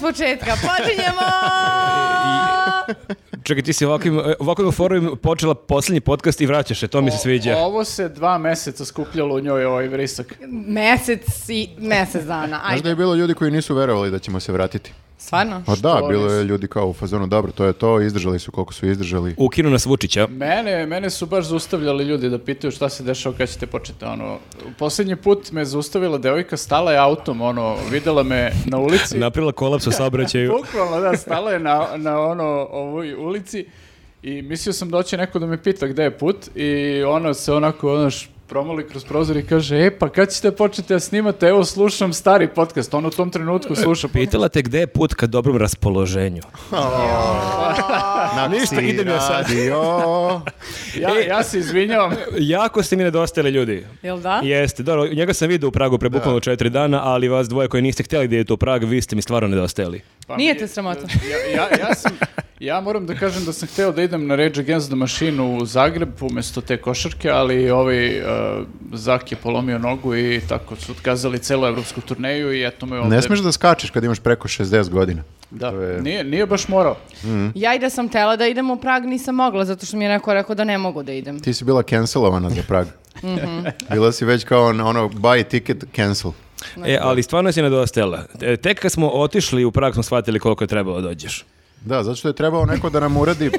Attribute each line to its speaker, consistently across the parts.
Speaker 1: početka. Počinjemo!
Speaker 2: Čekaj, ti si ovakvim, e, ovakvim forum počela posljednji podcast i vraćaš se, to mi se sviđa.
Speaker 3: Ovo se dva meseca skupljalo u njoj ovaj vrisak.
Speaker 1: Mesec i mesec dana.
Speaker 4: Znaš da
Speaker 1: Ajde.
Speaker 4: je bilo ljudi koji nisu verovali da ćemo se vratiti.
Speaker 1: Stvarno?
Speaker 4: Pa da,
Speaker 3: Što
Speaker 4: bilo je
Speaker 3: nisu?
Speaker 4: ljudi kao u fazonu, dobro, to je to, izdržali su koliko su izdržali.
Speaker 2: Ukinu nas Vučića.
Speaker 3: Mene, mene su baš zaustavljali ljudi da pitaju šta se dešava kad ćete početi. Ono, posljednji put me zaustavila devojka, stala je autom, ono, videla me na ulici.
Speaker 2: Napravila kolaps u saobraćaju.
Speaker 3: Bukvalno, da, stala je na, na ono, ovoj ulici i mislio sam da hoće neko da me pita gde je put i ona se onako, ono, š- promoli kroz prozor i kaže, e, pa kad ćete početi da snimate, evo, slušam stari podcast, on u tom trenutku sluša podcast.
Speaker 2: Pitala te gde je put ka dobrom raspoloženju.
Speaker 4: Na
Speaker 2: Pa, Ništa, idem ja sad.
Speaker 4: radio.
Speaker 3: Ja, ja se izvinjavam.
Speaker 2: Jako ste mi nedostajali ljudi.
Speaker 1: Jel da?
Speaker 2: Jeste, dobro, njega sam vidio u Pragu pre bukvalno četiri dana, ali vas dvoje koji niste htjeli da idete u Prag, vi ste mi stvarno nedostajali.
Speaker 3: Pa
Speaker 1: Nije
Speaker 3: mi- e,
Speaker 1: te sramota.
Speaker 3: Ja, ja, ja, sam, ja moram da kažem da sam hteo da idem na Rage Against the Machine u Zagreb umjesto te košarke, ali ovaj uh, Zak je polomio nogu i tako su otkazali celu evropsku turneju i eto me ovde...
Speaker 4: Ne smeš da skačeš kad imaš preko 60 godina.
Speaker 3: Da,
Speaker 4: To je-
Speaker 3: nije, nije baš morao.
Speaker 1: Ja i da sam tela da idem u Prag nisam mogla zato što mi je neko rekao da ne mogu da idem.
Speaker 4: Ti si bila cancelovana za Prag.
Speaker 1: Mhm.
Speaker 4: Bila si već kao na ono, buy ticket, cancel.
Speaker 2: E, ali stvarno si nedostajala. E, Tek kad smo otišli u Prag smo shvatili koliko je trebalo da dođeš.
Speaker 4: Da, zato što je trebao neko da nam uradi.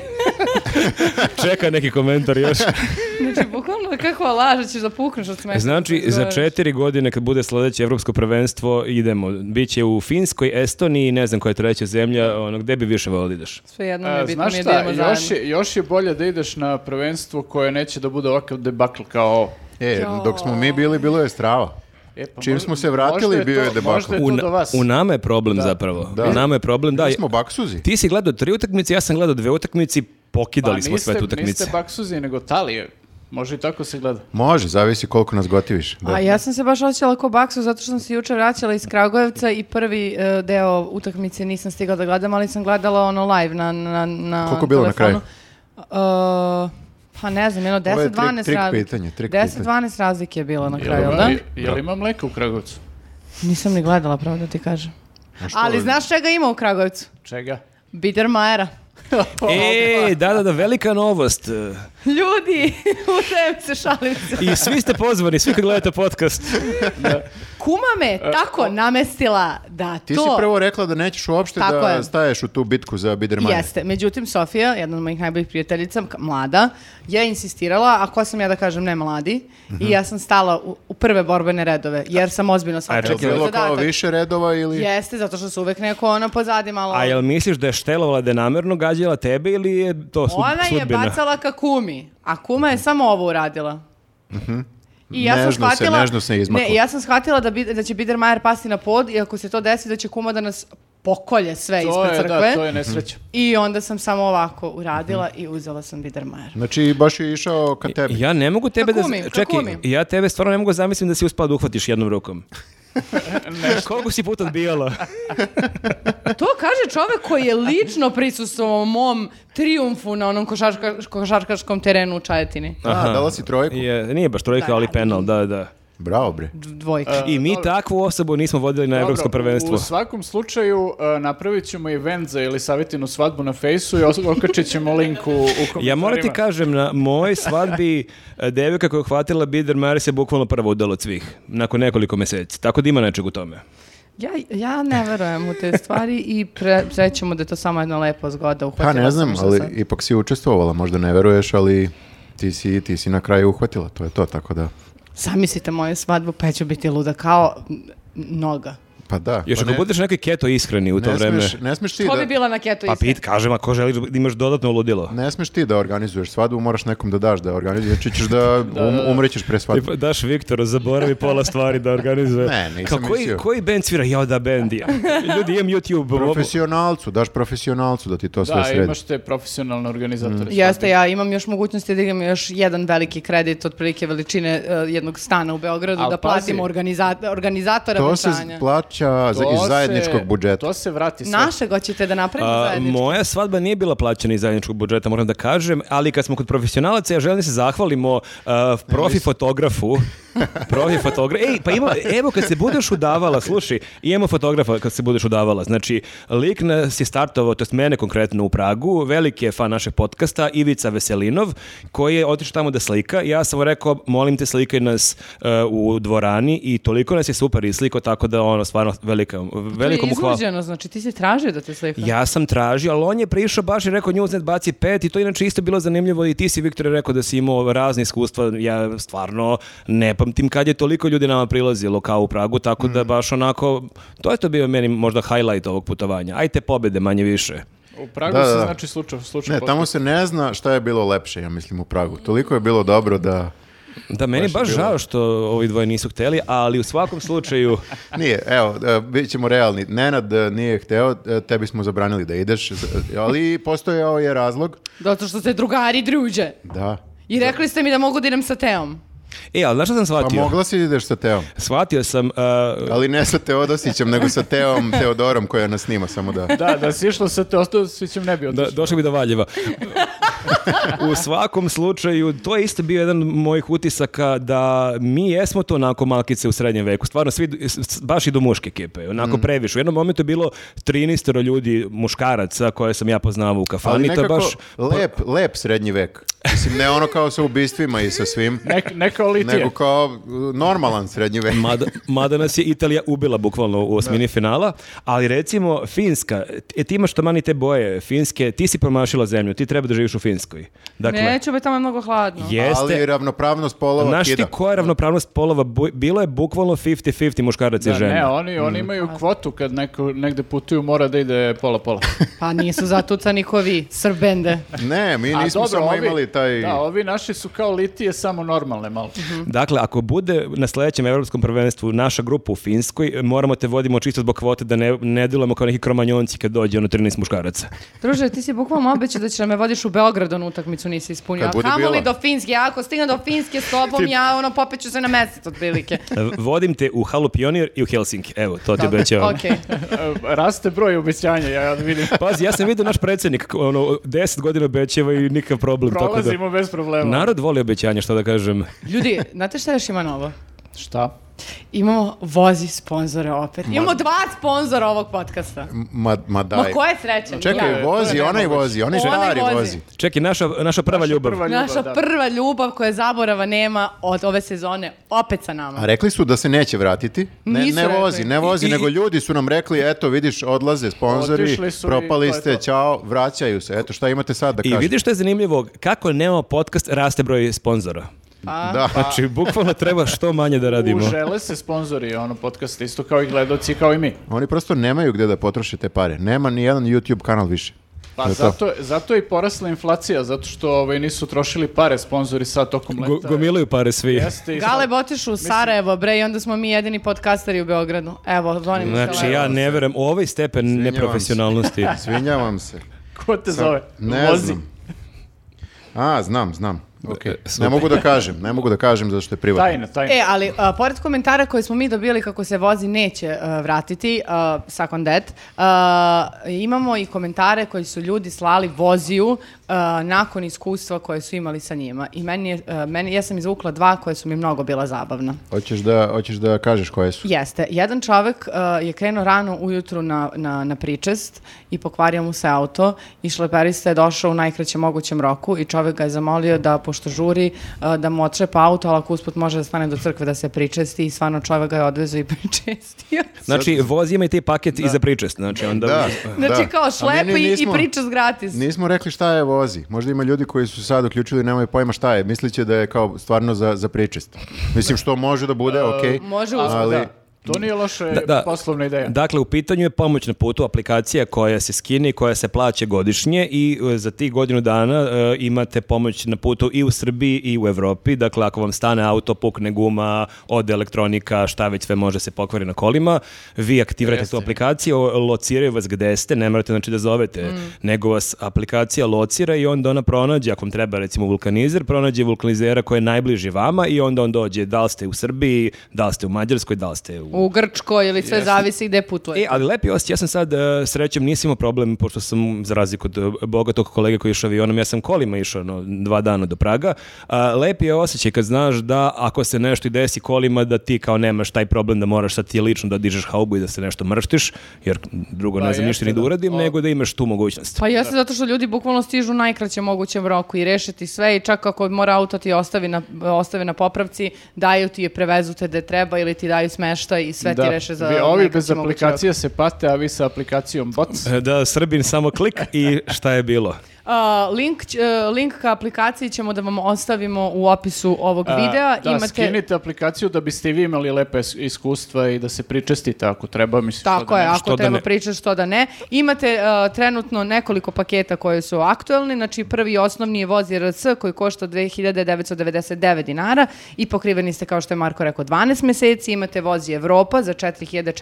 Speaker 2: Čeka neki komentar još.
Speaker 1: Znači, bukvalno kako laža ćeš da pukneš od smeha.
Speaker 2: Znači, za četiri godine kad bude sljedeće evropsko prvenstvo idemo. Biće u Finskoj, Estoniji, ne znam koja je treća zemlja, ono, gde bi više volio da ideš?
Speaker 1: Sve jedno
Speaker 3: A,
Speaker 1: je bitno,
Speaker 3: E, znaš
Speaker 1: mi je
Speaker 3: šta,
Speaker 1: da idemo
Speaker 3: još
Speaker 1: zajedno.
Speaker 3: je, još je bolje da ideš na prvenstvo koje neće da bude ovakav debakl kao ovo.
Speaker 4: E, dok smo mi bili, bilo je strava.
Speaker 3: E, pa
Speaker 4: Čim
Speaker 3: možda-
Speaker 4: smo se vratili,
Speaker 3: možda je
Speaker 4: bio je
Speaker 3: to-
Speaker 4: debakl.
Speaker 3: Možda je E, to
Speaker 2: U, na-
Speaker 3: do vas.
Speaker 2: u nama je problem zapravo.
Speaker 4: Da.
Speaker 2: U nama je problem, da.
Speaker 4: Mi smo baksuzi.
Speaker 2: Ti si gledao tri utakmice, ja sam gledao dve utakmice,
Speaker 3: Pa
Speaker 2: pokidali smo sve
Speaker 3: niste-
Speaker 2: te utakmice.
Speaker 3: Niste baksuzi, nego talije. Može i tako se gleda.
Speaker 4: Može, zavisi koliko nas gotiviš. Da.
Speaker 1: A ja sam se baš osjećala ko baksu zato što sam se juče vraćala iz Kragujevca i prvi e, deo utakmice nisam stigla da gledam, ali sam gledala ono live na, na, na
Speaker 4: Koliko je bilo na
Speaker 1: telefonu. E, pa ne znam, jedno
Speaker 4: Ovo je
Speaker 1: 10-12
Speaker 4: trik- trik
Speaker 1: raz-
Speaker 4: pitanje, trik
Speaker 1: 10-12 razlike je bilo na
Speaker 3: Jel,
Speaker 1: kraju,
Speaker 3: ima-
Speaker 1: da?
Speaker 3: jel ima mleka u Kragovcu?
Speaker 1: Nisam ni gledala, pravo da ti kažem. Ali znaš čega ima u Kragujevcu?
Speaker 3: Čega?
Speaker 1: Bidermajera.
Speaker 2: E, da, da, da, velika novost.
Speaker 1: Ljudi, u tebi se šalim se.
Speaker 2: I svi ste pozvani, svi koji gledate podcast.
Speaker 1: Kuma me tako namestila da to...
Speaker 4: Ti si prvo rekla da nećeš uopšte
Speaker 1: Tako
Speaker 4: da
Speaker 1: je.
Speaker 4: staješ u tu bitku za Bidermanje.
Speaker 1: Jeste. Međutim, Sofija, jedna od mojih najboljih prijateljica, k- mlada, je insistirala, a ko sam ja da kažem ne mladi, i ja sam stala u, u prve borbene redove, jer sam ozbiljno
Speaker 2: čekaj,
Speaker 1: shvatila
Speaker 4: Jel
Speaker 1: svoj
Speaker 4: bilo kao
Speaker 1: zadatak.
Speaker 4: više redova ili...
Speaker 1: Jeste, zato što su uvek neko ono pozadi malo...
Speaker 2: A jel misliš da je štelovala da je namjerno gađala tebe ili je to sud,
Speaker 1: Ona je
Speaker 2: sudbina?
Speaker 1: bacala ka kumi, a kuma je samo ovo uradila. I ja sam
Speaker 4: Nežno se-
Speaker 1: shvatila,
Speaker 4: nežno se izmakla.
Speaker 1: ne, ja sam shvatila da, bi, da će Bidermajer pasti na pod i ako se to desi da će kuma da nas pokolje sve
Speaker 3: To
Speaker 1: E, ispred
Speaker 3: je,
Speaker 1: crkve.
Speaker 3: da, to je nesreća.
Speaker 1: I onda sam samo ovako uradila i uzela sam Bidermajer.
Speaker 4: Znači, baš je išao ka tebi.
Speaker 2: Ja ne mogu tebe da...
Speaker 1: Kakumi,
Speaker 2: Čekaj,
Speaker 1: kakumi.
Speaker 2: ja tebe stvarno ne mogu zamislim da si uspala da uhvatiš jednom rukom. Koliko si puta odbijala?
Speaker 1: To kaže čovek koji je lično prisustvovao mom triumfu na onom košarka, košarkaškom terenu u Čajetini.
Speaker 4: A, dala si trojku?
Speaker 2: Je, nije baš trojka, ali penal, da, da.
Speaker 4: Bravo, bre.
Speaker 1: Dvojka.
Speaker 4: E.
Speaker 2: I mi takvu osobu nismo vodili na evropsko
Speaker 3: Dobro,
Speaker 2: prvenstvo.
Speaker 3: U svakom slučaju e, napravit ćemo event za ili savjetinu svadbu na fejsu i os- okačit ćemo link u, u komentarima.
Speaker 2: Ja moram ti kažem, na mojoj svadbi e, devojka koja je uhvatila Bider Maris je bukvalno prva udala od svih, nakon nekoliko meseci. Tako da ima nečeg u tome.
Speaker 1: Ja, ja ne verujem u te stvari i pre, rećemo da je to samo jedna lepa zgoda.
Speaker 4: Pa
Speaker 1: uhvatila sam
Speaker 4: ne znam,
Speaker 1: što
Speaker 4: ali
Speaker 1: sam.
Speaker 4: ipak si učestvovala, možda ne veruješ, ali ti si, ti si na kraju uhvatila, to je to, tako da...
Speaker 1: Zamislite moju svadbu, pa ja ću biti luda kao n- noga.
Speaker 4: Pa da.
Speaker 2: Još
Speaker 4: pa
Speaker 2: ako
Speaker 4: ne-
Speaker 2: budeš neki keto ishrani u to
Speaker 4: ne
Speaker 2: vreme.
Speaker 4: smeš, ne smeš ti
Speaker 1: Ko bi
Speaker 4: da...
Speaker 1: bila na keto
Speaker 2: Pa
Speaker 1: iskren?
Speaker 2: pit, kažem, ako želiš da imaš dodatno ludilo.
Speaker 4: Ne smeš ti da organizuješ svadbu, moraš nekom da daš da organizuješ, znači ćeš da um, umrećeš pre svadbe.
Speaker 2: Ti pa, Daš Viktoru, zaboravi pola stvari da organizuje.
Speaker 4: Ne, nisam
Speaker 2: Kao, koji,
Speaker 4: mislio.
Speaker 2: koji band svira? Ja da band ja. Ljudi, imam YouTube. ovo-
Speaker 4: Profesionalcu, daš profesionalcu da ti to sve
Speaker 3: Da,
Speaker 4: sredi.
Speaker 3: imaš te profesionalne organizatore.
Speaker 1: Mm. Jeste, ja imam još mogućnosti da imam još jedan veliki kredit otprilike veličine e, jednog stana u Beogradu
Speaker 3: Al
Speaker 1: da platim
Speaker 3: pazi.
Speaker 1: organiza- organizatora
Speaker 4: To se
Speaker 1: venčanja.
Speaker 4: plaća za-
Speaker 3: To
Speaker 4: iz
Speaker 3: se-
Speaker 4: zajedničkog budžeta.
Speaker 3: To se vrati sve.
Speaker 1: Našeg hoćete da napravimo
Speaker 2: A,
Speaker 1: zajednički?
Speaker 2: moja svadba nije bila plaćena iz zajedničkog budžeta, moram da kažem, ali kad smo kod profesionalaca, ja želim da se zahvalimo a, profi fotografu Profi fotograf. Ej, pa ima, evo kad se budeš udavala, slušaj, imamo fotografa kad se budeš udavala. Znači, lik nas je startovao, to jest mene konkretno u Pragu, veliki je fan našeg podcasta, Ivica Veselinov, koji je otišao tamo da slika. Ja sam mu rekao, molim te slikaj nas e, u dvorani i toliko nas je super isliko, tako da ono, stvarno, velika, veliko mu
Speaker 1: To je
Speaker 2: hvala.
Speaker 1: iznuđeno, znači ti si tražio da te slika.
Speaker 2: Ja sam tražio, ali on je prišao baš i rekao Newsnet baci pet i to je inače isto bilo zanimljivo i ti si Viktor rekao da si imao razne iskustva, ja stvarno ne pamtim kad je toliko ljudi nama prilazilo kao u Pragu, tako da baš onako, to je to bio meni možda highlight ovog putovanja. Ajte pobede manje više.
Speaker 3: U Pragu
Speaker 4: Da,
Speaker 3: se
Speaker 4: da, da.
Speaker 3: znači slučaj, slučaj
Speaker 4: Ne,
Speaker 3: podcast.
Speaker 4: tamo se ne zna šta je bilo lepše, ja mislim, u Pragu. Toliko je bilo dobro da...
Speaker 2: Da, meni je baš žao što ovi dvoje nisu hteli, ali u svakom slučaju,
Speaker 4: Nije, evo, e, bit ćemo realni. Nenad e, nije hteo, e, tebi smo zabranili da ideš, z- ali postojao je razlog.
Speaker 1: Zato što se drugari druže.
Speaker 4: Da.
Speaker 1: I rekli ste mi da mogu da idem sa Teom.
Speaker 2: e, ali znaš šta sam
Speaker 4: Pa
Speaker 2: shvatio?
Speaker 4: mogla si da ideš sa Teom,
Speaker 2: Shvatio sam, uh,
Speaker 4: ali ne sa Teodosićem, nego sa Teom Teodorom koja nas snima, samo da...
Speaker 3: Da, da si išla sa te ostao, svi ćem ne bi
Speaker 2: Da,
Speaker 3: otišao.
Speaker 2: došao bi do Valjeva. U svakom slučaju, to je isto bio jedan od mojih utisaka da mi jesmo to onako malkice u srednjem veku. Stvarno, svi, s- s- baš i do muške ekipe,
Speaker 4: Mm.
Speaker 2: onako previše. U jednom momentu je bilo 13 ljudi muškaraca koje sam ja poznavao u kafani.
Speaker 4: Ali
Speaker 2: to je
Speaker 4: nekako
Speaker 2: baš...
Speaker 4: lep, lep srednji vek. Mislim, ne ono kao sa ubistvima i sa svim,
Speaker 3: Nek, neka litije.
Speaker 4: nego kao uh, normalan srednji vek.
Speaker 2: Mada, mada nas je Italija ubila bukvalno u osmini finala, ali recimo Finska, e, ti imaš tamani te boje Finske, ti si promašila zemlju, ti treba da živiš u Finskoj. Dakle,
Speaker 1: Neću, be tamo je mnogo hladno.
Speaker 2: jeste,
Speaker 4: Ali ravnopravnost polova
Speaker 2: Znaš ti
Speaker 4: kida.
Speaker 2: koja je ravnopravnost polova? Bu- Bilo je bukvalno 50-50 muškarac i
Speaker 3: Da,
Speaker 2: žena.
Speaker 3: ne, oni, oni
Speaker 4: Mm.
Speaker 3: imaju kvotu kad neko, negde putuju, mora da ide pola-pola.
Speaker 1: Pa nisu zatucani ko vi, srbende.
Speaker 4: Ne, mi
Speaker 3: A
Speaker 4: nismo
Speaker 3: dobro,
Speaker 4: samo
Speaker 3: ovi-
Speaker 4: imali taj...
Speaker 3: Da, ovi naši su kao litije, samo normalne malo.
Speaker 2: Dakle, ako bude na sledećem evropskom prvenstvu naša grupa u Finskoj, moramo te vodimo čisto zbog kvote da ne, ne delujemo kao neki kromanjonci kad dođe ono 13 muškaraca.
Speaker 1: Druže, ti si bukvalno obećao da će da me vodiš u Beograd, onu utakmicu nisi ispunio.
Speaker 4: Kad bude
Speaker 1: Kamo li
Speaker 4: bila.
Speaker 1: do Finske? Ja ako stignem do Finske s tobom, ja ono popeću se na mesec otprilike.
Speaker 2: V- Vodim te u Halu Pionir i u Helsinki. Evo, to ti
Speaker 1: Dobro,
Speaker 2: obećavam.
Speaker 1: okej.
Speaker 3: E, Raste broj obećanja, ja vidim.
Speaker 2: Pazi, ja sam vidio naš predsjednik, ono, 10 godina obećava i nikakav problem. tako da-
Speaker 3: Prolazimo bez problema.
Speaker 2: Narod voli obećanja, što da kažem.
Speaker 1: Ljudi, znate šta još ima novo?
Speaker 3: Šta?
Speaker 1: Imamo vozi sponzore opet. Imamo dva sponzora ovog podcasta.
Speaker 4: Ma, ma daj.
Speaker 1: Ma koja je sreća?
Speaker 4: Čekaj,
Speaker 1: Ja.
Speaker 4: vozi,
Speaker 3: to je
Speaker 4: onaj
Speaker 3: nemoguće.
Speaker 4: vozi, onaj
Speaker 1: Onaj
Speaker 4: stari
Speaker 1: vozi.
Speaker 4: vozi.
Speaker 2: Čekaj, naša, naša prva ljubav.
Speaker 3: Prva ljubav,
Speaker 1: Naša
Speaker 3: da.
Speaker 1: prva ljubav koja zaborava nema od ove sezone opet sa nama.
Speaker 4: A rekli su da se neće vratiti. Ne,
Speaker 1: Nisu
Speaker 4: ne
Speaker 1: rekli.
Speaker 4: vozi, ne vozi,
Speaker 2: I- i-
Speaker 4: nego ljudi su nam rekli, eto vidiš, odlaze sponzori,
Speaker 3: Otišli su i
Speaker 4: propali
Speaker 3: to je
Speaker 4: ste,
Speaker 3: to.
Speaker 4: čao, vraćaju se. Eto šta imate sad da
Speaker 2: I
Speaker 4: kažete.
Speaker 2: vidiš što je zanimljivo, kako nemamo podcast, raste broj sponzora.
Speaker 4: Da.
Speaker 2: Znači, bukvalno treba što manje da radimo.
Speaker 3: Užele se sponzori ono podcast isto kao i gledoci kao i mi.
Speaker 4: Oni prosto nemaju gde da potroše te pare. Nema ni jedan YouTube kanal više.
Speaker 3: Pa
Speaker 4: To je to.
Speaker 3: zato, zato je i porasla inflacija, zato što ovaj, nisu trošili pare sponzori sad tokom leta.
Speaker 2: Go- gomilaju pare svi.
Speaker 3: Jeste i sad-
Speaker 1: Galeb otišu u Sarajevo, bre, i onda smo mi jedini podcasteri u Beogradu. Evo, zvonim
Speaker 2: Znači, ja ne verujem u ovaj stepen
Speaker 4: Svinjavam se.
Speaker 2: neprofesionalnosti.
Speaker 4: Svinjavam se.
Speaker 3: Ko te zove?
Speaker 4: Ne
Speaker 3: Vozi.
Speaker 4: znam. A, znam, znam.
Speaker 2: E, super.
Speaker 4: Ne mogu da kažem, ne mogu da kažem zato što je privatno.
Speaker 3: Tajna, tajna.
Speaker 1: E, ali a, pored komentara koje smo mi dobili kako se vozi neće a, vratiti, uh, suck on that, a, imamo i komentare koji su ljudi slali voziju a, nakon iskustva koje su imali sa njima. I meni je, a, meni, ja sam izvukla dva koje su mi mnogo bila zabavna.
Speaker 4: Hoćeš da, hoćeš da kažeš koje su?
Speaker 1: Jeste. Jedan čovek uh, je krenuo rano ujutru na, na, na pričest i pokvario mu se auto i šleperista je došao u najkraćem mogućem roku i čovek ga je zamolio da, pošto žuri, uh, da mu otrepa auto, ali ako usput može da stane do crkve da se pričesti i stvarno čovek ga je odvezao i pričestio.
Speaker 2: Znači, voz ima i taj paket i za pričest. Znači, onda...
Speaker 4: Da,
Speaker 1: Znači
Speaker 4: da.
Speaker 1: kao
Speaker 4: A mi
Speaker 1: šlep
Speaker 4: ni
Speaker 1: i, i
Speaker 4: nismo-
Speaker 1: pričest gratis.
Speaker 4: Nismo rekli šta je vozi. Možda ima ljudi koji su sad uključili i nemaju pojma šta je. Misliće da je kao stvarno za, za pričest. Mislim što može da bude, okej.
Speaker 1: može usput,
Speaker 4: ali,
Speaker 3: Da. To nije loše
Speaker 2: Da, da.
Speaker 3: poslovna ideja.
Speaker 2: Dakle, u pitanju je pomoć na putu aplikacija koja se skine i koja se plaća godišnje i e, za tih godinu dana e, imate pomoć na putu i u Srbiji i u Evropi. Dakle, ako vam stane auto, pukne guma, ode elektronika, šta već sve može se pokvari na kolima, vi aktivirate tu aplikaciju, o- lociraju vas gde ste, ne morate znači da zovete, nego vas aplikacija locira i onda ona pronađe, ako vam treba recimo vulkanizer, pronađe vulkanizera koji je najbliži vama i onda on dođe da li ste u Srbiji, da li ste u Mađarskoj, da li ste u
Speaker 1: U Grčkoj ili sve zavisi gde putuje.
Speaker 3: Pa
Speaker 2: E, ali lepi osjećaj, ja sam sad e, srećem, nisam imao problem, pošto sam za razliku od e, bogatog kolege koji je išao avionom, ja sam kolima išao no, dva dana do Praga. A, lepi je osjećaj kad znaš da ako se nešto i desi kolima, da ti kao nemaš taj problem da moraš sad ti lično da dižeš haubu i da se nešto mrštiš, jer drugo
Speaker 3: Pa
Speaker 2: ne znam ništa ni
Speaker 3: jeste,
Speaker 2: da
Speaker 3: da.
Speaker 2: uradim,
Speaker 3: O.
Speaker 2: nego da imaš tu mogućnost.
Speaker 1: Pa jeste zato što ljudi bukvalno stižu u najkraćem mogućem roku i rešiti sve i čak ako mora auto ti ostavi na, ostave na popravci, daju ti je prevezu te gde treba ili ti daju smeštaj i sve ti reše za
Speaker 3: vi, ovi bez
Speaker 1: najkraći mogući rok.
Speaker 3: aplikacije se pate, a vi sa aplikacijom bots.
Speaker 2: E, Da, Srbin samo klik i šta je bilo.
Speaker 1: A, link, ć- e, link ka aplikaciji ćemo da vam ostavimo u opisu ovog
Speaker 3: A,
Speaker 1: videa.
Speaker 3: da, skinite aplikaciju da biste i vi imali lepe is- iskustva i da se pričestite ako treba, mislim. što
Speaker 1: Tako
Speaker 3: da
Speaker 1: je,
Speaker 3: ne.
Speaker 2: što da
Speaker 1: ako treba
Speaker 2: ne.
Speaker 1: pričaš, što da ne. Imate e, trenutno nekoliko paketa koji su aktuelni, znači prvi i osnovni je voz RC koji košta 2999 dinara i pokriveni ste, kao što je Marko rekao, 12 meseci, imate voz Evropa za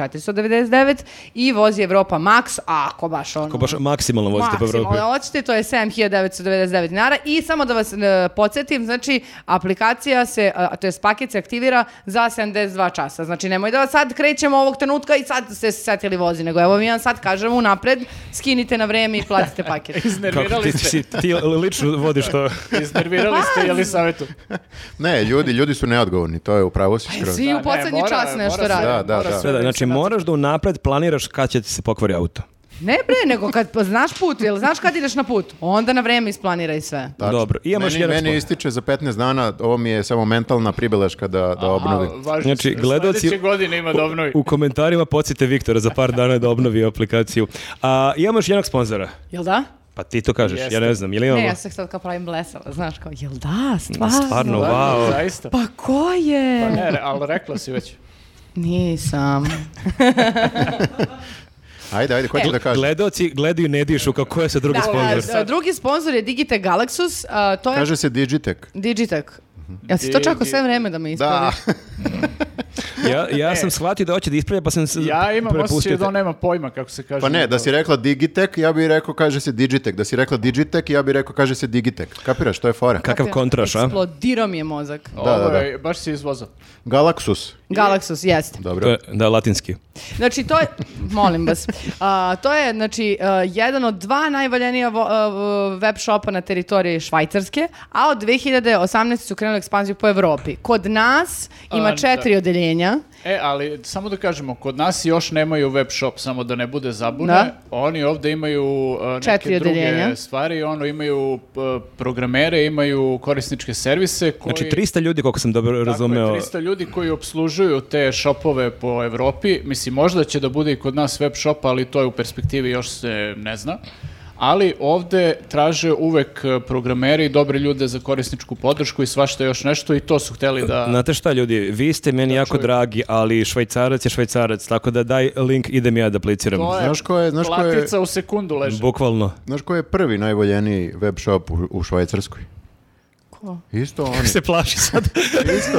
Speaker 1: 4499 i voz Evropa Max, a ako baš ono...
Speaker 2: Ako baš maksimalno vozite po Evropi.
Speaker 1: Maksimalno hoćete, to je 7.999 dinara i samo da vas e, podsjetim, znači aplikacija se, a, to je paket se aktivira za 72 časa. Znači nemoj da sad krećemo ovog trenutka i sad ste se setili vozi, nego evo mi vam sad kažemo unapred, skinite na vreme i platite paket.
Speaker 2: Kako
Speaker 3: Iznervirali
Speaker 2: ti,
Speaker 3: ste,
Speaker 2: si- ti lično vodiš to.
Speaker 3: iznervirali ste Jelisavetu.
Speaker 4: Ne, ljudi, ljudi su neodgovorni, to je upravo si skroz.
Speaker 1: Svi
Speaker 3: Da,
Speaker 1: u
Speaker 3: ne,
Speaker 1: poslednji
Speaker 3: mora-
Speaker 1: čas nešto
Speaker 3: mora se-
Speaker 1: rade.
Speaker 4: Da, da,
Speaker 3: mora
Speaker 4: da.
Speaker 3: se
Speaker 2: Da, da, znači
Speaker 3: organizovati.
Speaker 2: moraš da unapred planiraš kad će ti se pokvari auto.
Speaker 1: Ne bre, nego kad pa, znaš put, jel znaš kad ideš na put, onda na vreme isplaniraj sve.
Speaker 4: Tačno.
Speaker 2: Dobro, i imam još
Speaker 4: meni,
Speaker 2: jedan
Speaker 4: meni
Speaker 2: spot.
Speaker 4: ističe za 15 dana, ovo mi je samo mentalna pribeleška da, da obnovim.
Speaker 3: A, važi,
Speaker 2: Znači,
Speaker 3: znači,
Speaker 2: gledaoci-
Speaker 3: godine ima da obnovi.
Speaker 2: U komentarima podsjete Viktora za par dana da obnovi aplikaciju. A, imamo još jednog sponzora.
Speaker 1: Jel da?
Speaker 2: Pa ti to kažeš, ja
Speaker 3: Jeste.
Speaker 2: ne znam, ili imamo?
Speaker 1: Ne, ja se sad kao pravim blesava, znaš kao, jel da, stvarno?
Speaker 2: Stvarno,
Speaker 3: Da,
Speaker 2: vau.
Speaker 3: Zaista.
Speaker 1: Pa ko je?
Speaker 3: Pa ne, re- ali rekla si već.
Speaker 1: Nisam.
Speaker 4: Ajde, ajde,
Speaker 2: E,
Speaker 4: hoću da kažem.
Speaker 2: Gledaoci gledaju ne dišu kako je se drugi
Speaker 1: Da,
Speaker 2: sponzor.
Speaker 1: da, da, drugi sponsor je Digitec Galaxus, a, to je
Speaker 4: Kaže se Digitech.
Speaker 1: Digitec. Ja si to
Speaker 3: Digi-
Speaker 1: čekao sve vreme da me
Speaker 4: Da,
Speaker 1: ispraviš.
Speaker 2: Ja, ja sam shvatio da hoće da ispravlja, pa sam se
Speaker 3: Ja imam osjećaj
Speaker 2: prepustio
Speaker 3: da on
Speaker 2: te.
Speaker 3: nema pojma kako se kaže.
Speaker 4: pa ne, da si rekla Digitech, ja bih rekao kaže se Digitech. Da si rekla Digitech, ja bih rekao kaže se Digitech. Kapiraš, to je fora.
Speaker 2: Kakav kontraš, a?
Speaker 1: Eksplodirao mi je mozak.
Speaker 3: Ovo
Speaker 4: da, da.
Speaker 3: je- baš si izvozao.
Speaker 4: Galaxus.
Speaker 1: Galaxus, jeste.
Speaker 2: To
Speaker 4: Dobro.
Speaker 2: je- Da, latinski.
Speaker 1: Znači, to je, molim vas, a, to je, znači, a, jedan od dva najvaljenija vo- a, v- web shopa na teritoriji Švajcarske, a od 2018. su krenuli ekspanziju po Evropi. Kod nas
Speaker 3: A,
Speaker 1: ima
Speaker 3: da.
Speaker 1: četiri odeljenja.
Speaker 3: E, ali samo da kažemo, kod nas još nemaju web shop, samo da ne bude zabune.
Speaker 1: Da.
Speaker 3: Oni ovde imaju uh, neke
Speaker 1: Četiri
Speaker 3: druge
Speaker 1: odeljenja.
Speaker 3: stvari, ono imaju p- programere, imaju korisničke servise koji
Speaker 2: Znači, 300 ljudi, koliko sam dobro
Speaker 3: Tako je,
Speaker 2: razumeo.
Speaker 3: 300 ljudi koji obslužuju te shopove po Evropi, mislim možda će da bude i kod nas web shop, ali to je u perspektivi još se ne zna. Ali ovde traže uvek e, programeri i dobre ljude za korisničku podršku i svašta još nešto i to su hteli da...
Speaker 2: Znate šta ljudi, vi ste meni jako dragi, ali švajcarac je švajcarac, tako da daj link, idem ja da apliciram.
Speaker 3: To
Speaker 4: Znaš ko je- znaš ko je-
Speaker 3: Platica u sekundu leže.
Speaker 2: Bukvalno.
Speaker 4: Znaš ko je prvi najvoljeniji web shop u, u Švajcarskoj?
Speaker 1: Ko?
Speaker 4: Isto oni.
Speaker 2: Se plaši sad.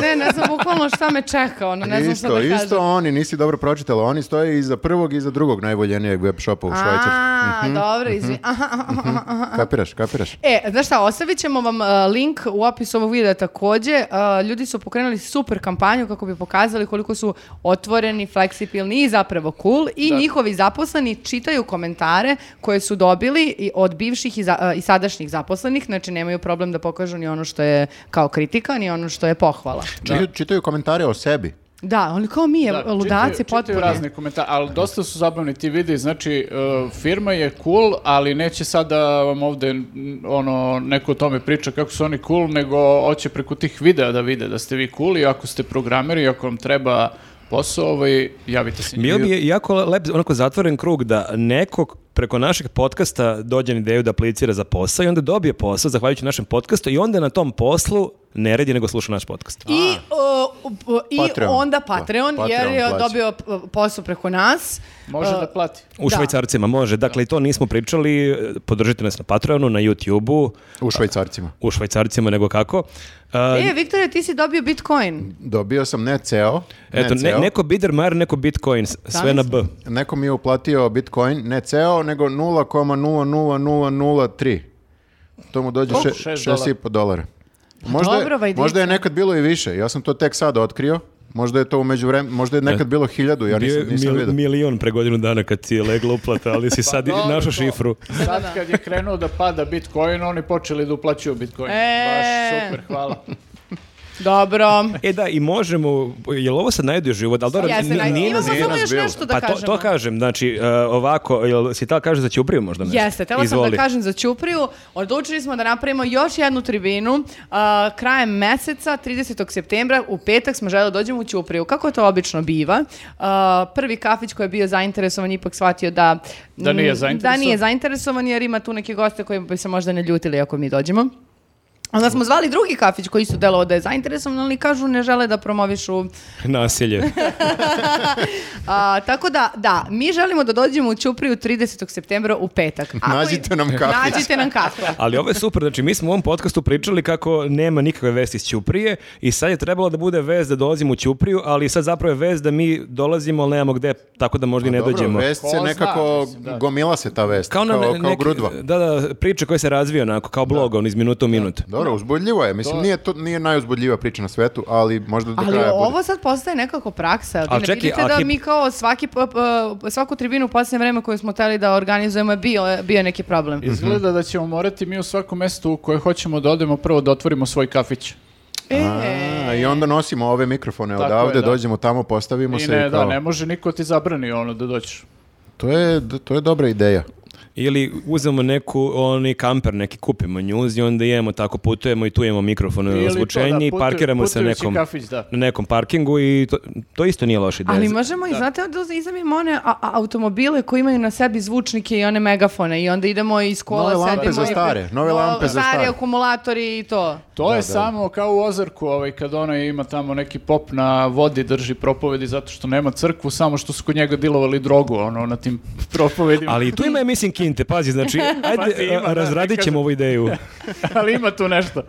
Speaker 1: Ne, ne znam bukvalno šta me čeka, ono, ne znam šta
Speaker 4: isto,
Speaker 1: da kažem.
Speaker 4: isto oni, nisi dobro pročitala. Oni stoje iza prvog i iza drugog najvoljenijeg web shopa u Švajcarskoj.
Speaker 1: A, dobro, izvi... Aha, aha, aha, aha.
Speaker 4: Kapiraš, kapiraš.
Speaker 1: E, znaš šta, ostavit ćemo vam e, link u opisu ovog videa takođe. E, ljudi su pokrenuli super kampanju kako bi pokazali koliko su otvoreni, fleksibilni i zapravo cool. I
Speaker 3: Da.
Speaker 1: njihovi zaposleni čitaju komentare koje su dobili i od bivših i, za- e, i sadašnjih zaposlenih. Znači, nemaju problem da pokažu ni ono što je kao kritika, ni ono što je pohvala.
Speaker 4: Čitaju, čitaju komentare o sebi.
Speaker 1: Da, oni kao mi,
Speaker 3: Da,
Speaker 1: da, ludaci
Speaker 3: čitaju- čitaju
Speaker 1: potpuni.
Speaker 3: razne komentare, ali dosta su zabavni ti vidi, znači e, firma je cool, ali neće sad da vam ovde n- ono, neko o tome priča kako su oni cool, nego hoće preko tih videa da vide da ste vi cool i ako ste programeri, ako vam treba posao, ovaj, javite se njima.
Speaker 2: Bio bi je jako lep, onako zatvoren krug da neko preko našeg podcasta dođe na ideju da aplicira za posao i onda dobije posao zahvaljujući našem podcastu i onda na tom poslu ne redi nego sluša naš podcast.
Speaker 1: I, uh, u- i
Speaker 4: Patreon.
Speaker 1: onda Patreon,
Speaker 4: Pa,
Speaker 1: jer
Speaker 4: Patreon
Speaker 1: je
Speaker 4: plaća.
Speaker 1: dobio p- posao preko nas.
Speaker 3: Može
Speaker 1: E,
Speaker 3: da plati.
Speaker 2: U
Speaker 1: Da.
Speaker 2: švajcarcima može. Dakle, i to nismo pričali. e, Podržite nas na Patreonu, na YouTubeu,
Speaker 4: U Švajcarcima.
Speaker 2: u švajcarcima nego kako. Uh,
Speaker 1: E, Viktore, ti si dobio Bitcoin.
Speaker 4: Dobio sam ne ceo. ne
Speaker 2: eto, ne,
Speaker 4: ceo.
Speaker 2: neko Bidermar, neko Bitcoin, s- sve na B.
Speaker 4: Neko mi je uplatio Bitcoin, ne ceo, nego 0,00003. To mu dođe
Speaker 3: Koliko?
Speaker 4: še-
Speaker 3: Šest Pa
Speaker 4: 6,5 dolara. Možda,
Speaker 1: dobro,
Speaker 4: je,
Speaker 1: Vajdica.
Speaker 4: možda je nekad bilo i više. Ja sam to tek sad otkrio. Možda je to u međuvremenu, možda je
Speaker 2: E,
Speaker 4: nekad bilo hiljadu, ja
Speaker 2: Bio
Speaker 4: nisam,
Speaker 2: je
Speaker 4: nisam
Speaker 2: mil-
Speaker 4: vidio.
Speaker 2: milion pre godinu dana kad ti je legla uplata, ali si sad i
Speaker 3: dobro,
Speaker 2: našao
Speaker 3: to.
Speaker 2: šifru.
Speaker 3: Sad kad je krenuo da pada Bitcoin, oni počeli da uplaćuju Bitcoin.
Speaker 1: E.
Speaker 3: Baš super, hvala.
Speaker 1: Dobro.
Speaker 2: E da, i možemo, je li ovo sad najdio život? Ali dobro,
Speaker 1: Jeste,
Speaker 2: ni-
Speaker 1: najbolje.
Speaker 2: nije
Speaker 1: Imamo
Speaker 2: nas-
Speaker 4: nije
Speaker 1: samo
Speaker 4: nas
Speaker 1: još
Speaker 4: bilo.
Speaker 1: nešto da
Speaker 2: pa to,
Speaker 1: kažemo.
Speaker 2: to kažem, znači e, ovako, jel si tala kažeš da će upriju možda nešto?
Speaker 1: Jeste, tela sam da
Speaker 2: Izvoli.
Speaker 1: kažem za Ćupriju. Odlučili smo da napravimo još jednu tribinu. a, krajem meseca, 30. septembra, u petak smo želeli da dođemo u Ćupriju. Kako to obično biva? A, prvi kafić koji je bio zainteresovan je ipak shvatio da...
Speaker 3: Da nije
Speaker 1: mm,
Speaker 3: zainteresovan.
Speaker 1: Da nije zainteresovan jer ima tu neke goste koji bi se možda ne ljutili ako mi dođemo. Onda smo zvali drugi kafić koji su delovao da je zainteresovan, ali kažu ne žele da promovišu
Speaker 2: Nasilje.
Speaker 1: a, tako da, da, mi želimo da dođemo u Ćupriju 30. septembra u petak. Ako i-
Speaker 4: Nađite nam kafić.
Speaker 1: Nađite nam kafić.
Speaker 2: Ali ovo je super, znači mi smo u ovom podcastu pričali kako nema nikakve vesti iz Ćuprije i sad je trebalo da bude vez da dolazimo u Ćupriju, ali sad zapravo je vez da mi dolazimo, ali nemamo gde, tako da možda i ne
Speaker 4: Dobro,
Speaker 2: dođemo.
Speaker 4: vest
Speaker 3: Ko
Speaker 4: se
Speaker 3: zna,
Speaker 4: nekako
Speaker 3: mislim, da.
Speaker 4: gomila se ta vest, kao,
Speaker 2: na
Speaker 4: kao,
Speaker 2: ne- neki-
Speaker 4: grudva.
Speaker 2: Da, da, priča koja se razvija onako, kao blog, on iz minuta u minut.
Speaker 4: Dobro, uzbudljivo je. Mislim, nije, to, nije najuzbudljivija priča na svetu, ali možda do
Speaker 1: Ali
Speaker 4: kraja bude.
Speaker 1: ovo sad postaje nekako praksa. Vi
Speaker 2: Ali
Speaker 1: ne
Speaker 2: čekaj,
Speaker 1: vidite
Speaker 2: a
Speaker 1: da
Speaker 2: hip-
Speaker 1: mi kao svaki, p- p- svaku tribinu u posljednje vreme koju smo hteli da organizujemo je bio, bio je neki problem.
Speaker 3: Izgleda da ćemo morati mi u svakom mestu u koje hoćemo da odemo prvo da otvorimo svoj kafić.
Speaker 1: E,
Speaker 4: A, I onda nosimo ove mikrofone
Speaker 3: Tako
Speaker 4: odavde,
Speaker 3: je, da.
Speaker 4: dođemo tamo, postavimo
Speaker 3: I
Speaker 4: se
Speaker 3: ne,
Speaker 4: i kao...
Speaker 3: da, ne može niko ti zabrani ono da dođeš.
Speaker 4: to, je, d- to je dobra ideja.
Speaker 2: Ili uzmemo neku, oni kamper neki, kupimo njuz i onda jemo tako, putujemo i tu imamo mikrofon
Speaker 3: Ili to,
Speaker 2: ozvučenje
Speaker 3: da,
Speaker 2: i
Speaker 3: putu-
Speaker 2: parkiramo se
Speaker 3: putujući
Speaker 2: nekom,
Speaker 3: kafić, da.
Speaker 2: na nekom parkingu i to, to isto nije loša ideja.
Speaker 1: ali možemo i znate da izamimo one a- a- automobile koji imaju na sebi zvučnike i one megafone i onda idemo iz kola,
Speaker 4: Nove lampe
Speaker 1: sedimo
Speaker 4: za
Speaker 1: i-
Speaker 4: stare, nove
Speaker 1: No-
Speaker 4: lampe za stare.
Speaker 1: akumulatori i to.
Speaker 3: To je samo kao u Ozarku, ovaj, kad ona ima tamo neki pop na vodi drži propovedi zato što nema crkvu, samo što su kod njega dilovali drogu ono, na tim propovedima.
Speaker 2: Ali i tu ima, ja mislim, kinte, pazi, znači, ajde,
Speaker 3: Pazi, ima,
Speaker 2: a,
Speaker 3: da,
Speaker 2: razradit ćemo ovu ideju.
Speaker 3: Ali ima tu nešto.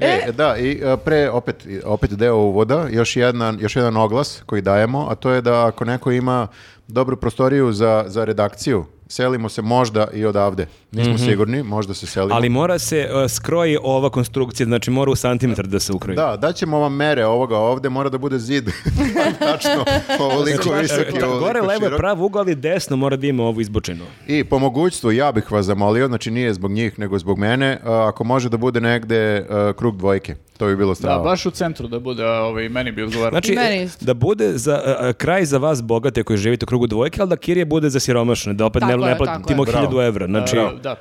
Speaker 4: E, da, i e, pre, opet, i- opet deo uvoda, još, jedna, još jedan oglas koji dajemo, a to je da ako neko ima dobru prostoriju za, za redakciju, selimo se možda i odavde. Nismo sigurni, možda se selimo.
Speaker 2: Mhm. Ali mora se uh, skroji ova konstrukcija, znači mora u santimetar da se ukroji.
Speaker 4: Da, daćemo vam mere ovoga ovde, mora da bude zid. Pa Tačno, ovoliko visok i
Speaker 2: Da, Znači,
Speaker 4: ovoliko
Speaker 2: e, gore levo je
Speaker 4: širok.
Speaker 2: pravo ugao, ali desno mora da ima ovu izbočinu.
Speaker 4: I po mogućstvu ja bih vas zamolio, znači nije zbog njih nego zbog mene, a, ako može da bude negde a, krug dvojke, to bi bilo
Speaker 3: Da,
Speaker 4: strava.
Speaker 3: baš u centru da bude, a, ovaj, meni bi odgovarao.
Speaker 2: Znači,
Speaker 1: I meni isto.
Speaker 2: da bude za, a, a, kraj za vas bogate koji živite u krugu dvojke, ali da kirije bude za siromašne, da opet
Speaker 1: Tako
Speaker 2: ne,
Speaker 1: je,
Speaker 2: ne
Speaker 1: tako
Speaker 2: platimo
Speaker 1: je.
Speaker 4: Bravo.
Speaker 2: hiljadu evra. Znači,
Speaker 3: A, da.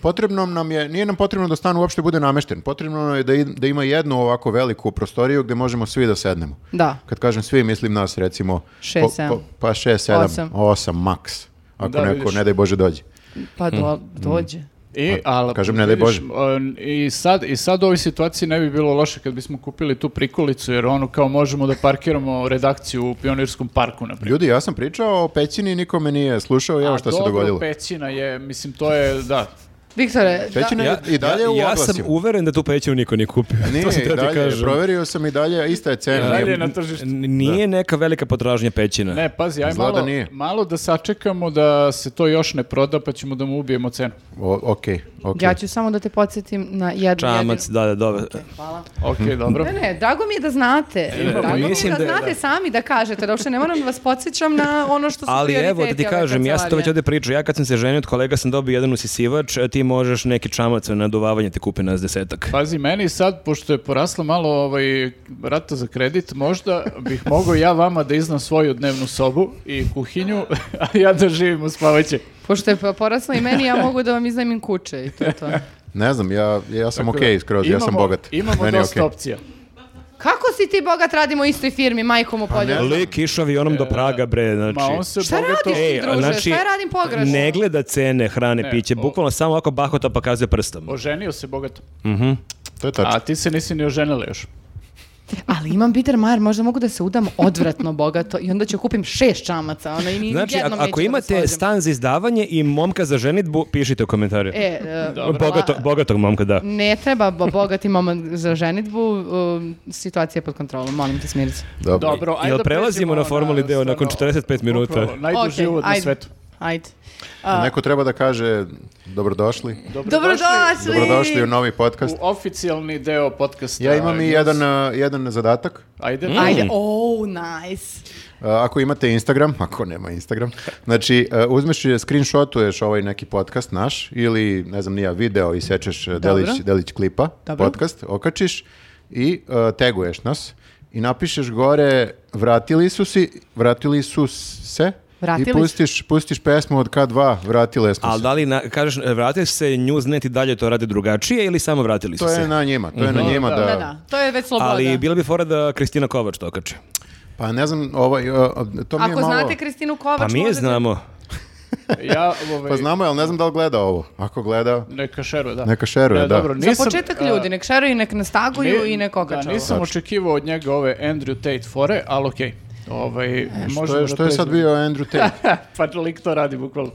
Speaker 4: Potrebno nam je, nije nam potrebno da stan uopšte bude namešten, potrebno nam je da, i- da ima jednu ovako veliku prostoriju gde možemo svi da sednemo.
Speaker 1: Da.
Speaker 4: Kad kažem svi, mislim nas recimo...
Speaker 1: Šest,
Speaker 4: po-
Speaker 1: sedam.
Speaker 4: po- pa šest, sedam,
Speaker 1: Osam.
Speaker 4: osam, maks. Ako
Speaker 3: Da,
Speaker 4: neko,
Speaker 3: vidiš.
Speaker 4: ne daj Bože, dođe.
Speaker 1: Pa do- dođe.
Speaker 3: I, ali,
Speaker 4: kažem, ne daj
Speaker 3: vidiš,
Speaker 4: Bože.
Speaker 3: on, I sad, I sad u ovoj situaciji ne bi bilo loše kad bismo kupili tu prikolicu, jer ono kao možemo da parkiramo redakciju u Pionirskom parku, na primjer.
Speaker 4: Ljudi, ja sam pričao o pećini, niko me nije slušao i evo
Speaker 3: A
Speaker 4: šta se
Speaker 3: dobro,
Speaker 4: dogodilo.
Speaker 3: pećina je, mislim, to je, da.
Speaker 1: Viktore, da-
Speaker 4: Pećina je i dalje
Speaker 2: ja,
Speaker 4: u
Speaker 2: ja sam
Speaker 4: oglasima.
Speaker 2: uveren da tu pećinu niko nije kupio.
Speaker 4: Nije,
Speaker 2: to sam
Speaker 4: i
Speaker 2: teo ti
Speaker 4: dalje,
Speaker 2: kažem.
Speaker 4: proverio sam i dalje, ista je cena.
Speaker 3: Dalje
Speaker 4: Nije-
Speaker 3: je na tržištu.
Speaker 2: N- Nije neka velika potražnja pećina.
Speaker 3: Ne, pazi, aj
Speaker 4: Izgleda
Speaker 3: malo,
Speaker 4: nije.
Speaker 3: malo da sačekamo da se to još ne proda, pa ćemo da mu ubijemo cenu.
Speaker 4: O, ok, ok.
Speaker 1: ja ću samo da te podsjetim na jednu
Speaker 2: Čamac,
Speaker 1: jedinu-
Speaker 2: da, da, dobro.
Speaker 1: Hvala.
Speaker 3: Ok,
Speaker 4: Mhm.
Speaker 3: dobro.
Speaker 1: Ne, ne, drago mi je da znate. drago mi je
Speaker 2: mislim
Speaker 1: da,
Speaker 2: da-
Speaker 1: znate sami da kažete. Da uopšte ne moram da vas podsjećam na ono što su
Speaker 2: Ali
Speaker 1: prioriteti
Speaker 2: evo, da ti
Speaker 1: ove
Speaker 2: kažem, ja sam to već
Speaker 1: kancelarije.
Speaker 2: ovdje pričao, ja kad sam se ženio od kolega sam dobio jedan usisivač, a ti možeš neki čamac na naduvavanje te kupi nas desetak.
Speaker 3: Pazi, meni sad, pošto je porasla malo ovaj, rata za kredit, možda bih mogao ja vama da iznam svoju dnevnu sobu i kuhinju, a ja da živim u spavaće.
Speaker 1: Pošto je porasla i meni, ja mogu da vam iznajmim kuće i to je to.
Speaker 4: Ne znam, ja, ja sam
Speaker 3: Tako
Speaker 4: ok
Speaker 3: da,
Speaker 4: skroz, ja sam
Speaker 3: imamo-
Speaker 4: bogat.
Speaker 3: Imamo
Speaker 4: Meni je
Speaker 3: dosta
Speaker 4: okej.
Speaker 3: opcija.
Speaker 1: Kako si ti bogat radimo u istoj firmi, majkom u polju?
Speaker 2: Lik išao avionom do Praga, bre, znači...
Speaker 3: E, Ma on se
Speaker 1: Šta
Speaker 3: bogato-
Speaker 1: radiš
Speaker 2: Ej,
Speaker 1: ti, druže?
Speaker 2: znači,
Speaker 1: Šta ja radim pogrešno?
Speaker 2: Ne gleda cene, hrane,
Speaker 3: Ne,
Speaker 2: piće,
Speaker 3: o-
Speaker 2: bukvalno samo ovako bahota pokazuje prstom.
Speaker 3: Oženio se bogato.
Speaker 4: To je tačno.
Speaker 3: A ti se nisi ni oženila još.
Speaker 1: Ali imam Peter Mayer, možda mogu da se udam odvratno bogato i onda ću kupim šest čamaca. Ono, i ni
Speaker 2: Znači,
Speaker 1: jednom
Speaker 2: ako, ako
Speaker 1: neću da se
Speaker 2: imate
Speaker 1: složim.
Speaker 2: stan za izdavanje i momka za ženitbu, pišite u komentarju.
Speaker 1: E, e,
Speaker 2: Bogato,
Speaker 1: la-
Speaker 2: bogatog momka, da.
Speaker 1: Ne treba bo- bogati momak za ženitbu, um, situacija je pod kontrolom, molim te smiri se.
Speaker 4: Dobro.
Speaker 3: Dobro, ajde
Speaker 2: Jel
Speaker 3: da
Speaker 2: prelazimo
Speaker 3: pređemo
Speaker 2: na formuli deo nakon
Speaker 3: stvarno,
Speaker 2: 45 minuta?
Speaker 3: upravo, najduži
Speaker 1: Ok,
Speaker 3: uvod na
Speaker 1: ajde.
Speaker 3: svetu.
Speaker 1: Ajde.
Speaker 4: Neko treba da kaže dobrodošli.
Speaker 1: Dobrodošli!
Speaker 4: Dobrodošli u novi podcast.
Speaker 3: U oficijalni deo podcasta.
Speaker 4: Ja imam i jedan, mm? a, jedan zadatak.
Speaker 3: Ajde.
Speaker 1: Ajde, oh, nice.
Speaker 4: A, Ako imate Instagram, ako nema Instagram, znači a, uzmeš i screenshotuješ ovaj neki podcast naš ili, ne znam, nija video i sečeš a, delić, delić klipa,
Speaker 1: Dobro.
Speaker 4: podcast, okačiš i a, taguješ nas i napišeš gore vratili su si, vratili su se
Speaker 1: Vratili
Speaker 4: i
Speaker 1: su.
Speaker 4: pustiš, pustiš pesmu od K2, vratile smo
Speaker 2: Ali
Speaker 4: se.
Speaker 2: da li, na, kažeš, e, vratili su se Newsnet i dalje to rade drugačije ili samo vratili su
Speaker 4: To
Speaker 2: se?
Speaker 4: je na njima, to je na njima
Speaker 3: Da,
Speaker 4: da,
Speaker 1: Mhm. Da, da, to je već sloboda.
Speaker 2: Ali bila bi fora da Kristina Kovač to okače.
Speaker 4: Pa ne znam, ovaj, a, a, to mi je
Speaker 1: Ako
Speaker 4: malo...
Speaker 1: znate Kristinu Kovač,
Speaker 2: Pa mi je
Speaker 1: možete-
Speaker 2: znamo.
Speaker 3: Ja, ovaj,
Speaker 4: Pa znamo, ali ne znam da li gleda ovo. Ako gleda,
Speaker 3: Neka šeruje, da.
Speaker 4: Neka šeruje,
Speaker 3: E,
Speaker 4: da.
Speaker 3: Dobro,
Speaker 1: Za
Speaker 3: nisam,
Speaker 1: početak
Speaker 3: a,
Speaker 1: ljudi, nek šeruju, nek nas taguju
Speaker 3: ni-
Speaker 1: i nek okače
Speaker 3: Da,
Speaker 1: ovo.
Speaker 3: nisam očekivao od njega ove Andrew Tate fore, ali okej. Ovaj,
Speaker 4: E, što je,
Speaker 3: možemo
Speaker 4: što je sad
Speaker 3: pređemo.
Speaker 4: bio Andrew Tate?
Speaker 3: pa lik to radi bukvalno.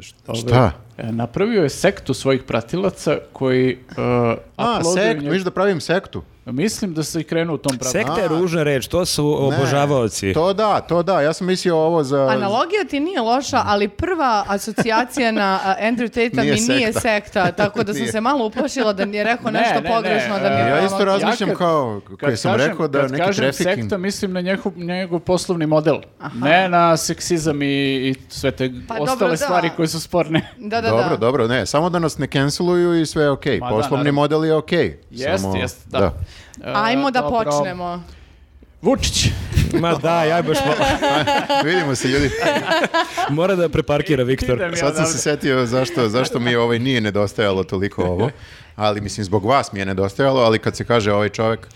Speaker 4: Šta?
Speaker 3: E, Napravio je sektu svojih pratilaca koji uh,
Speaker 4: A,
Speaker 3: uploaduju
Speaker 4: sekt,
Speaker 3: njeg-
Speaker 4: misliš da pravim sektu?
Speaker 3: Mislim da se i krenuo u tom pravcu.
Speaker 2: Sekta je ružna reč, to su
Speaker 4: Ne.
Speaker 2: obožavaoci.
Speaker 4: To da, to da, ja sam mislio ovo za...
Speaker 1: Analogija ti nije loša, ali prva asocijacija na a, Andrew Tate-a mi
Speaker 4: Nije
Speaker 1: nije
Speaker 4: sekta.
Speaker 1: sekta, tako da sam
Speaker 4: Nije.
Speaker 1: se malo uplašila da mi je rekao
Speaker 3: Ne,
Speaker 1: nešto
Speaker 3: ne, ne,
Speaker 1: pogrešno. da mi je
Speaker 3: e,
Speaker 4: Ja
Speaker 1: ono-
Speaker 4: isto razmišljam
Speaker 3: Ja kad-
Speaker 4: kao, koji sam
Speaker 3: kažem-
Speaker 4: rekao da
Speaker 3: kad
Speaker 4: neki
Speaker 3: kažem
Speaker 4: trafficking...
Speaker 3: sekta, mislim na njegov, njegov poslovni model. Ne na seksizam i, i sve te
Speaker 1: Pa dobro,
Speaker 3: ostale
Speaker 1: da.
Speaker 3: stvari koje su sporne.
Speaker 1: Da, da,
Speaker 4: dobro,
Speaker 1: da.
Speaker 4: dobro, ne, samo da nas ne canceluju i sve je okej.
Speaker 3: Ma da,
Speaker 4: Poslovni
Speaker 3: naravno.
Speaker 4: model je okej.
Speaker 3: Jest,
Speaker 4: samo-
Speaker 3: jest, da. E,
Speaker 1: Ajmo da
Speaker 3: dobro.
Speaker 1: počnemo.
Speaker 3: Vučić.
Speaker 2: Ma da, ja baš mo-
Speaker 4: Vidimo se, ljudi.
Speaker 2: mora da preparkira Viktor.
Speaker 3: Idem ja
Speaker 4: Sad sam
Speaker 3: odavde.
Speaker 4: se setio zašto, zašto mi ovaj nije nedostajalo toliko ovo. Ali, mislim, zbog vas mi je nedostajalo, ali kad se kaže ovaj čovjek...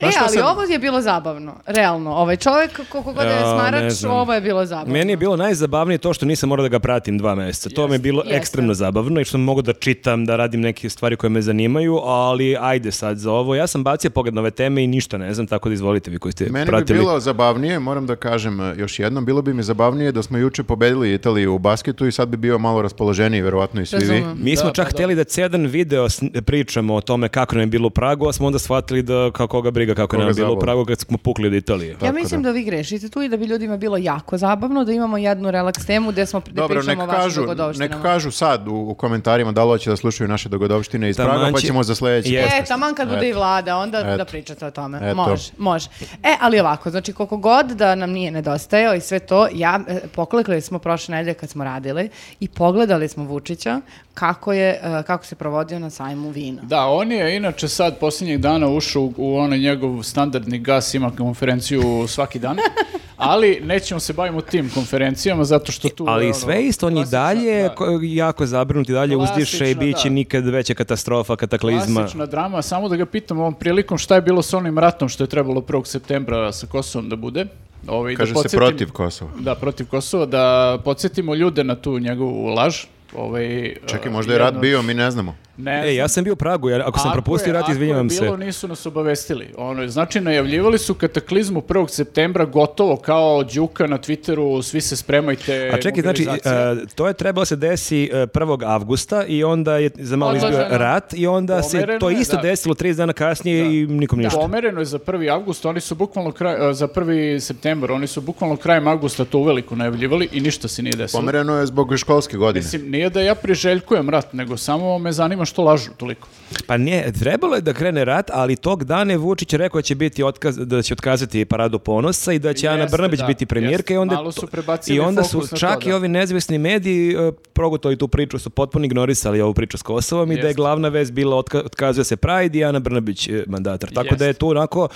Speaker 1: E,
Speaker 4: Znaš šta
Speaker 1: ali
Speaker 4: sam-
Speaker 1: ovo je bilo zabavno, realno. Ovaj čovjek, koliko god je
Speaker 2: Ja, ne
Speaker 1: smarač,
Speaker 2: znam.
Speaker 1: ovo je bilo zabavno.
Speaker 2: Meni je bilo najzabavnije to što nisam morao da ga pratim dva mjeseca. To mi je bilo
Speaker 1: Jeste.
Speaker 2: ekstremno zabavno i što sam mogao da čitam, da radim neke stvari koje me zanimaju, ali ajde sad za ovo. Ja sam bacio pogled na ove teme i ništa ne znam, tako da izvolite vi koji ste
Speaker 4: Meni
Speaker 2: pratili.
Speaker 4: bi bilo zabavnije, moram da kažem e, još jednom, bilo bi mi zabavnije da smo juče pobedili Italiju u basketu i sad bi bio malo raspoloženiji, verovatno i svi vi.
Speaker 1: Razumem.
Speaker 2: Mi smo čak htjeli da cedan video sn- pričamo o tome kako nam je bilo u Pragu, a smo onda shvatili da kako ga briga kako
Speaker 4: Koga
Speaker 2: nam je bilo u
Speaker 4: zabavno.
Speaker 2: Pragu kad smo pukli od Italije.
Speaker 1: Ja mislim da. vi grešite tu i da bi ljudima bilo jako zabavno da imamo jednu relaks temu gdje smo gde
Speaker 4: Dobro,
Speaker 1: pričamo
Speaker 4: neka
Speaker 1: o vašim
Speaker 4: kažu,
Speaker 1: dogodovštinama.
Speaker 4: neka kažu sad u, u komentarima da li hoće da slušaju naše dogodovštine iz
Speaker 2: Taman
Speaker 4: Praga, pa
Speaker 2: će-
Speaker 4: ćemo za sledeći.
Speaker 2: Je.
Speaker 1: E,
Speaker 2: Jeste.
Speaker 1: taman kad bude i vlada, onda da
Speaker 4: Eto.
Speaker 1: pričate o tome.
Speaker 4: Eto.
Speaker 1: Može, može. E, ali ovako, znači koliko god da nam nije nedostajao i sve to, ja, e, poklekli smo prošle nedelje kad smo radili i pogledali smo Vučića kako, je, e, kako se provodio na sajmu vina.
Speaker 3: Da, on je inače sad posljednjeg dana ušao u- u onaj njegov standardni gas, ima konferenciju svaki dan, ali nećemo se bavimo tim konferencijama zato što tu... je
Speaker 2: Ali
Speaker 3: ono,
Speaker 2: sve isto, on je i
Speaker 3: klasična,
Speaker 2: dalje
Speaker 3: da,
Speaker 2: ko- jako zabrinut i dalje uzdiše i
Speaker 3: Klasična,
Speaker 2: bit će
Speaker 3: da.
Speaker 2: nikad veća katastrofa, kataklizma.
Speaker 3: klasična drama, samo da ga pitam ovom prilikom šta je bilo sa onim ratom što je trebalo 1. septembra sa Kosovom da bude. Ovaj,
Speaker 4: Kaže
Speaker 3: da
Speaker 4: se
Speaker 3: podsjetim-
Speaker 4: protiv Kosova.
Speaker 3: Da, protiv Kosova, da podsjetimo ljude na tu njegovu laž. Ovaj,
Speaker 4: Čekaj,
Speaker 3: eh,
Speaker 4: možda je rat
Speaker 3: jedno-
Speaker 4: bio, mi ne znamo.
Speaker 3: Ne,
Speaker 2: E, ja sam bio u Pragu, jer ako sam
Speaker 3: Ako
Speaker 2: propustio
Speaker 3: je-
Speaker 2: rat, izvinjavam
Speaker 3: Ako je
Speaker 2: se.
Speaker 3: bilo, nisu nas obavestili. Ono, znači, najavljivali su kataklizmu 1. septembra gotovo kao Đuka na Twitteru, svi se spremajte.
Speaker 2: A čekaj, znači,
Speaker 3: mobilizacija.
Speaker 2: e, to je trebalo se desi e, 1. avgusta i onda je za malo izbio
Speaker 3: Odloženo.
Speaker 2: rat i onda se
Speaker 3: Pomereno
Speaker 2: to
Speaker 3: je,
Speaker 2: isto
Speaker 3: da.
Speaker 2: desilo 30 dana kasnije i nikom ništa.
Speaker 3: Pomereno je za 1. avgust, oni su bukvalno kraj, e, za 1. septembar, oni su bukvalno krajem avgusta to uveliko najavljivali i ništa se nije desilo.
Speaker 4: Pomereno je zbog školske godine.
Speaker 3: Mislim, nije da ja priželjkujem rat, nego samo me zanima što lažu toliko.
Speaker 2: Pa nije, trebalo je da krene rat, ali tog dana je Vučić rekao da će biti otkaz, da će otkazati paradu ponosa i da će Ana
Speaker 3: Jeste,
Speaker 2: Brnabić
Speaker 3: da,
Speaker 2: biti premijerka i onda
Speaker 3: jeste. Malo su prebacili
Speaker 2: i onda su
Speaker 3: fokus na to,
Speaker 2: čak
Speaker 3: da.
Speaker 2: i ovi nezavisni mediji e, progutali tu priču, su potpuno ignorisali ovu priču s Kosovom i da je
Speaker 3: Jeste.
Speaker 2: glavna vez bila otka, otkazuje se Pride i Ana Brnabić e, mandatar. Tako da je
Speaker 3: Jeste.
Speaker 2: tu onako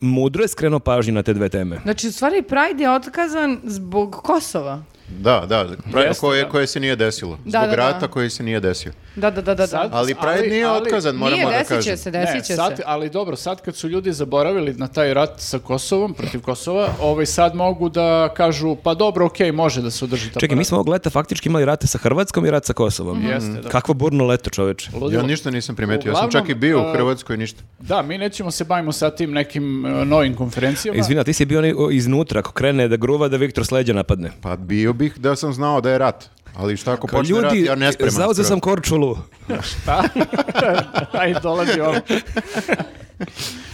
Speaker 2: mudro je skrenuo pažnju na te dve teme.
Speaker 1: Znači, u stvari, Pride je otkazan zbog Kosova.
Speaker 4: Da, da, pra-
Speaker 3: Jeste,
Speaker 4: koje,
Speaker 3: da.
Speaker 4: koje se nije desilo. Zbog
Speaker 1: Da, da, da.
Speaker 4: rata koji se nije desio.
Speaker 1: Da, da, da, da. da.
Speaker 3: Sad-
Speaker 4: Ali Pride
Speaker 3: Ali-
Speaker 4: nije
Speaker 3: ali-
Speaker 4: otkazan, moramo
Speaker 1: Nije,
Speaker 4: da
Speaker 1: desit
Speaker 4: kažem.
Speaker 1: će se, desit će
Speaker 3: ne, sad,
Speaker 1: se.
Speaker 3: ali dobro, sad kad su ljudi zaboravili na taj rat sa Kosovom, protiv Kosova, ovaj sad mogu da kažu, pa dobro, okej, može da se održi ta
Speaker 2: Čekaj,
Speaker 3: parada.
Speaker 2: mi smo ovog leta faktički imali rate sa Hrvatskom i rat sa Kosovom.
Speaker 3: Mhm. Jeste, da.
Speaker 2: Kakvo burno leto, čoveče.
Speaker 4: Ja
Speaker 3: Ludilo.
Speaker 4: ništa nisam primetio, ja sam
Speaker 3: Uglavnom,
Speaker 4: čak i bio
Speaker 1: e,
Speaker 3: a,
Speaker 4: u Hrvatskoj, ništa.
Speaker 3: Da, mi nećemo se bavimo sa tim nekim e, novim konferencijama.
Speaker 2: Izvina, ti si bio onaj o, iznutra, ako krene da gruva, da Viktor sleđa napadne.
Speaker 4: Pa bio bih da sam znao da je rat. Ali šta ako počne rat,
Speaker 2: Pa Ljudi,
Speaker 4: ja ne spreman.
Speaker 2: zauzeo sam
Speaker 4: skroz.
Speaker 2: Korčulu.
Speaker 3: Aj, dolazi ovo.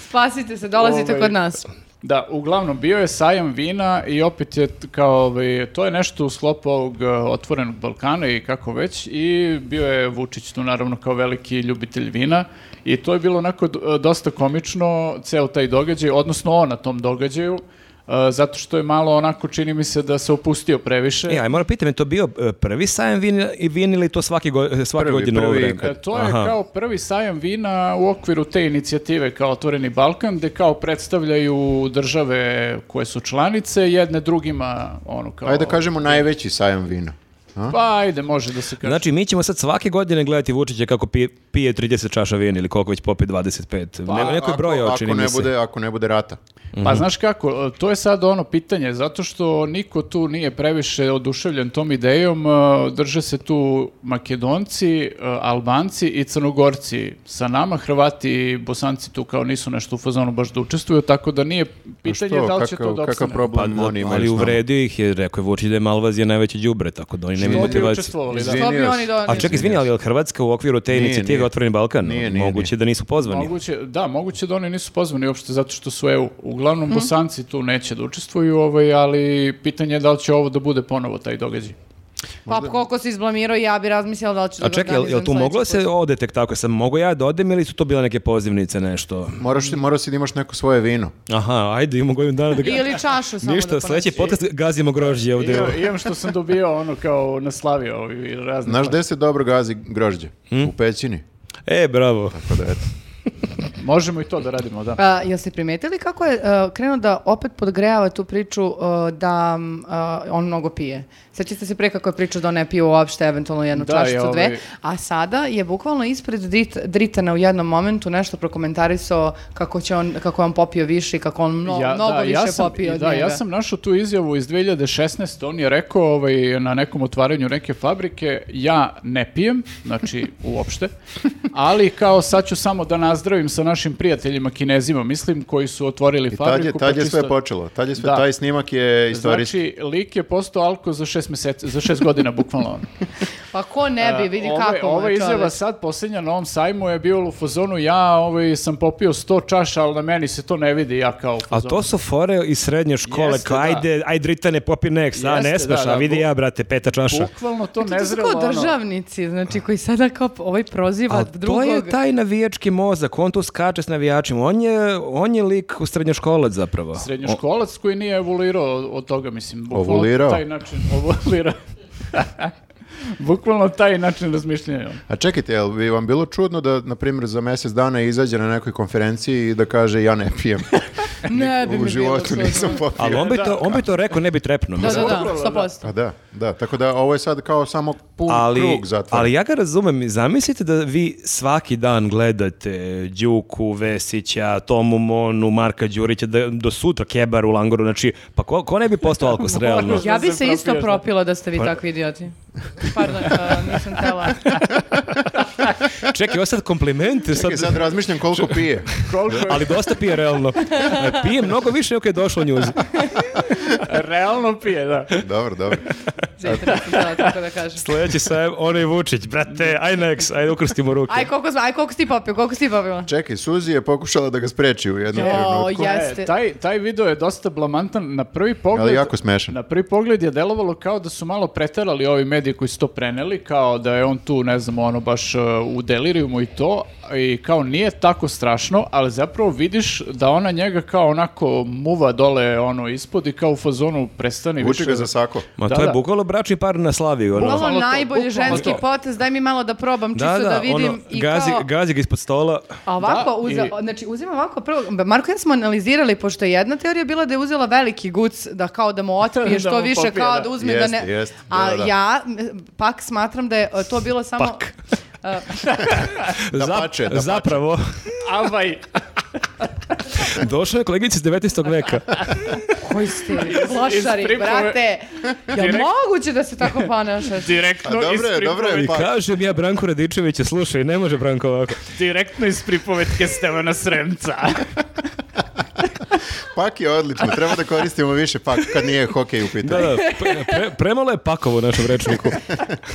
Speaker 1: Spasite se, dolazite
Speaker 3: Ovaj,
Speaker 1: kod nas.
Speaker 3: Da, uglavnom, bio je sajam vina i opet je t- kao, ovaj, to je nešto u sklopu ovog e, otvorenog Balkana i kako već, i bio je Vučić tu naravno kao veliki ljubitelj vina i to je bilo onako d- e, dosta komično, ceo taj događaj, odnosno on na tom događaju, e, zato što je malo onako, čini mi se da se opustio previše.
Speaker 2: E, aj moram pitam, je to bio e, prvi sajam vin, vin ili to svaki, go, e, svaki
Speaker 4: Prvi,
Speaker 2: godin
Speaker 4: prvi
Speaker 2: ovo vreme?
Speaker 4: kad-
Speaker 3: E, To je
Speaker 2: Aha.
Speaker 3: kao prvi sajam vina u okviru te inicijative kao Otvoreni Balkan, gde kao predstavljaju države koje su članice jedne drugima, ono kao...
Speaker 4: Ajde da kažemo najveći sajam vina. A?
Speaker 3: Pa ajde, može da se kaže.
Speaker 2: Znači, mi ćemo sad svake godine gledati Vučića kako pije, pije 30 čaša vina ili koliko već popije 25. Pa, ne, neko je
Speaker 4: Ako-
Speaker 2: brojao,
Speaker 4: ako
Speaker 2: čini
Speaker 4: ne
Speaker 2: mi se.
Speaker 4: Bude, ako ne bude rata.
Speaker 3: Pa znaš kako, e, to je sad ono pitanje, zato što niko tu nije previše oduševljen tom idejom, e, drže se tu Makedonci, e, Albanci i Crnogorci. Sa nama Hrvati i Bosanci tu kao nisu nešto u fazonu baš da učestvuju, tako da nije pitanje
Speaker 4: Što,
Speaker 3: da li će
Speaker 4: kakav-
Speaker 3: to da
Speaker 4: Kakav
Speaker 3: opstane.
Speaker 2: Pa,
Speaker 4: problem
Speaker 2: da,
Speaker 4: oni imaju
Speaker 2: ali
Speaker 4: s nama?
Speaker 2: uvredio ih je, rekao je Vučić da je Malvazija najveće đubre, tako da oni nemaju
Speaker 3: Što bi
Speaker 2: motivaciju.
Speaker 3: učestvovali, da.
Speaker 4: Izvini.
Speaker 1: Što bi
Speaker 4: Izvinio
Speaker 1: oni
Speaker 4: se.
Speaker 1: doneli?
Speaker 2: Ali čak, izvini, ali je li Hrvatska u okviru te
Speaker 4: Nije,
Speaker 2: inicijative
Speaker 4: nije.
Speaker 2: Otvoreni Balkan?
Speaker 4: Nije, nije,
Speaker 2: Moguće da nisu pozvani.
Speaker 3: Moguće, da, moguće da oni nisu pozvani uopšte zato što su EU. Uglavnom, Bosanci tu neće da učestvuju, ovaj, ali pitanje je da li će ovo da bude ponovo taj događaj.
Speaker 1: Pa koliko si izblamirao, ja bi razmislila da li ću da
Speaker 2: A
Speaker 1: ga
Speaker 2: čekaj, jel, jel
Speaker 1: organizujem
Speaker 2: tu moglo
Speaker 1: sledeći put.
Speaker 2: se ode tek tako? Sam mogu ja da odem ili su to bile neke pozivnice, nešto?
Speaker 4: Moraš, ti- morao si da imaš neko svoje vino.
Speaker 2: Aha, ajde, imamo godinu dana da ga...
Speaker 1: Ili čašu samo
Speaker 2: Ništa,
Speaker 1: da
Speaker 2: sledeći
Speaker 1: ponesem.
Speaker 2: podcast gazimo grožđe ovde.
Speaker 3: Imam, imam što sam dobio ono kao naslavio ovi razni.
Speaker 4: Znaš gde se dobro gazi grožđe?
Speaker 2: Hm?
Speaker 4: U pećini.
Speaker 2: E, bravo.
Speaker 4: Pa da, eto.
Speaker 3: Možemo i to da radimo, da.
Speaker 1: A, jel ste primetili kako je uh, krenuo da opet podgrejava tu priču uh, da um, uh, on mnogo pije? Sećate se pre kako je pričao da on ne pije uopšte, eventualno jednu
Speaker 3: Da,
Speaker 1: čašicu,
Speaker 3: je, ovaj-
Speaker 1: dve, a sada je bukvalno ispred Drit- Dritana u jednom momentu nešto prokomentarisao kako, će on, kako je on popio više i kako on mno- mnogo više
Speaker 3: sam,
Speaker 1: popio od
Speaker 3: da,
Speaker 1: njega.
Speaker 3: ja sam našao tu izjavu iz 2016. On je rekao ovaj, na nekom otvaranju neke fabrike, ja ne pijem, znači uopšte, ali kao sad ću samo da nazdravim sa našim prijateljima kinezima, mislim, koji su otvorili
Speaker 4: I tad je,
Speaker 3: fabriku.
Speaker 4: tad
Speaker 3: pa
Speaker 4: je sve
Speaker 3: čisto-
Speaker 4: počelo. Tad je sve,
Speaker 3: Da.
Speaker 4: taj snimak je istorijski.
Speaker 3: Znači, lik je postao alko za šest, meseci, za šest godina, bukvalno. ono.
Speaker 1: Pa ko ne bi, vidi
Speaker 3: E, Ove-
Speaker 1: kako mu
Speaker 3: Ova
Speaker 1: je
Speaker 3: izjava
Speaker 1: čovek.
Speaker 3: sad posljednja na ovom sajmu je bio u fazonu, ja ovaj, sam popio 100 čaša, ali na meni se to ne vidi, ja kao u
Speaker 2: A
Speaker 3: fazonu.
Speaker 2: to su fore iz srednje škole,
Speaker 3: Jeste,
Speaker 2: kao
Speaker 3: da.
Speaker 2: ajde, ajde Ritane, popi next, a
Speaker 3: Jeste,
Speaker 2: ne smeš,
Speaker 3: da, da,
Speaker 2: a vidi
Speaker 3: bu-
Speaker 2: ja, brate, peta čaša.
Speaker 3: Bukvalno to
Speaker 1: E, To su kao
Speaker 3: nezrelo. ono.
Speaker 1: državnici, znači koji sada kao ovaj proziva
Speaker 2: Ali
Speaker 1: drugog.
Speaker 2: to je taj navijački mozak, on tu skače s navijačima, on je, on je lik u srednjoškolac zapravo.
Speaker 3: Srednjoškolac koji nije evoluirao od toga, mislim. bukvalno
Speaker 4: Ovulirao?
Speaker 3: Taj način, ovulirao. bukvalno taj način razmišljanja.
Speaker 4: A čekajte, jel bi vam bilo čudno da, na primjer, za mjesec dana izađe na nekoj konferenciji i da kaže ja ne pijem.
Speaker 1: ne bi mi
Speaker 4: U
Speaker 1: bilo
Speaker 4: životu
Speaker 1: čudno.
Speaker 4: nisam popio.
Speaker 2: Ali on bi, to, on bi to rekao, ne bi trepnuo.
Speaker 1: Da,
Speaker 2: mislim.
Speaker 1: da, da,
Speaker 3: Dobro, da.
Speaker 1: 100%.
Speaker 4: Pa da, da. Tako da ovo je sad kao samo pun
Speaker 2: Ali,
Speaker 4: krug zatvoren.
Speaker 2: ali ja ga razumem i zamislite da vi svaki dan gledate Đuku, Vesića, Tomu Monu, Marka Đurića, da, do sutra Kebar u Langoru, znači, pa ko, ko ne bi postao alkos, realno?
Speaker 1: Ja
Speaker 3: Da
Speaker 1: bi
Speaker 3: se
Speaker 1: se isto
Speaker 3: propiješ, da.
Speaker 1: propila da
Speaker 4: Pa-
Speaker 1: ste vi takvi idioti. Pardon, uh, nisam tela.
Speaker 2: Čekaj, ovo je sad kompliment, sad,
Speaker 4: Čekaj, sad razmišljam koliko pije.
Speaker 3: Koliko je
Speaker 2: ali dosta pije realno. Pije mnogo više nego kad je došlo njuz.
Speaker 3: realno pije, da.
Speaker 4: Dobro, dobro.
Speaker 1: Zaista nisam tela, tako da kažem.
Speaker 2: Sledeći sajem, onaj Vučić, brate, aj next, aj ukrstimo ruke.
Speaker 1: Aj, koliko, zna- aj, koliko si ti popio, koliko si ti popila?
Speaker 4: Čekaj, Suzi je pokušala da ga spreči u jednom
Speaker 1: O,
Speaker 4: trenutku.
Speaker 1: jeste.
Speaker 3: E, taj, taj video je dosta blamantan. Na prvi pogled...
Speaker 4: Ali jako smešan.
Speaker 3: Na prvi pogled je delovalo kao da su malo preterali ovi mediji koji su to preneli, kao da je on tu, ne znam, ono baš uh, u delirijumu i to, i kao nije tako strašno, ali zapravo vidiš da ona njega kao onako muva dole ono ispod i kao u fazonu prestani
Speaker 4: Vuče
Speaker 3: više.
Speaker 4: ga za sako.
Speaker 2: Ma
Speaker 3: Da,
Speaker 2: to je
Speaker 3: da.
Speaker 2: bukvalo bračni par na slavi, ono.
Speaker 1: Ovo
Speaker 3: Bukvalno to,
Speaker 1: najbolji
Speaker 3: bukvalno
Speaker 1: ženski
Speaker 3: to.
Speaker 1: potez, daj mi malo da probam čisto da, vidim.
Speaker 2: ono,
Speaker 1: i
Speaker 2: gazi,
Speaker 1: kao,
Speaker 2: gazi ga ispod stola.
Speaker 1: a ovako,
Speaker 3: Da,
Speaker 1: uza,
Speaker 3: i-
Speaker 1: znači uzima ovako prvo, Marko, ja smo analizirali, pošto je jedna teorija bila da je uzela veliki guc, da kao da mu otpije
Speaker 3: Da
Speaker 1: što
Speaker 3: mu
Speaker 1: više,
Speaker 3: popije,
Speaker 1: kao
Speaker 3: da.
Speaker 1: da uzme
Speaker 4: Jeste,
Speaker 1: da ne...
Speaker 4: jeste, da,
Speaker 1: a
Speaker 4: da, da.
Speaker 1: ja m, pak smatram da je e, to bilo samo...
Speaker 2: Pak.
Speaker 1: E,
Speaker 2: Zap-
Speaker 4: pače, da pače.
Speaker 2: zapravo,
Speaker 3: Avaj,
Speaker 2: došla je kolegica iz 19. veka.
Speaker 1: Koji ste vi
Speaker 3: iz
Speaker 1: klošari,
Speaker 3: pripove-
Speaker 1: brate? Jel
Speaker 3: Direkt-
Speaker 1: moguće da se tako ponašate?
Speaker 4: A
Speaker 3: direktno, iz
Speaker 4: dobro je,
Speaker 3: pripovetke,
Speaker 4: dobro je.
Speaker 2: I
Speaker 4: pa-
Speaker 2: kažem ja Branku Radičeviću, slušaj, ne može Branko ovako.
Speaker 3: direktno iz pripovetke Stevana Sremca.
Speaker 4: pak je odlično, treba da koristimo više pak kad nije hokej u
Speaker 2: Da,
Speaker 4: pitanju.
Speaker 2: da, pre- pre- premalo je pakovo u našem rečniku.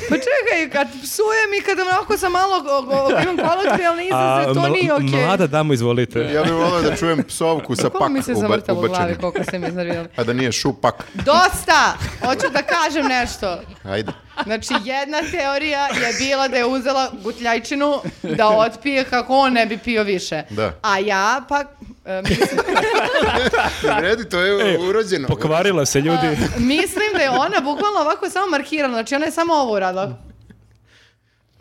Speaker 1: Pa čekaj, kad psujem i kada onako sam malo o- o- imam kolokvijalni
Speaker 2: A,
Speaker 1: izraz, to
Speaker 2: mla-
Speaker 1: nije okej.
Speaker 2: Mlada damo, izvolite.
Speaker 4: Ja bih volio da čujem psovku sa
Speaker 1: Kako
Speaker 4: pak
Speaker 1: mi se
Speaker 4: uba-
Speaker 1: zavrtalo u glavi
Speaker 4: ubačenim.
Speaker 1: koliko ste mi iznervirali.
Speaker 4: A da nije šupak.
Speaker 1: Dosta! Hoću da kažem nešto.
Speaker 4: Ajde.
Speaker 1: Znači, jedna teorija je bila da je uzela gutljajčinu da otpije kako on ne bi pio više.
Speaker 4: Da.
Speaker 1: A ja pa e, mislim,
Speaker 4: Ne vredi, to
Speaker 2: E,
Speaker 4: je urođeno.
Speaker 2: Pokvarila se, ljudi.
Speaker 1: mislim da je ona bukvalno ovako samo markirala. Znači, ona je samo ovo uradila.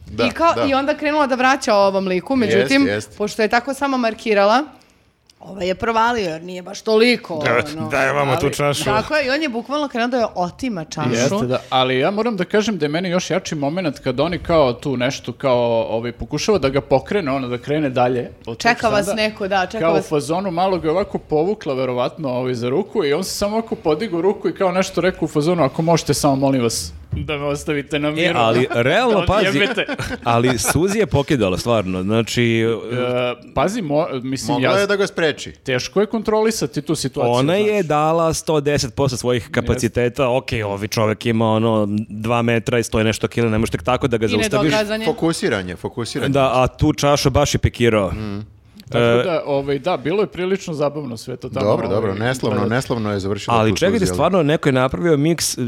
Speaker 4: Da,
Speaker 1: I, kao,
Speaker 4: da.
Speaker 1: I onda krenula da vraća ovom liku, međutim,
Speaker 4: Jest, jest.
Speaker 1: pošto je tako samo markirala, ovaj je provalio jer nije baš toliko. ono,
Speaker 2: Daj vamo tu
Speaker 1: ali-
Speaker 2: čašu.
Speaker 1: Tako je, i on je bukvalno krenuo da je otima čašu.
Speaker 3: Jeste, da, ali ja moram da kažem da je meni još jači moment kad oni kao tu nešto kao ovaj, pokušava da ga pokrene, ono da krene dalje. od tog
Speaker 1: Čeka vas
Speaker 3: standa.
Speaker 1: neko, da, čeka
Speaker 3: Kao u
Speaker 1: vas.
Speaker 3: fazonu malo ga je ovako povukla verovatno ovaj, za ruku i on se samo ovako podigo ruku i kao nešto rekao u fazonu ako možete samo molim vas da me ostavite na miru.
Speaker 2: E, ali realno
Speaker 3: Da
Speaker 2: pazi,
Speaker 3: odjebete.
Speaker 2: ali Suzi je pokidala stvarno, znači
Speaker 3: E, pazi, mo- mislim,
Speaker 4: Mogla
Speaker 3: ja,
Speaker 4: je da ga spreči.
Speaker 3: teško je kontrolisati tu situaciju.
Speaker 2: ona je
Speaker 3: znaš.
Speaker 2: dala 110% svojih kapaciteta, ok, ovi čovek ima ono 2 metra i 100 i nešto kila, ne možeš tek tako da ga
Speaker 1: I
Speaker 2: zaustaviš.
Speaker 1: nedokazanje.
Speaker 4: Fokusiranje, fokusiranje.
Speaker 2: Da, a tu čašu baš je pikirao. e-
Speaker 3: Tako da, ovaj, da, bilo je prilično zabavno sve to tamo.
Speaker 4: Dobro, dobro,
Speaker 3: ovaj,
Speaker 4: neslavno,
Speaker 3: gledati.
Speaker 4: neslavno je završilo.
Speaker 2: Ali
Speaker 4: tu
Speaker 2: čekajte,
Speaker 4: suzi, ali-
Speaker 2: stvarno neko je napravio miks, n-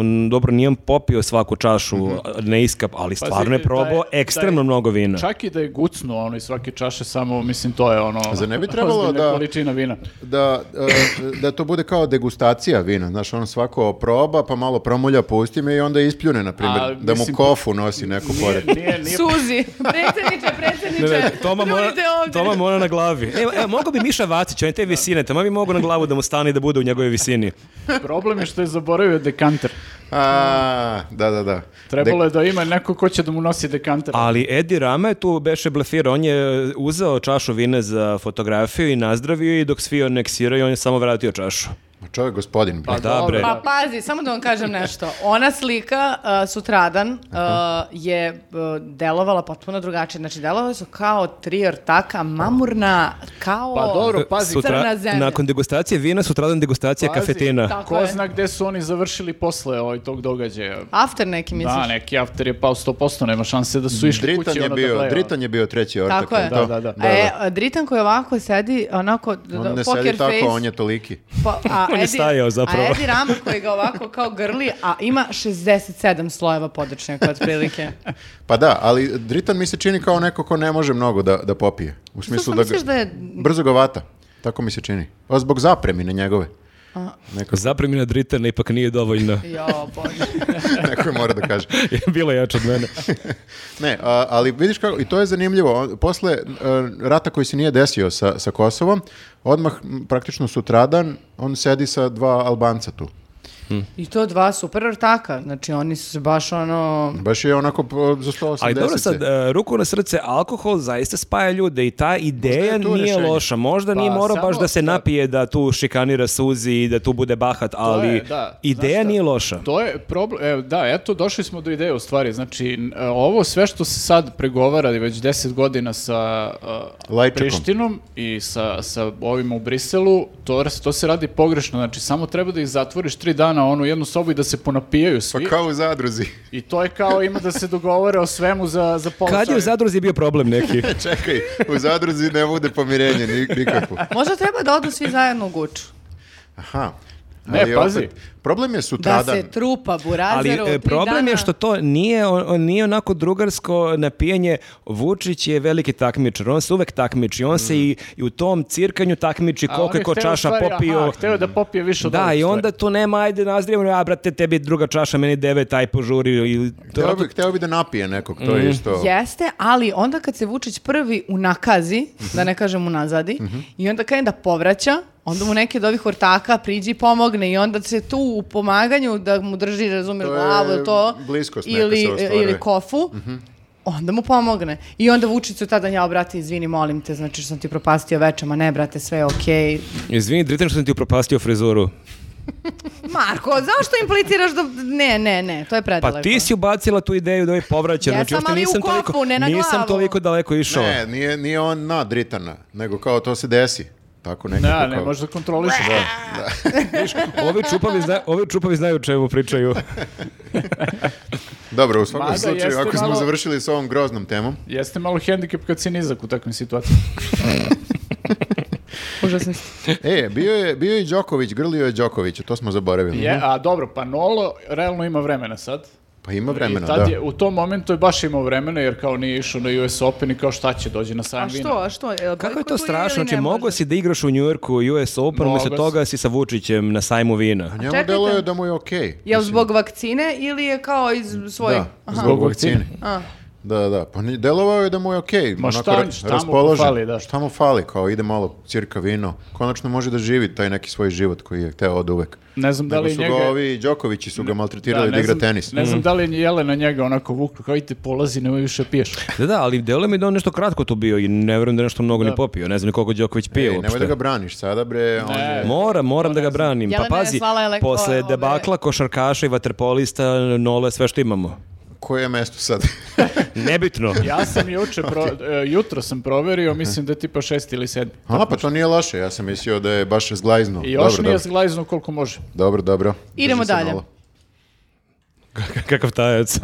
Speaker 2: n- dobro, nijem popio svaku čašu,
Speaker 3: Mhm.
Speaker 2: ne iskap, ali stvarno je
Speaker 3: da je-
Speaker 2: probao
Speaker 3: da je-
Speaker 2: ekstremno mnogo vina.
Speaker 3: Čak i da je gucnuo ono iz svake čaše, samo mislim to je ono...
Speaker 4: Zar ne bi trebalo
Speaker 3: ozbiljna
Speaker 4: da-
Speaker 3: količina vina.
Speaker 4: da, e, da to bude kao degustacija vina, znaš, on svako proba, pa malo promulja po ustima i onda ispljune, na primjer,
Speaker 3: A,
Speaker 4: da mu
Speaker 3: mislim,
Speaker 4: kofu nosi neko
Speaker 3: Nije,
Speaker 4: pored.
Speaker 3: nije, nije...
Speaker 1: Suzi, predsjedniče,
Speaker 2: Ne,
Speaker 1: predsjedniče,
Speaker 2: ne, Toma mora,
Speaker 1: ljudite ovdje.
Speaker 2: Toma mora na glavi. E, e, mogao bi Miša Vacić, on je te visine, tamo bi mogao na glavu da mu stane i da bude u njegovoj visini.
Speaker 3: Problem je što je zaboravio dekanter.
Speaker 4: A, da, da, da.
Speaker 3: Trebalo je da ima neko ko će da mu nosi dekanter.
Speaker 2: Ali Edi Rama je tu beše blefirao, on je uzeo čašu vina za fotografiju i nazdravio je i dok svi oneksiraju, on je samo vratio čašu. E,
Speaker 4: Dek- čovjek gospodin, bre.
Speaker 3: Pa
Speaker 2: da,
Speaker 3: dobro,
Speaker 2: bre.
Speaker 1: Pa pazi, samo da vam kažem nešto. Ona slika uh, sutradan uh, je uh, delovala potpuno drugačije. Znači, delovali su kao tri ortaka, mamurna, kao...
Speaker 3: Pa dobro, pazi,
Speaker 1: crna zemlja.
Speaker 2: nakon degustacije vina, sutradan degustacija
Speaker 3: Pazi,
Speaker 2: kafetina.
Speaker 1: tako
Speaker 3: Ko
Speaker 1: je.
Speaker 3: zna gde su oni završili posle ovaj, tog događaja.
Speaker 1: After neki, misliš?
Speaker 3: Da, neki after je pao 100%, nema šanse da su išli
Speaker 4: Dritan
Speaker 3: kući.
Speaker 4: je,
Speaker 3: ono
Speaker 4: bio,
Speaker 3: da gledaju.
Speaker 4: Dritan je bio treći ortak.
Speaker 1: Tako je.
Speaker 4: jel to?
Speaker 3: Da, da, da.
Speaker 1: E, Dritan koji ovako sedi, onako, d-
Speaker 4: On ne
Speaker 1: poker
Speaker 4: sedi
Speaker 1: face.
Speaker 4: tako, on je toliki.
Speaker 1: Pa, a
Speaker 2: On je
Speaker 1: Edi-
Speaker 2: stajao zapravo.
Speaker 1: A Edi Rama koji ga ovako kao grli, a ima 67 slojeva podočnjaka otprilike.
Speaker 4: Pa da, ali Dritan mi se čini kao neko ko ne može mnogo da, da popije. U smislu
Speaker 1: sam
Speaker 4: da,
Speaker 1: misliš
Speaker 4: ga,
Speaker 1: da je-
Speaker 4: brzo ga vata. Tako mi se čini. A zbog zapremine njegove. Neko,
Speaker 2: Zapremina Dritana ipak nije dovoljna.
Speaker 1: Jo, bože.
Speaker 4: neko je mora da kaže.
Speaker 2: Bila je jača od mene.
Speaker 4: Ne, a, ali vidiš kako, i to je zanimljivo, On- posle e, rata koji se nije desio sa, sa Kosovom, odmah m, praktično sutradan, on sedi sa dva Albanca tu.
Speaker 1: I to dva super ortaka. Znači, oni su se baš ono...
Speaker 4: Baš je onako po- za 180.
Speaker 2: Ali dobro sad, e, ruku na srce, alkohol zaista spaja ljude i ta ideja
Speaker 4: je to
Speaker 2: nije
Speaker 4: rešenje.
Speaker 2: loša. Možda nije
Speaker 3: Pa,
Speaker 2: morao baš
Speaker 3: samo-
Speaker 2: da se
Speaker 3: da.
Speaker 2: napije da tu šikanira suzi i da tu bude bahat, ali
Speaker 3: je, da. Znaš
Speaker 2: ideja
Speaker 3: šta?
Speaker 2: nije loša.
Speaker 3: To je problem, evo, da, eto, došli smo do ideje u stvari, znači, n- e, ovo sve što se sad pregovara već 10 godina sa e,
Speaker 4: Lajčekom.
Speaker 3: Prištinom i sa, sa ovim u Briselu, to, r- to se radi pogrešno, znači, samo treba da ih zatvoriš tri dana u onu jednu sobu i da se ponapijaju
Speaker 4: Pa
Speaker 3: svi,
Speaker 4: kao u zadruzi.
Speaker 3: i to je kao ima da se dogovore o svemu za, za pola
Speaker 2: Kad je u
Speaker 3: sata.
Speaker 2: zadruzi bio problem neki?
Speaker 4: Čekaj, u zadruzi ne bude pomirenje ni- nikakvo.
Speaker 1: Možda treba da odu svi zajedno u Guču.
Speaker 4: Aha.
Speaker 3: Ne, pazi.
Speaker 4: problem je
Speaker 1: Da
Speaker 4: sutradan.
Speaker 1: se trupa
Speaker 2: Ali
Speaker 1: burazeru
Speaker 2: e, problem je što to nije, on, on nije onako drugarsko napijanje. Vučić je veliki takmičar, on se uvek takmiči, on se i, i u tom cirkanju takmiči
Speaker 3: Mm. A
Speaker 2: koliko
Speaker 3: on
Speaker 2: je ko
Speaker 3: hteo u
Speaker 2: čaša
Speaker 3: stvari,
Speaker 2: popio.
Speaker 3: Aha, hteo je da popije više od
Speaker 2: Da,
Speaker 3: ovog
Speaker 2: i
Speaker 3: stvari.
Speaker 2: onda tu nema, ajde nazdravimo, a brate, tebi druga čaša, meni devet, aj požuri. Ili,
Speaker 4: Hteo bi, hteo bi da napije nekog, to
Speaker 3: Mhm.
Speaker 4: je isto.
Speaker 1: Jeste, ali onda kad se Vučić prvi unakazi, da ne kažem unazadi,
Speaker 2: Mhm.
Speaker 1: i onda krene da povraća, onda mu neki od ovih ortaka priđi i pomogne i onda se tu u pomaganju da mu drži, razumiješ,
Speaker 4: To je
Speaker 1: glavu ili to,
Speaker 4: bliskost neka se
Speaker 1: ili, e,
Speaker 4: ostvaruje.
Speaker 1: ili kofu,
Speaker 2: Mhm.
Speaker 1: onda mu pomogne. I onda Vučić su tada, ja, brate, izvini, molim te, znači što sam ti propastio večer, ma ne, brate, sve je okej.
Speaker 2: Izvini, Dritan, što sam ti upropastio frizuru.
Speaker 1: Marko, zašto impliciraš da... Ne, ne, ne, to je predaleko.
Speaker 2: Pa ti si ubacila tu ideju da ovaj povraća.
Speaker 1: Jesam,
Speaker 2: znači, uopšte
Speaker 1: ali u
Speaker 2: nisam
Speaker 1: kopu,
Speaker 2: toliko,
Speaker 1: ne na
Speaker 2: Nisam
Speaker 1: glavu.
Speaker 2: toliko daleko išao.
Speaker 4: Ne, nije, nije on na Dritana, nego kao to se desi. tako nekako.
Speaker 3: Da, ne
Speaker 4: kao-
Speaker 3: možeš da kontrolišeš.
Speaker 2: Ovi čupavi, zna, ovi čupavi znaju o čemu pričaju.
Speaker 4: Dobro, u svakom
Speaker 3: Mada
Speaker 4: slučaju,
Speaker 3: jeste
Speaker 4: ako smo
Speaker 3: malo-
Speaker 4: završili s ovom groznom temom,
Speaker 3: Jeste malo hendikep kad si nizak u takvim situacijama.
Speaker 5: Užasno.
Speaker 4: e, bio je, bio je i Đoković, grlio je Đokovića, to smo zaboravili.
Speaker 3: Je, a dobro, pa Nolo realno ima vremena sad.
Speaker 4: Pa ima
Speaker 3: I
Speaker 4: vremena,
Speaker 3: tad
Speaker 4: da.
Speaker 3: je, u tom momentu je baš imao vremena jer kao nije išao na US Open i kao šta će dođe na sajam
Speaker 1: A
Speaker 3: vina.
Speaker 1: što, a što? Jel
Speaker 2: Kako je to
Speaker 1: bojkotuje
Speaker 2: strašno?
Speaker 1: ili ne
Speaker 2: Znači, mogao
Speaker 1: može?
Speaker 2: si da igraš u Njujorku US Open,
Speaker 3: Mogao
Speaker 2: umjesto toga si sa Vučićem na sajmu vina.
Speaker 4: Njemu
Speaker 1: čekajte.
Speaker 4: deluje da mu je okej.
Speaker 1: Jel zbog vakcine ili je kao iz svoje...
Speaker 4: Da,
Speaker 1: Aha.
Speaker 4: zbog vakcine.
Speaker 1: A.
Speaker 4: Da, da, pa ni, delovao je da mu je okej.
Speaker 3: Ma
Speaker 4: onako
Speaker 3: šta-
Speaker 4: ra-
Speaker 3: šta mu
Speaker 4: raspoložen.
Speaker 3: fali, da.
Speaker 4: Šta mu fali, kao ide malo cirka vino. Konačno može da živi taj neki svoj život koji je hteo od uvek.
Speaker 3: Ne znam da
Speaker 4: Nego
Speaker 3: li je
Speaker 4: su
Speaker 3: njega...
Speaker 4: ga ovi Đokovići su ga maltretirali da,
Speaker 3: ne
Speaker 4: igra
Speaker 3: znam-
Speaker 4: tenis. Mhm.
Speaker 3: Ne znam da li je Jelena njega onako vukla, kao idite polazi, nemoj više piješ.
Speaker 2: Da, da, ali delo mi da on nešto kratko tu bio i ne vjerujem da je nešto mnogo ni popio. Ne znam ni koliko Đoković pije
Speaker 4: Ej, nemoj
Speaker 2: uopšte.
Speaker 4: da ga braniš sada, bre. On je...
Speaker 2: Moram, moram da ga branim. Pa
Speaker 1: Jelena je
Speaker 2: pazi,
Speaker 1: slala elek-
Speaker 2: posle
Speaker 1: ove-
Speaker 2: debakla, košarkaša i vaterpolista, nole, sve što imamo.
Speaker 4: Koje je mesto sad?
Speaker 2: Nebitno.
Speaker 3: Ja sam juče, pro, e, jutro sam
Speaker 4: Mhm.
Speaker 3: proverio, mislim da je tipa šest ili sedmi.
Speaker 4: A, pa to nije loše. Ja sam mislio da je baš zglajzno.
Speaker 3: I još
Speaker 4: dobro,
Speaker 3: nije
Speaker 4: dobro.
Speaker 3: zglajzno koliko može.
Speaker 4: Dobro, dobro.
Speaker 1: Idemo
Speaker 4: Drži se
Speaker 1: dalje.
Speaker 4: malo.
Speaker 2: Kakav tajac.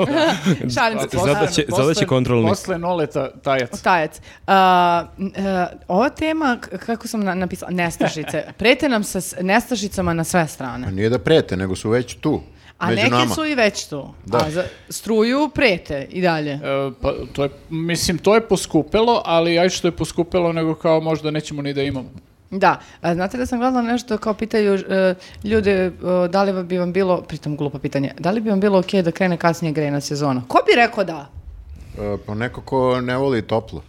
Speaker 1: Šalim se.
Speaker 2: Zato
Speaker 3: Posle-
Speaker 2: će-
Speaker 3: posle-
Speaker 2: zato će kontrolni.
Speaker 3: Posle noleta tajac.
Speaker 5: Tajac. A, n- e, ova tema, k- kako sam na- napisala, nestašice. Prete nam sa s- nestašicama na sve strane.
Speaker 4: Pa nije da prete, nego su već tu.
Speaker 5: A
Speaker 4: među
Speaker 5: neke
Speaker 4: nama.
Speaker 5: su i već tu.
Speaker 4: Da.
Speaker 5: A za struju prete i dalje.
Speaker 3: E, pa, to je, mislim, to je poskupelo, ali aj što je poskupelo, nego kao možda nećemo ni da imamo.
Speaker 5: Da, A, znate da sam gledala nešto kao pitaju e, ljude e, da li bi vam bilo, pritom glupo pitanje, da li bi vam bilo ok da krene kasnije grejna sezona? Ko bi rekao da?
Speaker 4: E, Pa neko ko ne voli toplo.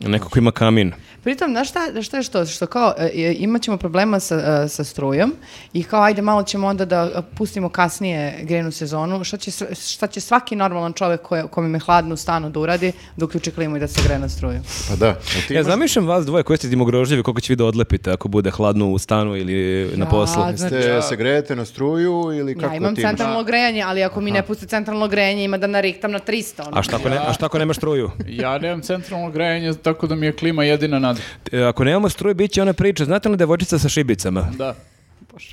Speaker 2: Neko ko ima kamin.
Speaker 5: Pritom, znaš šta, šta je što? Što kao, e, e, imat ćemo problema sa, e, sa strujom i kao, ajde, malo ćemo onda da e, pustimo kasnije grenu sezonu. Šta će, sve- šta će svaki normalan čovek koje, kome je hladno u stanu da uradi, da uključi klimu i da se gre na struju?
Speaker 4: Pa da. a ti
Speaker 2: Ja
Speaker 4: imaš-
Speaker 2: E, zamišljam vas dvoje koji ste timogrožljivi, koliko će vi da odlepite ako bude hladno u stanu ili na poslu.
Speaker 5: Ja, znači,
Speaker 4: Ste, se grejete na struju ili kako
Speaker 5: ja imam
Speaker 4: ti imaš?
Speaker 5: centralno grejanje, ali ako mi ne pusti centralno grejanje, ima da nariktam na 300. ono.
Speaker 2: A šta ako, ne, a šta ako nema struju?
Speaker 3: Ja nemam centralno grejanje, tako da mi je klima jedina nada.
Speaker 2: E, Ako nemamo struju, bit će ona priča. Znate li devojčica sa šibicama?
Speaker 3: Da.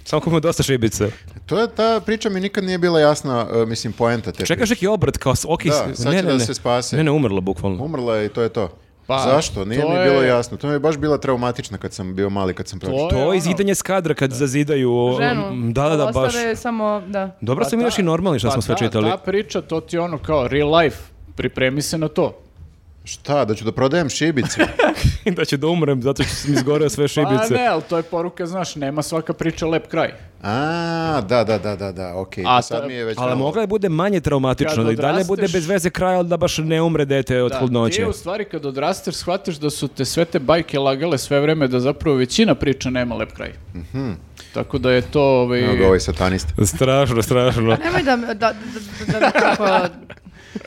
Speaker 2: Samo ko ima dosta šibica.
Speaker 4: To je, ta priča mi nikad nije bila jasna, e, mislim, poenta te
Speaker 2: Čekaš neki obrat kao... s- Ok,
Speaker 4: Da,
Speaker 2: s-
Speaker 4: sad
Speaker 2: ne,
Speaker 4: će
Speaker 2: ne,
Speaker 4: da
Speaker 2: ne.
Speaker 4: se spase.
Speaker 2: Ne, ne, umrla bukvalno.
Speaker 4: Umrla je i to je to.
Speaker 3: Pa,
Speaker 4: Zašto? Nije
Speaker 3: to
Speaker 4: mi
Speaker 3: je-
Speaker 4: bilo jasno. To mi je baš bila traumatična kad sam bio mali, kad sam pročitao.
Speaker 2: To
Speaker 3: ono.
Speaker 2: je izidanje s kadra kad zazidaju... o, m,
Speaker 1: Ženu.
Speaker 2: Da, da, da, baš.
Speaker 1: Ostave samo, da.
Speaker 2: Dobro ste mi još i normalni što
Speaker 3: Pa
Speaker 2: smo sve
Speaker 3: ta-
Speaker 2: čitali.
Speaker 3: Ta priča, to ti je ono kao real life, pripremi se na to.
Speaker 4: Šta, da ću da prodajem šibice?
Speaker 2: da će da umrem zato što mi izgoreo sve
Speaker 3: Pa ne,
Speaker 2: šibice.
Speaker 3: ali to je poruka, znaš, nema svaka priča lep kraj.
Speaker 4: A, da, da, da, da, da, okej.
Speaker 3: A
Speaker 4: sad
Speaker 3: to-
Speaker 4: mi je već...
Speaker 2: Ali
Speaker 4: malo-
Speaker 2: mogla je bude manje traumatično,
Speaker 3: Kad
Speaker 2: da i dalje
Speaker 3: odrasteš-
Speaker 2: bude bez veze kraj, ali da baš ne umre dete od
Speaker 3: Da, ti
Speaker 2: hladnoće.
Speaker 3: u stvari kad odrasteš shvatiš da su te sve te bajke lagale sve vreme da zapravo većina priča nema lep kraj. Tako da je to... Ovaj,
Speaker 4: Mhm. Evo ga ovaj satanista.
Speaker 2: Strašno, strašno.
Speaker 5: Nemoj da, da, da, da, da tako...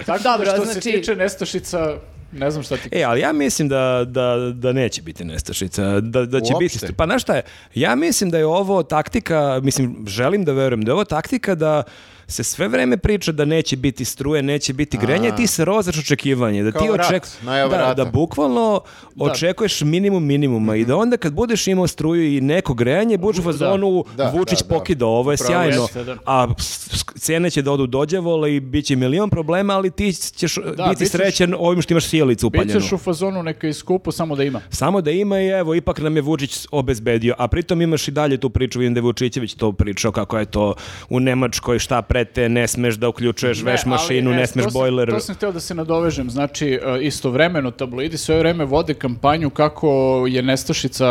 Speaker 3: Tako da
Speaker 5: Dobro,
Speaker 3: što se
Speaker 5: znači-
Speaker 3: tiče nestašica, ne znam šta ti...
Speaker 2: E, ali ja mislim da, da, da neće biti nestašica, da, da će
Speaker 4: Uopšte?
Speaker 2: biti... Pa znaš šta je, ja mislim da je ovo taktika, mislim, želim da verujem da je ovo taktika da se sve vreme priča da neće biti struje, neće biti grenje, ti se rozaš očekivanje, da
Speaker 4: Kao
Speaker 2: ti
Speaker 4: rat,
Speaker 2: oček...
Speaker 4: najava
Speaker 2: da,
Speaker 4: rata. Mhm.
Speaker 2: da bukvalno očekuješ minimum minimuma i da onda kad budeš imao struju i neko grejanje, budeš u fazonu
Speaker 4: Da,
Speaker 2: Vučić
Speaker 4: da, da.
Speaker 2: pokida, ovo je
Speaker 4: Upravo
Speaker 2: sjajno,
Speaker 3: jeste, da.
Speaker 2: a s- s- cene će da odu dođavola i bit će milion problema, ali ti ćeš biti
Speaker 3: bićeš-
Speaker 2: srećen ovim što imaš sjelicu upaljenu.
Speaker 3: Bićeš u fazonu neka je skupo, samo da ima.
Speaker 2: Samo da ima i evo, ipak nam je Vučić obezbedio, a pritom imaš i dalje tu priču, vidim da je Vučićević to pričao kako je to u Nemačkoj šta prete, ne smeš da uključuješ veš
Speaker 3: Ne, ali,
Speaker 2: mašinu,
Speaker 3: e,
Speaker 2: ne
Speaker 3: to
Speaker 2: smeš
Speaker 3: sam-
Speaker 2: bojler.
Speaker 3: To sam htio da se nadovežem, znači e, istovremeno tabloidi sve vreme vode kampanju kako je nestašica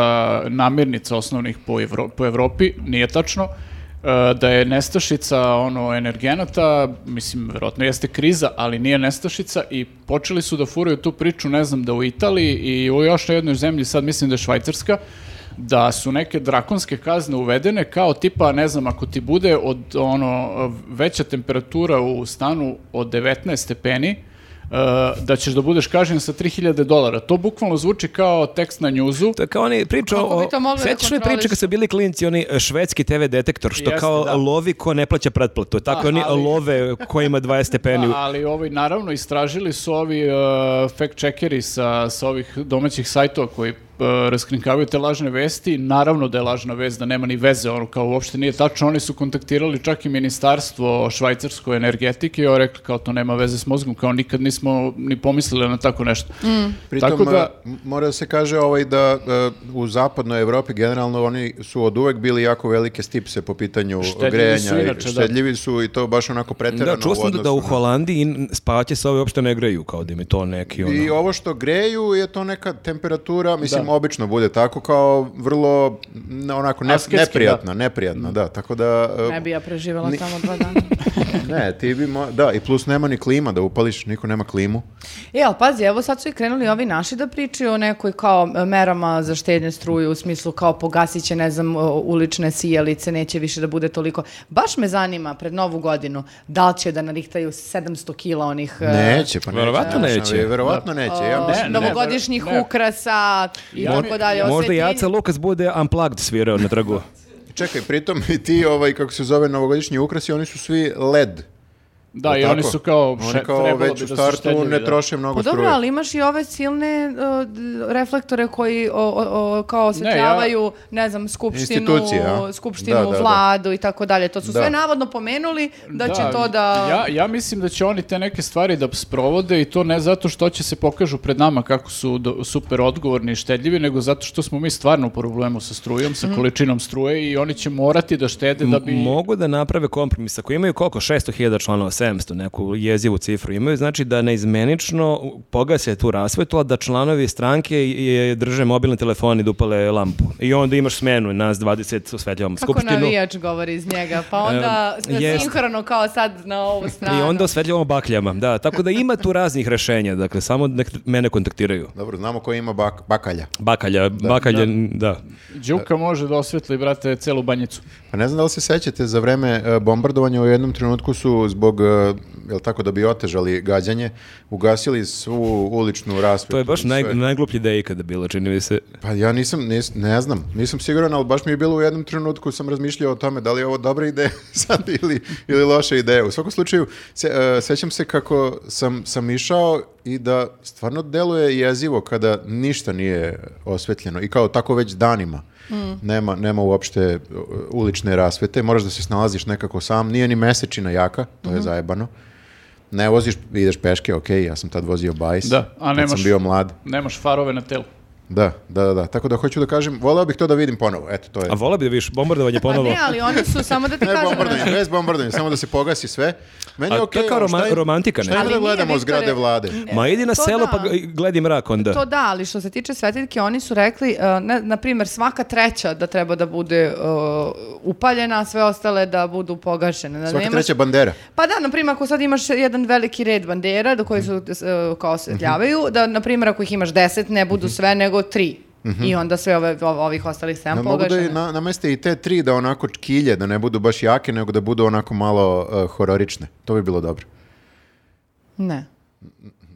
Speaker 3: namirnica osnovnih po, Evro, po Evropi, nije tačno, e, da je nestašica ono energenata, mislim, verovatno jeste kriza, ali nije nestašica i počeli su da furaju tu priču, ne znam, da u Italiji i u još na jednoj zemlji, sad mislim da je Švajcarska, da su neke drakonske kazne uvedene kao tipa, ne znam, ako ti bude od ono veća temperatura u stanu od 19 stepeni, e, da ćeš da budeš kažnjen sa 3000 dolara. To bukvalno zvuči kao tekst na njuzu.
Speaker 2: To je kao oni priča
Speaker 5: Kako bi
Speaker 2: o...
Speaker 5: to mogli da
Speaker 2: Sećaš one priče
Speaker 5: kontroliš?
Speaker 2: kad su bili klinci, oni e, švedski TV detektor, što
Speaker 3: Jeste,
Speaker 2: kao
Speaker 3: da.
Speaker 2: lovi ko ne plaća pretplatu. Tako
Speaker 3: Da,
Speaker 2: oni
Speaker 3: ali-
Speaker 2: love ko ima 20 stepeni.
Speaker 3: Da, ali ovaj, uh, naravno istražili su ovi fact checkeri sa, sa ovih domaćih sajtova koji e, raskrinkavaju te lažne vesti, naravno da je lažna vest, da nema ni veze, ono kao uopšte nije tačno, oni su kontaktirali čak i ministarstvo švajcarskoj energetike i ovo rekli kao to nema veze s mozgom, kao nikad nismo ni pomislili na tako nešto.
Speaker 4: Pritom,
Speaker 3: tako da,
Speaker 4: e, m- mora da se kaže ovaj da e, u zapadnoj Evropi generalno oni su od uvek bili jako velike stipse po pitanju
Speaker 3: Štedljivi
Speaker 4: grejanja.
Speaker 3: su
Speaker 4: i-
Speaker 3: inače, da.
Speaker 4: štedljivi su i to baš onako preterano
Speaker 2: Da, čuo sam da, da u
Speaker 4: odnosu na-
Speaker 2: Holandiji in- spavaće se ove uopšte ne greju, kao da im je to neki ono...
Speaker 4: I ovo što greju je to neka temperatura, mislim, obično bude tako kao vrlo n- onako ne,
Speaker 3: Asketski,
Speaker 4: neprijatna, neprijatna, da, tako da... e,
Speaker 1: Ne bi ja preživjela
Speaker 4: Ni-
Speaker 1: samo dva dana.
Speaker 4: Ne, ti bi mo- da, i plus nema ni klima da upališ, niko nema klimu.
Speaker 1: E, ali pazi, evo sad su i krenuli ovi naši da pričaju o nekoj kao e, merama za štednje struje, u smislu kao pogasit će, ne znam, e, ulične sijalice, neće više da bude toliko. Baš me zanima pred novu godinu da li će da narihtaju 700 kila onih... e,
Speaker 4: Neće, pa neće.
Speaker 2: Verovatno
Speaker 4: znaš,
Speaker 2: neće.
Speaker 4: ali Verovatno neće, ja
Speaker 1: o,
Speaker 4: mislim
Speaker 3: ne,
Speaker 1: novogodišnjih
Speaker 3: ne.
Speaker 1: ukrasa i
Speaker 3: Ja
Speaker 1: tako
Speaker 3: mi-
Speaker 1: dalje.
Speaker 2: Možda i
Speaker 1: osvetljenje.
Speaker 2: Aca Lukas bude unplugged svirao na tragu.
Speaker 4: Čekaj, pritom i ti, ovaj, kako se zove, novogodišnji ukrasi, oni su svi LED.
Speaker 3: da,
Speaker 4: Jel
Speaker 3: i oni
Speaker 4: tako?
Speaker 3: su kao,
Speaker 4: Oni
Speaker 3: še-
Speaker 4: kao
Speaker 3: trebalo bi
Speaker 4: već
Speaker 3: da
Speaker 4: u
Speaker 3: su
Speaker 4: startu
Speaker 3: štedljivi,
Speaker 4: ne
Speaker 3: da.
Speaker 4: troše mnogo
Speaker 1: Pa dobro,
Speaker 4: struje.
Speaker 1: ali imaš i ove silne o, d- reflektore koji o, o, o, kao osvetljavaju, ne, znam, skupštinu,
Speaker 4: Institucije, a?
Speaker 1: skupštinu
Speaker 4: Da, da, da.
Speaker 1: vladu i tako dalje. To su
Speaker 4: Da.
Speaker 1: sve navodno pomenuli da, će to da...
Speaker 3: Ja, ja mislim da će oni te neke stvari da sprovode i to ne zato što će se pokažu pred nama kako su do- super odgovorni i štedljivi, nego zato što smo mi stvarno u problemu sa strujom,
Speaker 1: Mhm.
Speaker 3: sa količinom struje i oni će morati da štede da bi...
Speaker 2: Mogu da naprave kompromis. Ako imaju koliko? 600.000 članova, 700, neku jezivu cifru imaju, znači da neizmenično pogase tu rasvetu, ali da članovi stranke je, drže mobilni telefon i dupale lampu. I onda imaš smenu, nas 20 osvetljavamo
Speaker 1: Kako
Speaker 2: skupštinu.
Speaker 1: Pa navijač govori iz njega, pa onda
Speaker 2: E, jest.
Speaker 1: sinhrono kao sad na ovu stranu.
Speaker 2: I onda osvetljavamo bakljama, da. Tako da ima tu raznih rešenja, dakle, samo nek mene kontaktiraju.
Speaker 4: Dobro, znamo ko ima bak- bakalja.
Speaker 2: Bakalja, bakalje, n- da.
Speaker 3: Đuka može da osvetli, brate, celu banjicu.
Speaker 4: Pa ne znam da li se sećate, za vreme e, bombardovanja u jednom trenutku su zbog, e, jel tako, da bi otežali gađanje, ugasili svu uličnu rasvetu.
Speaker 2: To je baš
Speaker 4: i sve.
Speaker 2: naj, najgluplji ideja ikada bila, čini mi se.
Speaker 4: Pa ja nisam, nis- ne znam, nisam siguran, ali baš mi je bilo u jednom trenutku, sam razmišljao o tome da li je ovo dobra ideja sad ili, ili loša ideja. U svakom slučaju, se, e, sećam se kako sam, sam išao i da stvarno deluje jezivo kada ništa nije osvetljeno i kao tako već danima. Nema, nema uopšte e, ulične rasvete, moraš da se snalaziš nekako sam, nije ni mesečina jaka, to je zajebano. Ne voziš, ideš peške, ok, ja sam tad vozio bajs,
Speaker 3: Da, a
Speaker 4: kad sam
Speaker 3: nemaš-
Speaker 4: bio mlad.
Speaker 3: Nemaš farove na telu.
Speaker 4: Da, da, da, da. Tako da hoću da kažem, voleo bih to da vidim ponovo. Eto, to je.
Speaker 2: A vola bi da viš bombardovanje
Speaker 1: Pa
Speaker 2: ponovo.
Speaker 1: ne, ali oni su, samo da ti
Speaker 4: Ne
Speaker 1: kažem... znači,
Speaker 4: bombardovanje, bez bombardovanja, samo da se pogasi sve. Meni
Speaker 2: A
Speaker 4: je
Speaker 2: to
Speaker 4: okej.
Speaker 2: je kao
Speaker 4: ali šta
Speaker 2: roma-
Speaker 4: im-
Speaker 2: romantika, ne?
Speaker 4: Šta
Speaker 1: Ali
Speaker 4: ima da
Speaker 1: nije,
Speaker 4: gledamo
Speaker 1: Viktore.
Speaker 4: zgrade vlade?
Speaker 2: Ma idi na
Speaker 1: To da.
Speaker 2: selo pa g- gledi mrak onda.
Speaker 1: To da, ali što se tiče svetiljke, oni su rekli, uh, na, na primjer, svaka treća da treba da bude uh, upaljena, a sve ostale da budu pogašene. Da
Speaker 4: Svaka
Speaker 1: nemaš-
Speaker 4: treća bandera.
Speaker 1: Pa da, na primjer, ako sad imaš jedan veliki red bandera do koji su e, kao osvetljavaju, da, na primjer, ako ih imaš deset, ne budu sve, nego tri. I onda sve ove, ov- ovih ostalih sedam
Speaker 4: Da, mogu da
Speaker 1: pogašene.
Speaker 4: i na, nameste i te tri da onako čkilje, da ne budu baš jake, nego da budu onako malo uh, hororične. To bi bilo dobro.
Speaker 1: Ne.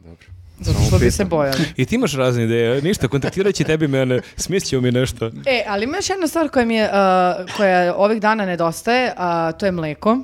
Speaker 1: Dobro. Zato što bi se bojali.
Speaker 2: I ti imaš razne ideje, ništa, kontaktirat će tebi mene, smislit mi nešto.
Speaker 1: E, ali ima još jedna stvar koja mi je, e, koja ovih dana nedostaje, a to je mleko.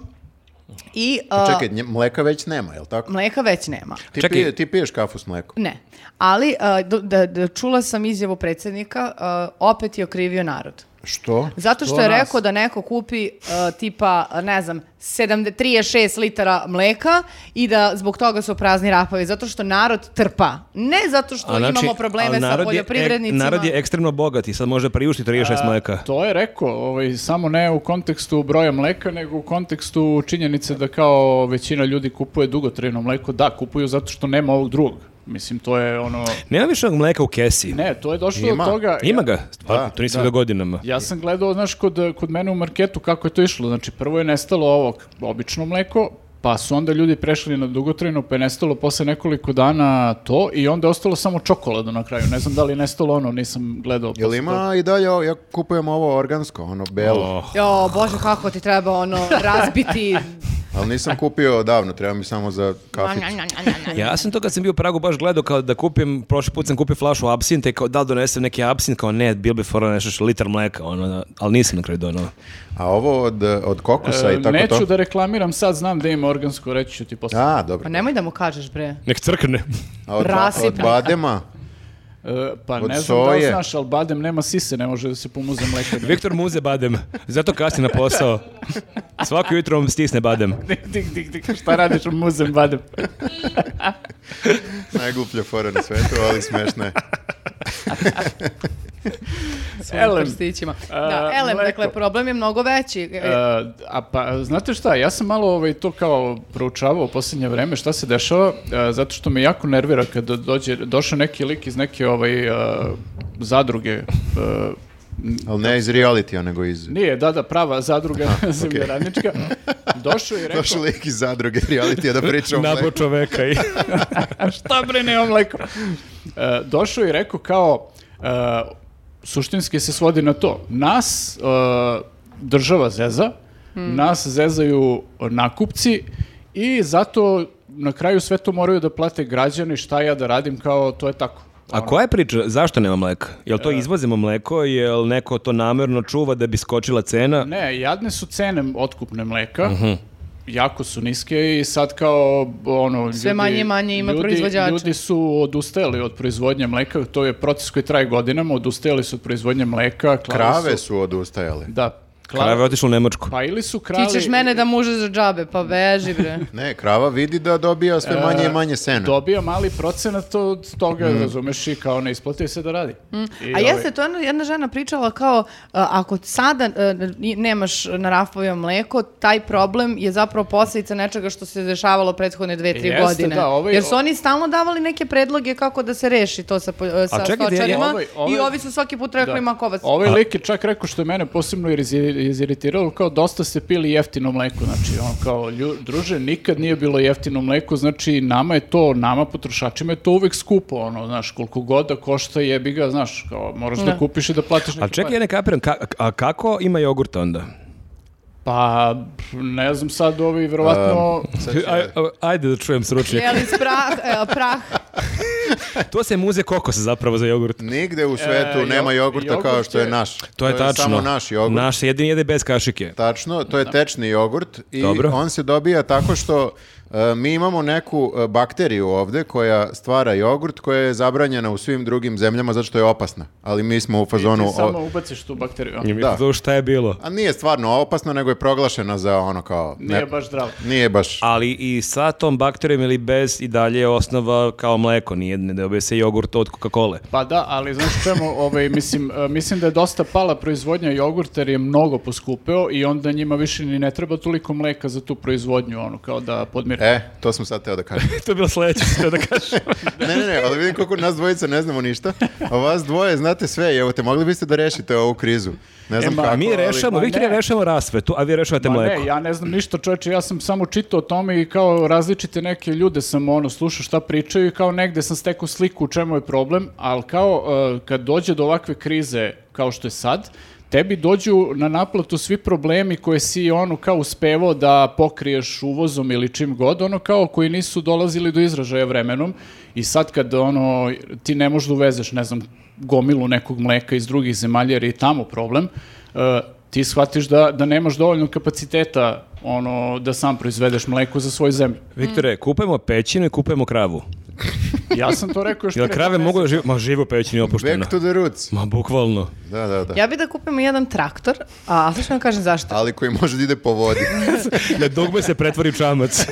Speaker 1: I
Speaker 4: Pa
Speaker 1: e,
Speaker 4: čekaj, nje- mleka već nema, jel tako?
Speaker 1: mleka već nema.
Speaker 4: Ti,
Speaker 2: Čekaj.
Speaker 4: pije- ti piješ kafu s mlekom.
Speaker 1: Ne. Ali e, do- da, da čula sam izjavu predsjednika, e, opet je okrivio narod.
Speaker 4: Što?
Speaker 1: Zato što
Speaker 3: Što
Speaker 1: je
Speaker 3: nas?
Speaker 1: rekao da neko kupi uh, tipa, ne znam, 7, 36 litara mleka i da zbog toga su prazni rapovi, zato što narod trpa. Ne zato što
Speaker 2: A znači,
Speaker 1: imamo
Speaker 2: ali
Speaker 1: probleme sa
Speaker 2: narod je ek-
Speaker 1: poljoprivrednicima.
Speaker 2: narod je e- ekstremno bogat i sad može priuštiti 36 mleka.
Speaker 3: To je rekao, ovaj, samo ne u kontekstu broja mleka, nego u kontekstu činjenice da kao većina ljudi kupuje dugotrajno mleko. Da, kupuju zato što nema ovog drugog. Mislim, to je ono...
Speaker 2: Nema više onog mleka u kesi.
Speaker 3: Ne, to je došlo
Speaker 4: Ima.
Speaker 3: do toga...
Speaker 2: Ima ga, stvarno,
Speaker 4: Da,
Speaker 2: to nisam da godinama.
Speaker 3: Ja sam gledao, znaš, kod, kod mene u marketu kako je to išlo. Znači, prvo je nestalo ovo k- obično mleko, pa su onda ljudi prešli na dugotrajno, pa je nestalo posle nekoliko dana to i onda je ostalo samo čokolado na kraju. Ne znam da li je nestalo ono, nisam gledao.
Speaker 4: Jel
Speaker 3: posle toga.
Speaker 4: ima i dalje, o- ja kupujem ovo organsko, ono belo.
Speaker 2: Oh.
Speaker 1: Jo, bože, kako ti treba ono razbiti.
Speaker 4: Ali nisam kupio odavno, treba mi samo za kafić.
Speaker 2: Ja sam to kad sam bio u Pragu baš gledao kao da kupim, prošli put sam kupio flašu absinte i kao da li donesem neki absint, kao ne, bil bi fora nešto što litar mleka, ono, da, ali nisam na kraju donao.
Speaker 4: A ovo od, od kokosa i
Speaker 3: E,
Speaker 4: tako
Speaker 3: Neću
Speaker 4: to?
Speaker 3: da reklamiram, sad znam da ima organsko, reći ću ti posle.
Speaker 4: A,
Speaker 1: Pa
Speaker 4: dobro.
Speaker 1: nemoj da mu kažeš, bre.
Speaker 2: Nek crkne.
Speaker 4: A od, ba- od
Speaker 1: Rasipnika.
Speaker 4: badema?
Speaker 3: E, pa
Speaker 4: Od
Speaker 3: ne znam da li
Speaker 4: soje.
Speaker 3: znaš, ali badem nema sise, ne može da se pomuze mleka.
Speaker 2: Viktor muze badem, zato kasni na posao. Svako jutro vam stisne badem.
Speaker 3: Dik, dik, dik, dik, šta radiš u muzem badem?
Speaker 4: Najgluplja fora na svetu, ali smešna je.
Speaker 3: Elem.
Speaker 5: Elem. Prstićima.
Speaker 1: Da,
Speaker 3: A,
Speaker 1: elem,
Speaker 3: mleko.
Speaker 1: dakle, problem je mnogo veći.
Speaker 3: E, a pa, znate šta, ja sam malo ovaj, to kao proučavao u posljednje vreme šta se dešava, e, zato što me jako nervira kad dođe, došao neki lik iz neke ovaj, e, zadruge, e,
Speaker 4: Ali ne iz reality nego iz...
Speaker 3: nije, da, da, prava zadruga zemljoradnička, došao i rekao,
Speaker 4: Došao lik iz zadruge reality da priča o
Speaker 2: Nabo
Speaker 4: mleku.
Speaker 2: čoveka i...
Speaker 3: a šta bre, nemam mleko. E, došao i rekao kao, e, suštinski se svodi na to, nas e, država zeza, nas zezaju nakupci i zato na kraju sve to moraju da plate građani, šta ja da radim, kao to je tako.
Speaker 2: A koja je priča? Zašto nema mleka? Jel to izvozimo mleko? Jel neko to namjerno čuva da bi skočila cena?
Speaker 3: Ne, jadne su cene otkupne mleka, jako su niske i sad kao ono
Speaker 1: Sve manje i manje ima
Speaker 3: ljudi-
Speaker 1: proizvođača.
Speaker 3: ljudi su odustajali od proizvodnje mleka to je proces koji traje godinama odustajali su od proizvodnje mleka klale su,
Speaker 4: Krave su odustajale.
Speaker 3: da klale-
Speaker 2: Krava je otišla u Nemačku.
Speaker 3: pa ili su krali
Speaker 1: Ti ćeš mene da muže za džabe, pa beži bre.
Speaker 4: Ne, krava vidi da dobija
Speaker 3: E,
Speaker 4: sve manje i manje sena.
Speaker 3: dobija mali procenat od toga razumeš i kao ne isplati se da radi I,
Speaker 1: Mhm. A
Speaker 3: ovaj,
Speaker 1: jeste, to je ono jedna- jedna žena pričala kao, a, ako sada e, ni- nemaš na rafovima mleko, taj problem je zapravo posljedica nečega što se dešavalo prethodne dve, tri
Speaker 3: Jeste,
Speaker 1: godine.
Speaker 3: da, ovaj-
Speaker 1: Jer su oni stalno davali neke predloge kako da se reši to sa, po- e, sa
Speaker 2: čekaj, da je-
Speaker 1: stočarima
Speaker 3: ovaj- ovaj-
Speaker 1: i ovi su svaki put rekli,
Speaker 3: Da.
Speaker 1: ma ko vas-
Speaker 3: Ovaj lik je čak rekao što je mene posebno irizi- iziritiralo, kao dosta ste pili jeftino mleko, znači on kao, "Lju- druže, nikad nije bilo jeftino mleko, znači nama je to, nama potrošačima je to uvek skupo, ono, znaš, koliko god da košta jebi ga, znaš, kao, moraš da kupiš i da platiš neke
Speaker 2: A čekaj,
Speaker 3: pare.
Speaker 2: ja ne kapiram, ka- a kako ima jogurt onda?
Speaker 3: Pa, pff, ne znam sad, ovi, verovatno,
Speaker 4: Sad će-
Speaker 2: Aj- a- ajde da čujem sručnjaka.
Speaker 1: Jeli iz prah, e, prah.
Speaker 2: To se muze kokosa zapravo za jogurt.
Speaker 4: Nigde u svetu
Speaker 3: E, jo-
Speaker 4: nema jogurta
Speaker 3: jogurt
Speaker 4: kao što je
Speaker 3: je-
Speaker 4: naš.
Speaker 2: To je tačno.
Speaker 4: samo naš jogurt.
Speaker 2: Naš jedini jede bez kašike.
Speaker 4: Tačno, to je tečni jogurt i
Speaker 2: Dobro.
Speaker 4: on se dobija tako što e, mi imamo neku e, bakteriju ovde koja stvara jogurt koja je zabranjena u svim drugim zemljama zato što je opasna, ali mi smo u fazonu...
Speaker 2: ono,
Speaker 3: ti samo
Speaker 4: o-
Speaker 3: ubaciš tu bakteriju.
Speaker 2: I mi to šta je bilo.
Speaker 4: A nije stvarno opasno, nego je proglašena za ono kao... ne-
Speaker 3: Nije baš zdravo.
Speaker 4: Nije baš.
Speaker 2: Ali i sa tom bakterijom ili bez i dalje je osnova kao mleko, nije, ne dobije se jogurt od Coca-Cola.
Speaker 3: Pa da, ali znaš čemu, ovaj, mislim, e, mislim da je dosta pala proizvodnja jogurta jer je mnogo poskupeo i onda njima više ni ne treba toliko mleka za tu proizvodnju, ono, kao da podmire.
Speaker 4: E, to sam sad teo da kažem.
Speaker 2: to je bilo sledeće što sam teo da kažem.
Speaker 4: Ne, ne, ne, ali vidim koliko nas dvojica ne znamo ništa, a vas dvoje znate sve i evo te mogli biste da rešite ovu krizu. Ne znam
Speaker 3: E, ma,
Speaker 4: kako,
Speaker 2: Mi
Speaker 4: ali-
Speaker 2: rešavamo,
Speaker 3: Ma
Speaker 2: Viktor ja
Speaker 3: ne.
Speaker 2: rešavamo rasvetu, a vi rešavate
Speaker 3: Ma
Speaker 2: mleko.
Speaker 3: ne, ja ne znam ništa čoveče, ja sam samo čitao o tome i kao različite neke ljude sam ono slušao šta pričaju i kao negde sam stekao sliku u čemu je problem, ali kao e, kad dođe do ovakve krize kao što je sad, tebi dođu na naplatu svi problemi koje si ono kao uspevao da pokriješ uvozom ili čim god, ono kao koji nisu dolazili do izražaja vremenom i sad kad ono ti ne možeš da uvezeš, ne znam, gomilu nekog mleka iz drugih zemalja jer je i tamo problem, e, ti shvatiš da, da nemaš dovoljno kapaciteta ono, da sam proizvedeš mleko za svoju zemlju.
Speaker 2: Viktore, kupujemo pećinu i kupujemo kravu.
Speaker 3: Ja sam to rekao još
Speaker 2: Jel
Speaker 3: pre
Speaker 2: krave
Speaker 3: dva
Speaker 2: mogu da
Speaker 3: meseca.
Speaker 2: žive? Ma živo u pećini opušteno.
Speaker 4: Back to the roots.
Speaker 2: Ma bukvalno.
Speaker 4: Da, da, da.
Speaker 1: Ja bi da kupim jedan traktor, a ali ću vam kažem zašto.
Speaker 4: Ali koji može da ide po vodi.
Speaker 2: Na dugme se pretvori u čamac.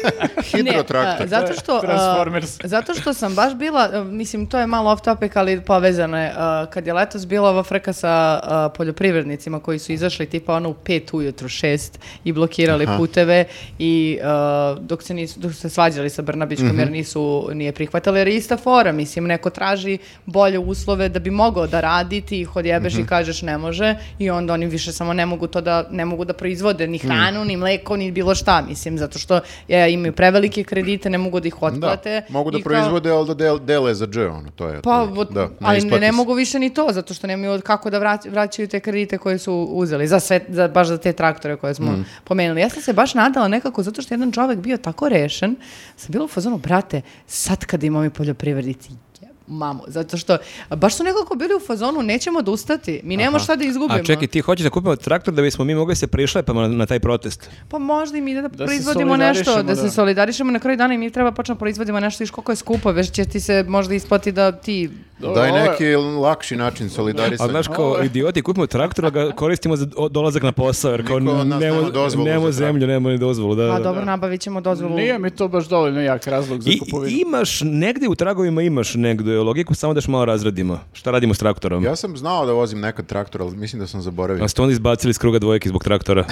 Speaker 4: Hidrotraktor.
Speaker 1: Ne, a, zato što,
Speaker 3: Transformers.
Speaker 1: a, zato što sam baš bila, a, mislim, to je malo off topic, ali povezano je. a, kad je letos bila ova frka sa a, poljoprivrednicima koji su izašli tipa ono u pet ujutru, šest i blokirali puteve i a, dok se nisu, dok su se svađali sa Brnabićkom jer nisu, nije prihvatali, jer je ista fora, mislim, neko traži bolje uslove da bi mogao da radi, ti ih odjebeš i kažeš ne može i onda oni više samo ne mogu to da, ne mogu da proizvode ni hranu, ni mleko, ni bilo šta, mislim, zato što e, imaju prevelike kredite, ne mogu da ih
Speaker 4: Da,
Speaker 1: otplate.
Speaker 4: mogu da
Speaker 1: Pa i kao-
Speaker 4: proizvode, ali da del- dele za dž, ono, to je.
Speaker 1: Pa,
Speaker 4: otprilike.
Speaker 1: od-
Speaker 4: Da,
Speaker 1: ali ne,
Speaker 4: isplati
Speaker 1: ne
Speaker 4: se.
Speaker 1: mogu više ni to, zato što nemaju od kako da vrać- vraćaju te kredite koje su uzeli, za sve, za, baš za te traktore koje smo pomenuli. Ja sam se baš nadala nekako, zato što je jedan čovek bio tako rešen, sam bila u fazonu, brate, sad kad imam i poljoprivrednici, jebote, mamu. Zato što baš su nekako bili u fazonu, nećemo da ustati, mi nemamo šta da izgubimo.
Speaker 2: A čekaj, ti hoćeš da kupimo traktor da bismo mi mogli se prišlepamo na, na taj protest.
Speaker 1: Pa možda im ide da,
Speaker 3: Da se
Speaker 1: proizvodimo nešto, da,
Speaker 3: solidarišemo,
Speaker 1: se
Speaker 3: da.
Speaker 1: solidarišemo na kraju dana i mi treba počnemo proizvodimo nešto, iš koliko je skupo, već će ti se možda isplati da ti...
Speaker 3: Dobro,
Speaker 4: Daj
Speaker 3: ovo je-
Speaker 4: neki lakši način
Speaker 2: A
Speaker 4: solidarisanja.
Speaker 2: znaš kao idioti kupimo traktor, a ga koristimo za do- dolazak na posao, jer kao
Speaker 4: Niko od nas nema
Speaker 2: nemo,
Speaker 4: dozvolu za
Speaker 2: nemo
Speaker 4: traktor.
Speaker 2: zemlju, nemo ni dozvolu. Da,
Speaker 1: Pa
Speaker 2: da.
Speaker 1: dobro, nabavit ćemo dozvolu.
Speaker 3: Nije mi to baš dovoljno jak razlog za
Speaker 2: I,
Speaker 3: kupovinu.
Speaker 2: imaš, negdje u tragovima imaš negdje logiku, samo da još malo razradimo. Šta radimo s traktorom?
Speaker 4: Ja sam znao da vozim nekad traktor, ali mislim da sam zaboravio.
Speaker 2: A ste onda izbacili iz kruga dvojke zbog traktora.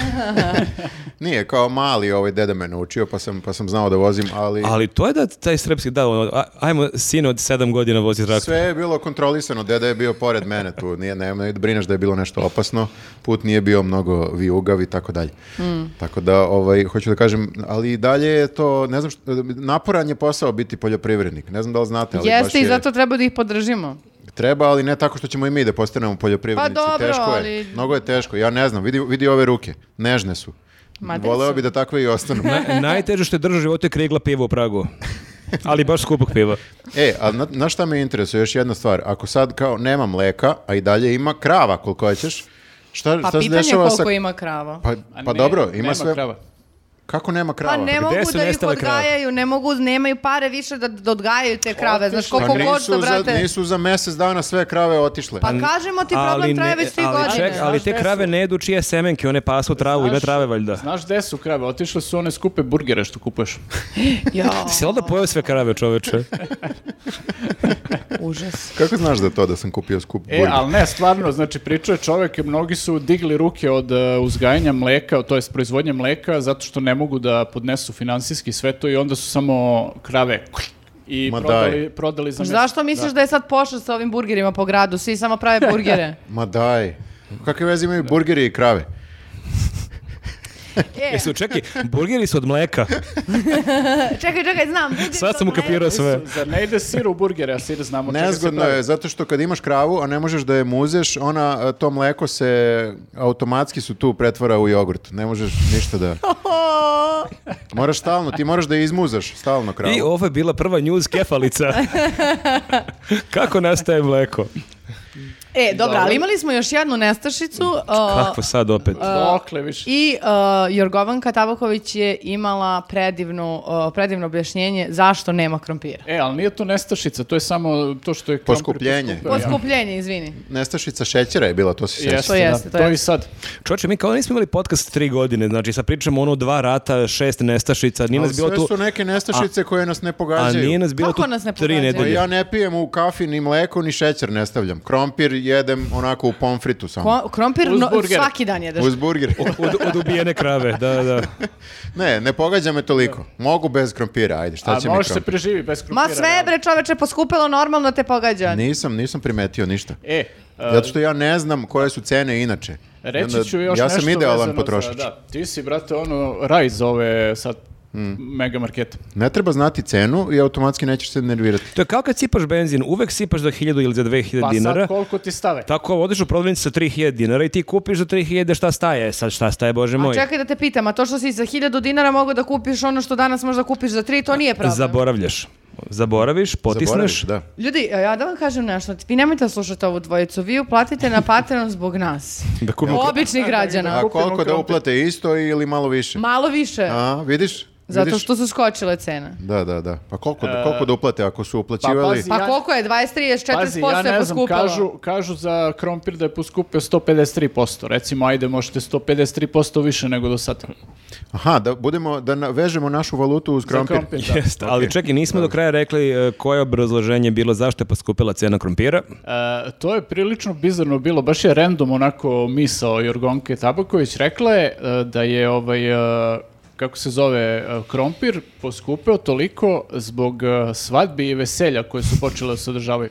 Speaker 4: Nije, kao mali ovaj deda me naučio, pa sam, pa sam znao da vozim, ali,
Speaker 2: Ali to je da taj srpski, da, ono, a- ajmo sin od sedam godina vozi traktor.
Speaker 4: sve je bilo kontrolisano. Deda je bio pored mene tu, nije, ne, ne brineš da je bilo nešto opasno, put nije bio mnogo vijugav i tako dalje.
Speaker 1: Mm.
Speaker 4: Tako da, ovaj, hoću da kažem, ali i dalje je to, ne znam, što, naporan je posao biti poljoprivrednik, ne znam da li znate, ali baš
Speaker 1: Jeste i
Speaker 4: je-
Speaker 1: zato treba da ih podržimo.
Speaker 4: Treba, ali ne tako što ćemo i mi da postanemo poljoprivrednici.
Speaker 1: Pa dobro,
Speaker 4: teško je.
Speaker 1: ali-
Speaker 4: Mnogo je teško. Ja ne znam, vidi, vidi ove ruke. Nežne su.
Speaker 1: Ma da
Speaker 4: Voleo
Speaker 1: su.
Speaker 4: bi da takve i ostanu.
Speaker 2: Na- najteže što je držao u životu je krigla piva u Pragu. Ali baš skupog piva.
Speaker 4: e, a na, na šta me interesuje još jedna stvar? Ako sad kao nema mleka, a i dalje ima krava koliko hoćeš, šta,
Speaker 1: Pa
Speaker 4: šta se
Speaker 1: pitanje je
Speaker 4: dešava
Speaker 1: koliko
Speaker 4: sa...
Speaker 1: ima krava.
Speaker 4: Pa,
Speaker 3: A
Speaker 4: pa
Speaker 3: ne,
Speaker 4: dobro, ima
Speaker 3: nema
Speaker 4: sve...
Speaker 3: krava.
Speaker 4: Kako nema krava?
Speaker 1: Pa ne
Speaker 4: Gde-
Speaker 1: mogu
Speaker 2: su
Speaker 1: da ih
Speaker 2: nestale krave?
Speaker 1: odgajaju, ne mogu, nemaju pare više da, da odgajaju te krave. Znaš,
Speaker 3: Otišle.
Speaker 4: Pa
Speaker 1: koliko god
Speaker 4: nisu,
Speaker 1: što,
Speaker 4: za,
Speaker 1: brate...
Speaker 4: nisu za mjesec dana sve krave otišle.
Speaker 1: Pa kažemo ti, problem traje već tri
Speaker 2: ali,
Speaker 1: godine.
Speaker 2: ček, ali te
Speaker 3: Znaš,
Speaker 2: krave
Speaker 3: jesu.
Speaker 2: ne jedu čije semenke, one pasu travu, ima
Speaker 3: Znaš-
Speaker 2: trave valjda.
Speaker 3: Znaš gde su krave? Otišle su one skupe burgere što kupuješ.
Speaker 1: Jao,
Speaker 2: Si li da pojeo sve krave čoveče?
Speaker 1: E. užas.
Speaker 4: Kako znaš za to da sam kupio skup
Speaker 3: E,
Speaker 4: burger?
Speaker 3: ali ne, stvarno, znači pričao je čovek, mnogi su digli ruke od e, uzgajanja mleka, to jest proizvodnje mleka, zato što ne mogu da podnesu finansijski sve to i onda su samo krave i
Speaker 4: Ma daj.
Speaker 3: prodali, prodali za meso.
Speaker 1: Zašto misliš da. je sad pošlo sa ovim burgerima po gradu? Svi samo prave burgere.
Speaker 4: Ma daj. Kakve veze imaju burgeri i krave?
Speaker 1: E,
Speaker 2: Jesu, čekaj, burgeri su od mleka.
Speaker 1: čekaj, čekaj, znam. burgeri
Speaker 2: Sad
Speaker 1: su
Speaker 2: sam
Speaker 1: od mleka.
Speaker 2: ukapirao sve.
Speaker 3: Mislim, Zar ne ide sir u burgere, a sir znamo čega se
Speaker 4: Nezgodno
Speaker 3: pravi.
Speaker 4: je, zato što kad imaš kravu, a ne možeš da je muzeš, ona, e, to mleko se automatski su tu pretvara u jogurt. Ne možeš ništa da...
Speaker 1: ono,
Speaker 4: Moraš stalno, ti moraš da je izmuzaš stalno kravu.
Speaker 2: I ovo je bila prva news kefalica. Kako nastaje mleko?
Speaker 1: E, dobro, ali imali smo još jednu nestašicu. a,
Speaker 2: Kako sad opet?
Speaker 3: Dokle više.
Speaker 1: I uh, Jorgovanka Tabaković je imala predivno, uh, predivno objašnjenje zašto nema krompira.
Speaker 3: E, ali nije to nestašica, to je samo to što je... krompir
Speaker 4: Poskupljenje.
Speaker 3: poskupeo, ja.
Speaker 1: Poskupljenje, izvini.
Speaker 4: Nestašica šećera je bila, to se sjeća.
Speaker 3: Jeste,
Speaker 1: To jeste,
Speaker 3: da.
Speaker 1: to
Speaker 3: to i
Speaker 1: jeste.
Speaker 3: sad.
Speaker 2: Čoče, mi kao nismo imali podcast tri godine, znači sad pričamo ono dva rata, šest nestašica, nije
Speaker 4: Ali
Speaker 2: nas bilo
Speaker 4: sve
Speaker 2: tu...
Speaker 4: su neke nestašice koje nas ne
Speaker 2: A
Speaker 4: pogađaju. E,
Speaker 2: nije nas bilo
Speaker 1: Kako
Speaker 2: tu
Speaker 1: nas ne
Speaker 2: tri
Speaker 1: pogađaju?
Speaker 2: nedelje.
Speaker 4: Pa Ja ne pijem u kafi ni mleko ni šećer ne stavljam. Krompir jedem onako u pomfritu samo.
Speaker 1: Ko- krompir
Speaker 3: Uz
Speaker 1: no-
Speaker 3: burgere.
Speaker 1: svaki dan jedeš.
Speaker 4: Uz burger.
Speaker 2: Od, od ubijene krave, da, da.
Speaker 4: Ne, ne pogađa me toliko. Mogu bez krompira, ajde, šta
Speaker 3: A
Speaker 4: će mi
Speaker 3: može se
Speaker 4: krompir?
Speaker 3: preživi bez
Speaker 1: Ma
Speaker 3: krumpira.
Speaker 1: sve je,
Speaker 3: realno.
Speaker 1: bre čoveče poskupilo, normalno te pogađa.
Speaker 4: Nisam, nisam primetio ništa.
Speaker 3: E, a,
Speaker 4: Zato što ja ne znam koje su cene inače. I onda
Speaker 3: Reći ću još
Speaker 4: ja
Speaker 3: nešto
Speaker 4: sam idealan
Speaker 3: vezano
Speaker 4: potrošač.
Speaker 3: Za, da, ti si, brate, ono, raj za ove sad
Speaker 4: Hmm.
Speaker 3: mega markete.
Speaker 4: Ne treba znati cenu i automatski nećeš se nervirati.
Speaker 2: To je kao kad sipaš benzin, uvek sipaš za 1000 ili za 2000
Speaker 3: Pa
Speaker 2: dinara.
Speaker 3: sad koliko ti stave?
Speaker 2: Tako, odeš u prodavnicu sa 3000 dinara i ti kupiš za 3000 šta staje. Sad šta staje, bože
Speaker 1: A
Speaker 2: moj.
Speaker 1: čekaj da te pitam, a to što si za 1000 dinara mogao da kupiš ono što danas možda kupiš za 3, to nije problem.
Speaker 2: Zaboravljaš. Zaboraviš, potisneš.
Speaker 4: Zaboraviš, da.
Speaker 1: Ljudi, e, ja da vam kažem nešto, vi nemojte da slušate ovu dvojicu, vi uplatite na Patreon zbog nas.
Speaker 2: Da kupimo
Speaker 1: Običnih građana.
Speaker 4: A
Speaker 3: Kupimo
Speaker 4: koliko da
Speaker 3: krompir.
Speaker 4: uplate isto ili malo više?
Speaker 1: Malo više,
Speaker 4: A, vidiš?
Speaker 1: zato
Speaker 4: Vidiš?
Speaker 1: što su skočile cene.
Speaker 4: Da, da, da. Pa koliko, da- koliko da uplate ako su uplaćivali?
Speaker 3: E, pazi,
Speaker 1: Pa
Speaker 3: Ja-
Speaker 1: koliko je? 23, 40%
Speaker 3: Pazi, ja
Speaker 1: je
Speaker 3: ne znam,
Speaker 1: poskupilo.
Speaker 3: kažu, kažu za krompir da je poskupio 153%. Recimo, ajde, možete 153% više nego do sad.
Speaker 4: Aha, da budemo, da na- vežemo našu valutu uz
Speaker 3: Za
Speaker 4: krompir.
Speaker 3: krompir, da.
Speaker 2: Jeste, ali čekaj, nismo do kraja rekli e, koje je obrazloženje bilo zašto je poskupila cena krompira.
Speaker 3: E, to je prilično bizarno bilo, baš je random onako misao Jorgonke Tabaković. Rekla je e, da je ovaj, e, kako se zove, e, krompir poskupeo toliko zbog e, svadbi i veselja koje su počele da se održavaju.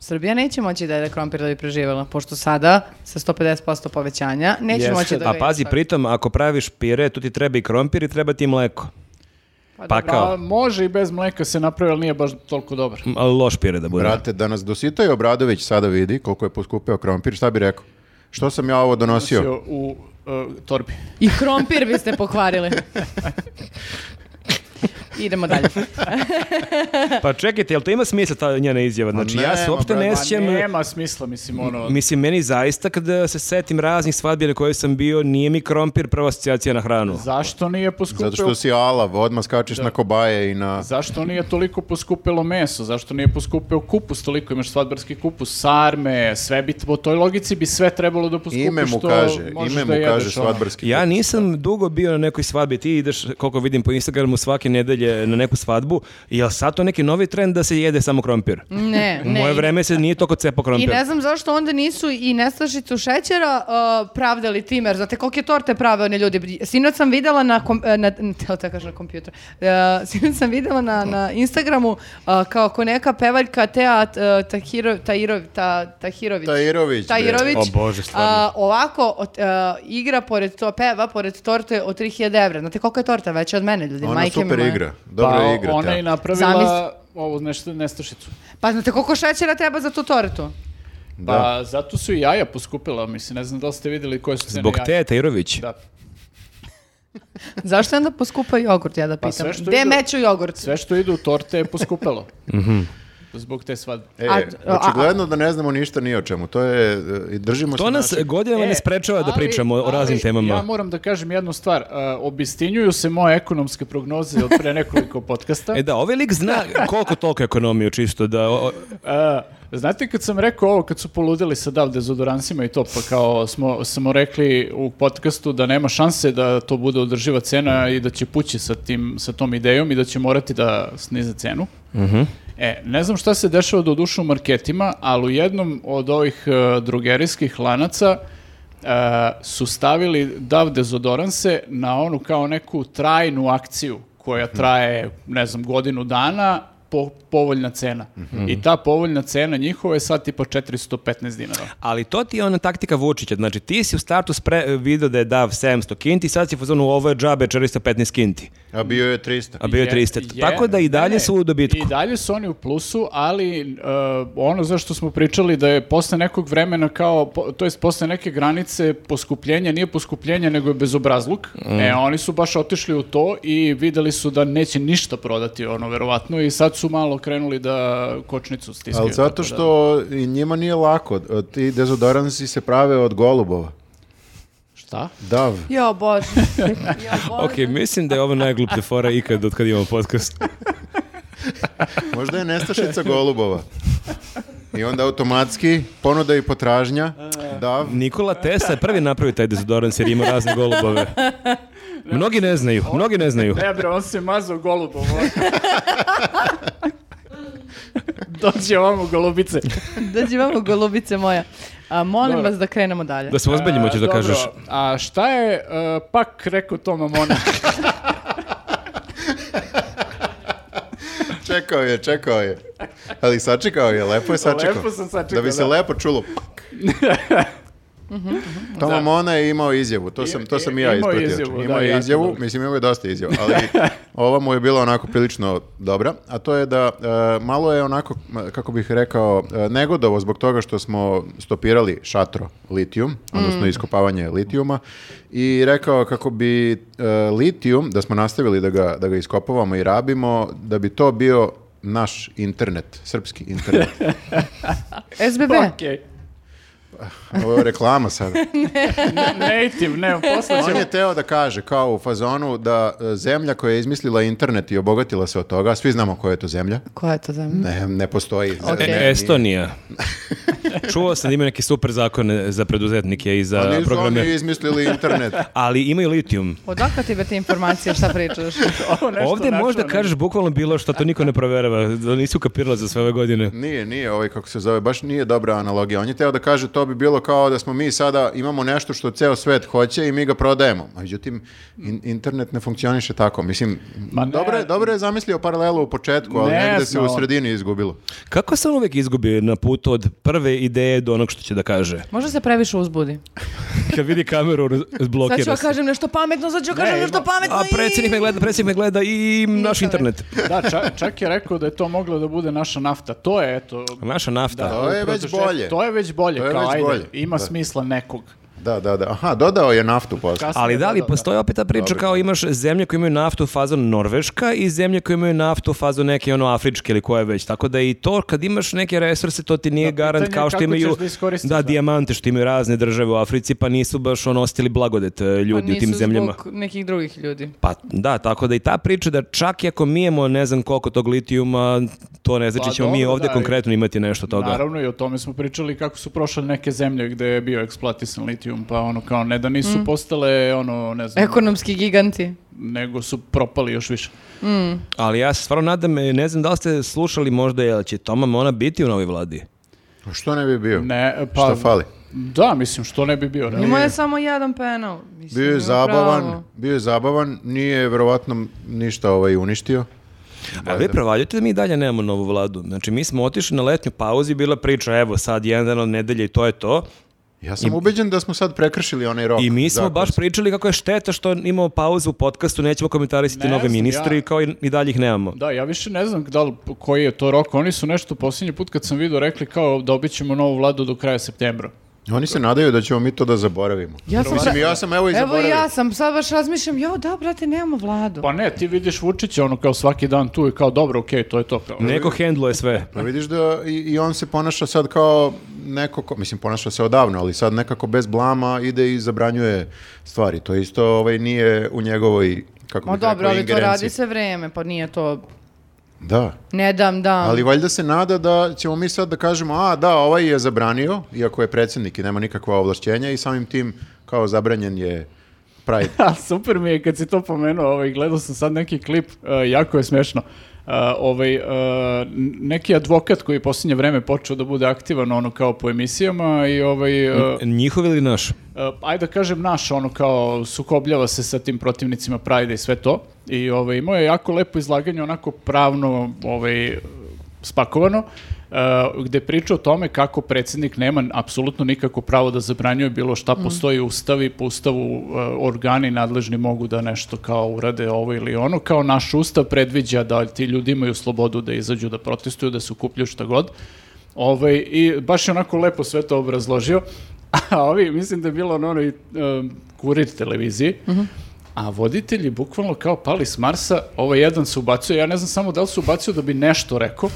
Speaker 1: Srbija neće moći da jede krompir da bi preživjela, pošto sada sa 150% povećanja neće
Speaker 3: Jeste.
Speaker 1: moći da ga
Speaker 2: A
Speaker 1: jede
Speaker 2: pazi,
Speaker 1: sad.
Speaker 2: pritom, ako praviš pire, tu ti treba i krompir i treba ti i mleko. Pa
Speaker 3: Pa,
Speaker 2: kao,
Speaker 3: može i bez mleka se napravi, ali nije baš toliko dobar.
Speaker 2: m, loš pire da bude.
Speaker 4: Brate, da nas dositaju Obradović sada vidi koliko je poskupeo krompir, šta bi rekao? Što sam ja ovo donosio?
Speaker 3: U e, torbi.
Speaker 1: I krompir biste pokvarili. Idemo dalje.
Speaker 2: Pa čekajte, jel to ima smisla ta njena izjava? Znači, ja se
Speaker 4: nema,
Speaker 2: uopšte
Speaker 4: brate.
Speaker 2: ne
Speaker 4: Pa
Speaker 2: sjećam...
Speaker 3: nema smisla, mislim, ono...
Speaker 2: Mislim, meni zaista kada se setim raznih svadbi na kojoj sam bio, nije mi krompir prva asocijacija na hranu.
Speaker 3: Zašto nije poskupio
Speaker 4: Zato što si alav, odmah skačeš na kobaje i na...
Speaker 3: Zašto nije toliko poskupilo meso? Zašto nije poskupio kupus toliko? Imaš svadbarski kupus, sarme, sve bi, po toj logici bi sve trebalo da poskupiš
Speaker 4: Ime mu
Speaker 3: što
Speaker 4: kaže,
Speaker 3: možeš
Speaker 4: ime
Speaker 3: da
Speaker 4: mu kaže
Speaker 3: jedeš, ono.
Speaker 4: svadbarski.
Speaker 2: Ja nisam dugo bio na nekoj svadbi, ti ideš, koliko vidim po Instagramu, svake nedelje na neku svadbu, jel sad to neki novi trend da se jede samo krompir?
Speaker 1: Ne,
Speaker 2: U
Speaker 1: ne.
Speaker 2: moje vreme se nije toliko cepo
Speaker 1: I
Speaker 2: krompir.
Speaker 1: ne znam zašto onda nisu i nestašicu šećera uh, pravdali timer. Znate kolike torte prave oni ljudi. Sinoć sam videla na, kom, eh, na, teo da kažem na kompjuter. Uh, sinoć sam videla na, na Instagramu uh, kao ko neka pevaljka Tea uh, Tahiro, Tahirov, ta, Tahirović.
Speaker 4: Tahirović, bre.
Speaker 1: Tahirović.
Speaker 2: O Bože, stvarno.
Speaker 1: a, ovako ot- a, igra pored to peva, pored torte od 3000 evra. Znate koliko je torta veća od mene, ljudi?
Speaker 4: Ona
Speaker 1: majke mi
Speaker 4: super
Speaker 1: moje.
Speaker 4: igra. Dobro
Speaker 3: pa,
Speaker 4: igra.
Speaker 3: Ona
Speaker 4: ta.
Speaker 3: je napravila
Speaker 1: Zamisli.
Speaker 3: ovu nešto, nestašicu.
Speaker 1: Pa znate koliko šećera treba za tu tortu?
Speaker 3: Pa zato su i jaja poskupila, mislim, ne znam da li ste vidjeli koje su cene
Speaker 2: Zbog
Speaker 3: jaja.
Speaker 2: te, Tajrović.
Speaker 3: Da.
Speaker 1: Zašto je onda poskupa jogurt, ja da
Speaker 3: Pa
Speaker 1: pitam?
Speaker 3: sve što
Speaker 1: Gde
Speaker 3: idu-
Speaker 1: meću jogurt?
Speaker 3: Sve što ide u torte je poskupelo. Zbog te svadbe.
Speaker 4: E,
Speaker 1: A- a-
Speaker 4: očigledno da ne znamo ništa ni o čemu. To je, e, i držimo se
Speaker 2: To nas
Speaker 4: našeg.
Speaker 2: godinama ne
Speaker 3: E,
Speaker 2: sprečava da
Speaker 3: ali-
Speaker 2: pričamo o raznim
Speaker 3: ali
Speaker 2: temama.
Speaker 3: Ja moram da kažem jednu stvar. Uh, obistinjuju se moje ekonomske prognoze od pre nekoliko podcasta.
Speaker 2: E da, ovaj lik zna koliko toliko ekonomiju čisto da... o- o-
Speaker 3: A, E, znate kad sam rekao ovo, kad su poludili sa dav dezodoransima i to, pa kao smo, smo rekli u podcastu da nema šanse da to bude održiva cena i da će pući sa, tim, sa tom idejom i da će morati da snize cenu. E, ne znam šta se dešava do dušu u marketima, ali u jednom od ovih e, drugerijskih lanaca e, su stavili dav dezodoranse na onu kao neku trajnu akciju koja traje, ne znam, godinu dana, po, povoljna cena. I ta povoljna cena njihova je sad tipa 415 dinara.
Speaker 2: Ali to ti je ona taktika Vučića. Znači, ti si u startu spre, video da je dav 700 kinti, sad si u fazonu ovo je džabe 415 kinti.
Speaker 4: A bio je 300.
Speaker 2: A bio je
Speaker 3: Je-
Speaker 2: 300.
Speaker 3: je-
Speaker 2: Tako da i dalje
Speaker 3: ne,
Speaker 2: su u dobitku.
Speaker 3: I dalje su oni u plusu, ali e, ono za što smo pričali da je posle nekog vremena kao, po- to jest posle neke granice poskupljenja, nije poskupljenje nego je bezobrazluk.
Speaker 2: Mm.
Speaker 3: E, oni su baš otišli u to i videli su da neće ništa prodati ono verovatno i sad su malo krenuli da kočnicu stiskaju.
Speaker 4: Ali zato
Speaker 3: tako da-
Speaker 4: što i njima nije lako. E, Ti dezodoransi se prave od golubova.
Speaker 3: Šta?
Speaker 4: Dav.
Speaker 1: Jo, bože.
Speaker 2: Ok, mislim da je ovo najgluplja fora ikad od kad imamo podcast.
Speaker 4: Možda je nestašica golubova. I onda automatski ponuda i potražnja. Dav.
Speaker 2: Nikola Tesla je prvi napravio taj dezodorans jer ima razne golubove. Mnogi ne znaju, mnogi ne znaju.
Speaker 3: Ne bre, on se mazao golubom. ono. Dođe ovamo golubice.
Speaker 1: Dođi vamo, golubice moja. A, molim
Speaker 3: Dobro.
Speaker 1: vas da krenemo dalje.
Speaker 2: Da se ozbiljimo ćeš da
Speaker 3: E, Dobro,
Speaker 2: kažeš.
Speaker 3: A šta je e, pak rekao Toma Mona?
Speaker 4: Čekao je, čekao je. Ali sačekao je, lepo je sačekao.
Speaker 3: Lepo sam sačekao,
Speaker 4: Da bi se
Speaker 3: da.
Speaker 4: lepo čulo. Pak. Toma Mona je imao izjavu, to sam, to sam i ja
Speaker 3: Imao je
Speaker 4: ispratio.
Speaker 3: izjavu,
Speaker 4: imao
Speaker 3: da,
Speaker 4: je
Speaker 3: jako
Speaker 4: izjavu,
Speaker 3: dobro.
Speaker 4: mislim imao je dosta izjava, ali ova mu je bila onako prilično dobra, a to je da e, malo je onako, m, kako bih rekao, e, negodovo zbog toga što smo stopirali šatro litijum, odnosno
Speaker 3: Mm.
Speaker 4: iskopavanje litijuma i rekao kako bi e, litijum, da smo nastavili da ga, da ga iskopavamo i rabimo, da bi to bio naš internet, srpski internet.
Speaker 1: SBB.
Speaker 3: Okej.
Speaker 4: Ovo je reklama sada.
Speaker 3: Native, ne, posle
Speaker 4: On
Speaker 3: ćemo.
Speaker 4: je teo da kaže kao u fazonu da e, zemlja koja je izmislila internet i obogatila se od toga, svi znamo koja je to zemlja,
Speaker 1: Koja je to zemlja?
Speaker 4: ne, ne postoji. Z-
Speaker 1: Ok.
Speaker 4: ne,
Speaker 2: E,
Speaker 4: nije.
Speaker 2: Estonija. Čuo sam da imaju neke super zakone za preduzetnike i
Speaker 4: Pa
Speaker 2: za
Speaker 4: nisu oni
Speaker 2: programe.
Speaker 4: izmislili internet.
Speaker 2: Ali imaju litijum.
Speaker 1: Odakle ti te informacije, šta pričaš?
Speaker 3: Ovo nešto
Speaker 2: Ovdje možda
Speaker 3: načuo,
Speaker 2: kažeš bukvalno bilo što to niko ne proverava, da nisu kapirala za sve ove godine.
Speaker 4: Nije, nije ovaj kako se zove, baš nije dobra analogija. On je teo da kaže to bi bilo kao da smo mi sada imamo nešto što ceo svet hoće i mi ga prodajemo. Međutim, in- internet ne funkcioniše tako. Mislim,
Speaker 3: Ma Pa ne.
Speaker 4: dobro, je, dobro je zamislio paralelu u početku, ali negde se u
Speaker 3: Nesno.
Speaker 4: sredini izgubilo.
Speaker 2: Kako se on uvijek izgubi na putu od prve ideje do onog što će da kaže?
Speaker 1: Možda se previše uzbudi.
Speaker 2: Kad vidi kameru, raz-
Speaker 1: Sad ću
Speaker 2: blokira
Speaker 1: ja
Speaker 2: se.
Speaker 1: kažem nešto pametno, sad ću ja kažem nešto pametno
Speaker 2: A
Speaker 1: i-
Speaker 2: predsjednik me gleda, predsjednik me gleda i
Speaker 1: Ništa
Speaker 2: naš
Speaker 1: ne.
Speaker 2: internet.
Speaker 3: Da, ča- čak, je rekao da je to moglo da bude naša nafta. To je, eto...
Speaker 2: Naša nafta.
Speaker 4: To je već
Speaker 3: protošef-
Speaker 4: bolje.
Speaker 3: To je već bolje,
Speaker 4: To je
Speaker 3: kao
Speaker 4: već
Speaker 3: ajde,
Speaker 4: bolje.
Speaker 3: ima
Speaker 4: Da.
Speaker 3: smisla nekog.
Speaker 4: Da, da, da. Aha, dodao je naftu posle.
Speaker 3: Kasnije
Speaker 2: Ali da li
Speaker 3: dodao,
Speaker 2: postoji opet ta priča
Speaker 4: Dobro.
Speaker 2: kao imaš zemlje koje imaju naftu u fazon Norveška i zemlje koje imaju naftu u fazon neke ono afričke ili koje već. Tako da i to kad imaš neke resurse to ti nije
Speaker 3: Da,
Speaker 2: garant
Speaker 3: pitanje
Speaker 2: kao
Speaker 3: je
Speaker 2: što
Speaker 3: kako
Speaker 2: imaju
Speaker 3: ćeš da iskoristiš, da.
Speaker 2: dijamante što imaju razne države u Africi pa nisu baš ono ostili blagodet e,
Speaker 1: Pa
Speaker 2: ljudi u tim
Speaker 1: nisu
Speaker 2: zemljama.
Speaker 1: zbog nekih drugih ljudi.
Speaker 2: Pa da, tako da i ta priča da čak i ako mijemo ne znam koliko tog litijuma, to ne znači
Speaker 3: Pa
Speaker 2: ćemo mi
Speaker 3: dobro,
Speaker 2: ovdje
Speaker 3: da, i-
Speaker 2: konkretno imati nešto toga.
Speaker 3: Naravno i o tome smo pričali kako su prošle neke zemlje gde je bio eksploatisan litijum, pa ono kao ne da nisu postale ono ne znam,
Speaker 1: Ekonomski giganti.
Speaker 3: nego su propali još više.
Speaker 2: Ali ja se stvarno nadam, e, ne znam da li ste slušali možda jel će Toma Mona biti u novoj vladi.
Speaker 4: Što ne bi bio?
Speaker 3: Ne, pa
Speaker 4: Šta fali?
Speaker 3: Da, mislim što ne bi bio. realno.
Speaker 1: Imao je samo jedan penal. Mislim,
Speaker 4: Bio je
Speaker 1: ima
Speaker 4: zabavan,
Speaker 1: pravo.
Speaker 4: bio je zabavan, nije verovatno ništa ovaj uništio.
Speaker 2: A vi provaljujete da mi dalje nemamo novu vladu. Znači, mi smo otišli na letnju pauzu i bila priča, evo sad jedan dan od nedelje i to je to.
Speaker 4: Ja sam ubeđen da smo sad prekršili onaj rok.
Speaker 2: I mi smo baš
Speaker 4: zakonski.
Speaker 2: pričali kako je šteta što imamo pauzu u podcastu, nećemo komentarisati
Speaker 3: Ne
Speaker 2: nove
Speaker 3: znam,
Speaker 2: ministre
Speaker 3: ja-
Speaker 2: i kao i, i dalje ih nemamo.
Speaker 3: Da, ja više ne znam da li, koji je to rok. Oni su nešto posljednji put kad sam vidio rekli kao dobit ćemo novu vladu do kraja septembra.
Speaker 4: Oni se nadaju da ćemo mi to da zaboravimo.
Speaker 1: Ja sam
Speaker 4: Mislim,
Speaker 1: sa-
Speaker 4: ja sam evo i
Speaker 1: Evo
Speaker 4: zaboravio.
Speaker 1: i ja sam, sad baš razmišljam, jo da, brate, nemamo vladu.
Speaker 3: Pa ne, ti vidiš Vučića ono kao svaki dan tu i kao dobro, okej, to je to. Kao.
Speaker 2: Neko hendluje sve.
Speaker 4: Pa vidiš da i, i on se ponaša sad kao neko, ko, mislim ponaša se odavno, ali sad nekako bez blama ide i zabranjuje stvari. To isto ovaj, nije u njegovoj, kako
Speaker 1: Ma
Speaker 4: bih rekao,
Speaker 1: dobro, ali to
Speaker 4: ingerenciji.
Speaker 1: radi se vreme, pa nije to,
Speaker 4: Da,
Speaker 1: ne dam, dam.
Speaker 4: ali valjda se nada da ćemo mi sad da kažemo, a da, ovaj je zabranio, iako je predsjednik i nema nikakva ovlašćenja i samim tim kao zabranjen je Pride.
Speaker 3: A super mi je kad si to pomenuo, ovaj, gledao sam sad neki klip, e, jako je smešno. E, ovaj, e, n- neki advokat koji je posljednje vreme počeo da bude aktivan ono kao po emisijama i ovaj, e,
Speaker 2: Njihov ili naš?
Speaker 3: e, ajde da kažem naš ono kao sukobljava se sa tim protivnicima Prajda i sve to i ovaj, imao je jako lepo izlaganje onako pravno ovaj, spakovano e, gde priča o tome kako predsjednik nema apsolutno nikako pravo da zabranjuje bilo šta postoji u ustavi, po ustavu e, organi nadležni mogu da nešto kao urade ovo ili ono, kao naš ustav predviđa da ti ljudi imaju slobodu da izađu, da protestuju, da se ukupljuju šta god Ovaj, I baš je onako lepo sve to obrazložio. A ovi, mislim da je bilo na onoj em, kurir televiziji, a voditelji bukvalno kao pali s Marsa, ovaj jedan se ubacio, ja ne znam samo da li se ubacio da bi nešto rekao,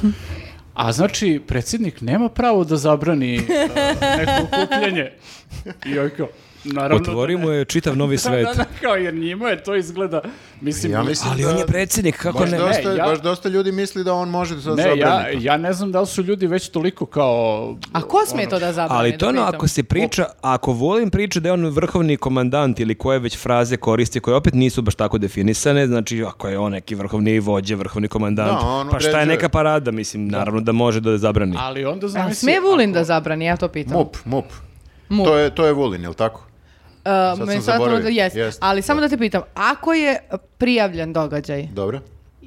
Speaker 3: a znači predsjednik nema pravo da zabrani e, neko okupljanje. I ovaj kao, naravno... da
Speaker 2: Otvorio
Speaker 3: ne.
Speaker 2: mu je čitav novi
Speaker 3: Da,
Speaker 2: svet.
Speaker 3: da, da, kao, jer njima je to izgleda, mislim,
Speaker 4: Ja mislim
Speaker 2: Ali
Speaker 4: da
Speaker 2: on je predsjednik, kako
Speaker 4: baš,
Speaker 2: ne?
Speaker 4: dosta,
Speaker 3: Ne, ja-
Speaker 4: baš dosta ljudi misli da on može sad
Speaker 3: Ne, ja,
Speaker 4: zabraniti.
Speaker 3: ja ne znam da li su ljudi već toliko kao...
Speaker 1: A
Speaker 4: Ono.
Speaker 1: ko sme to da zabrane?
Speaker 2: Ali to
Speaker 1: da
Speaker 2: je ono,
Speaker 1: pitam?
Speaker 2: ako se priča, ako volim priča da je on vrhovni komandant ili koje već fraze koristi, koje opet nisu baš tako definisane, znači ako je on neki vrhovni vođe, vrhovni komandant,
Speaker 4: Da, on
Speaker 2: pa šta je
Speaker 4: određuje.
Speaker 2: neka parada, mislim, naravno da može da zabrani.
Speaker 3: Ali onda znam...
Speaker 1: A sme Vulin da zabrani, ja to pitam.
Speaker 4: MUP, MUP.
Speaker 1: MUP.
Speaker 4: To je, to je Vulin, jel tako?
Speaker 1: E,
Speaker 4: sam
Speaker 1: meni sad
Speaker 4: zaboravio.
Speaker 1: ono da jest.
Speaker 4: Jest,
Speaker 1: Ali samo da te pitam, ako je prijavljen događaj
Speaker 4: Dobro.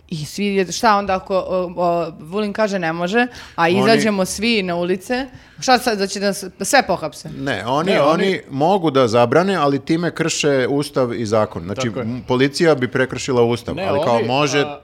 Speaker 1: i svi, je- šta onda ako o, o, Vulin kaže ne može, a izađemo svi na ulice, šta sad, znači da će nas sve pohapse?
Speaker 4: Ne, oni,
Speaker 3: Ne,
Speaker 4: oni...
Speaker 3: oni-
Speaker 4: mogu da zabrane, ali time krše ustav i zakon. Znači,
Speaker 3: Tako je.
Speaker 4: m, policija bi prekršila ustav,
Speaker 3: Ne,
Speaker 4: ali kao
Speaker 3: oni,
Speaker 4: može
Speaker 3: a-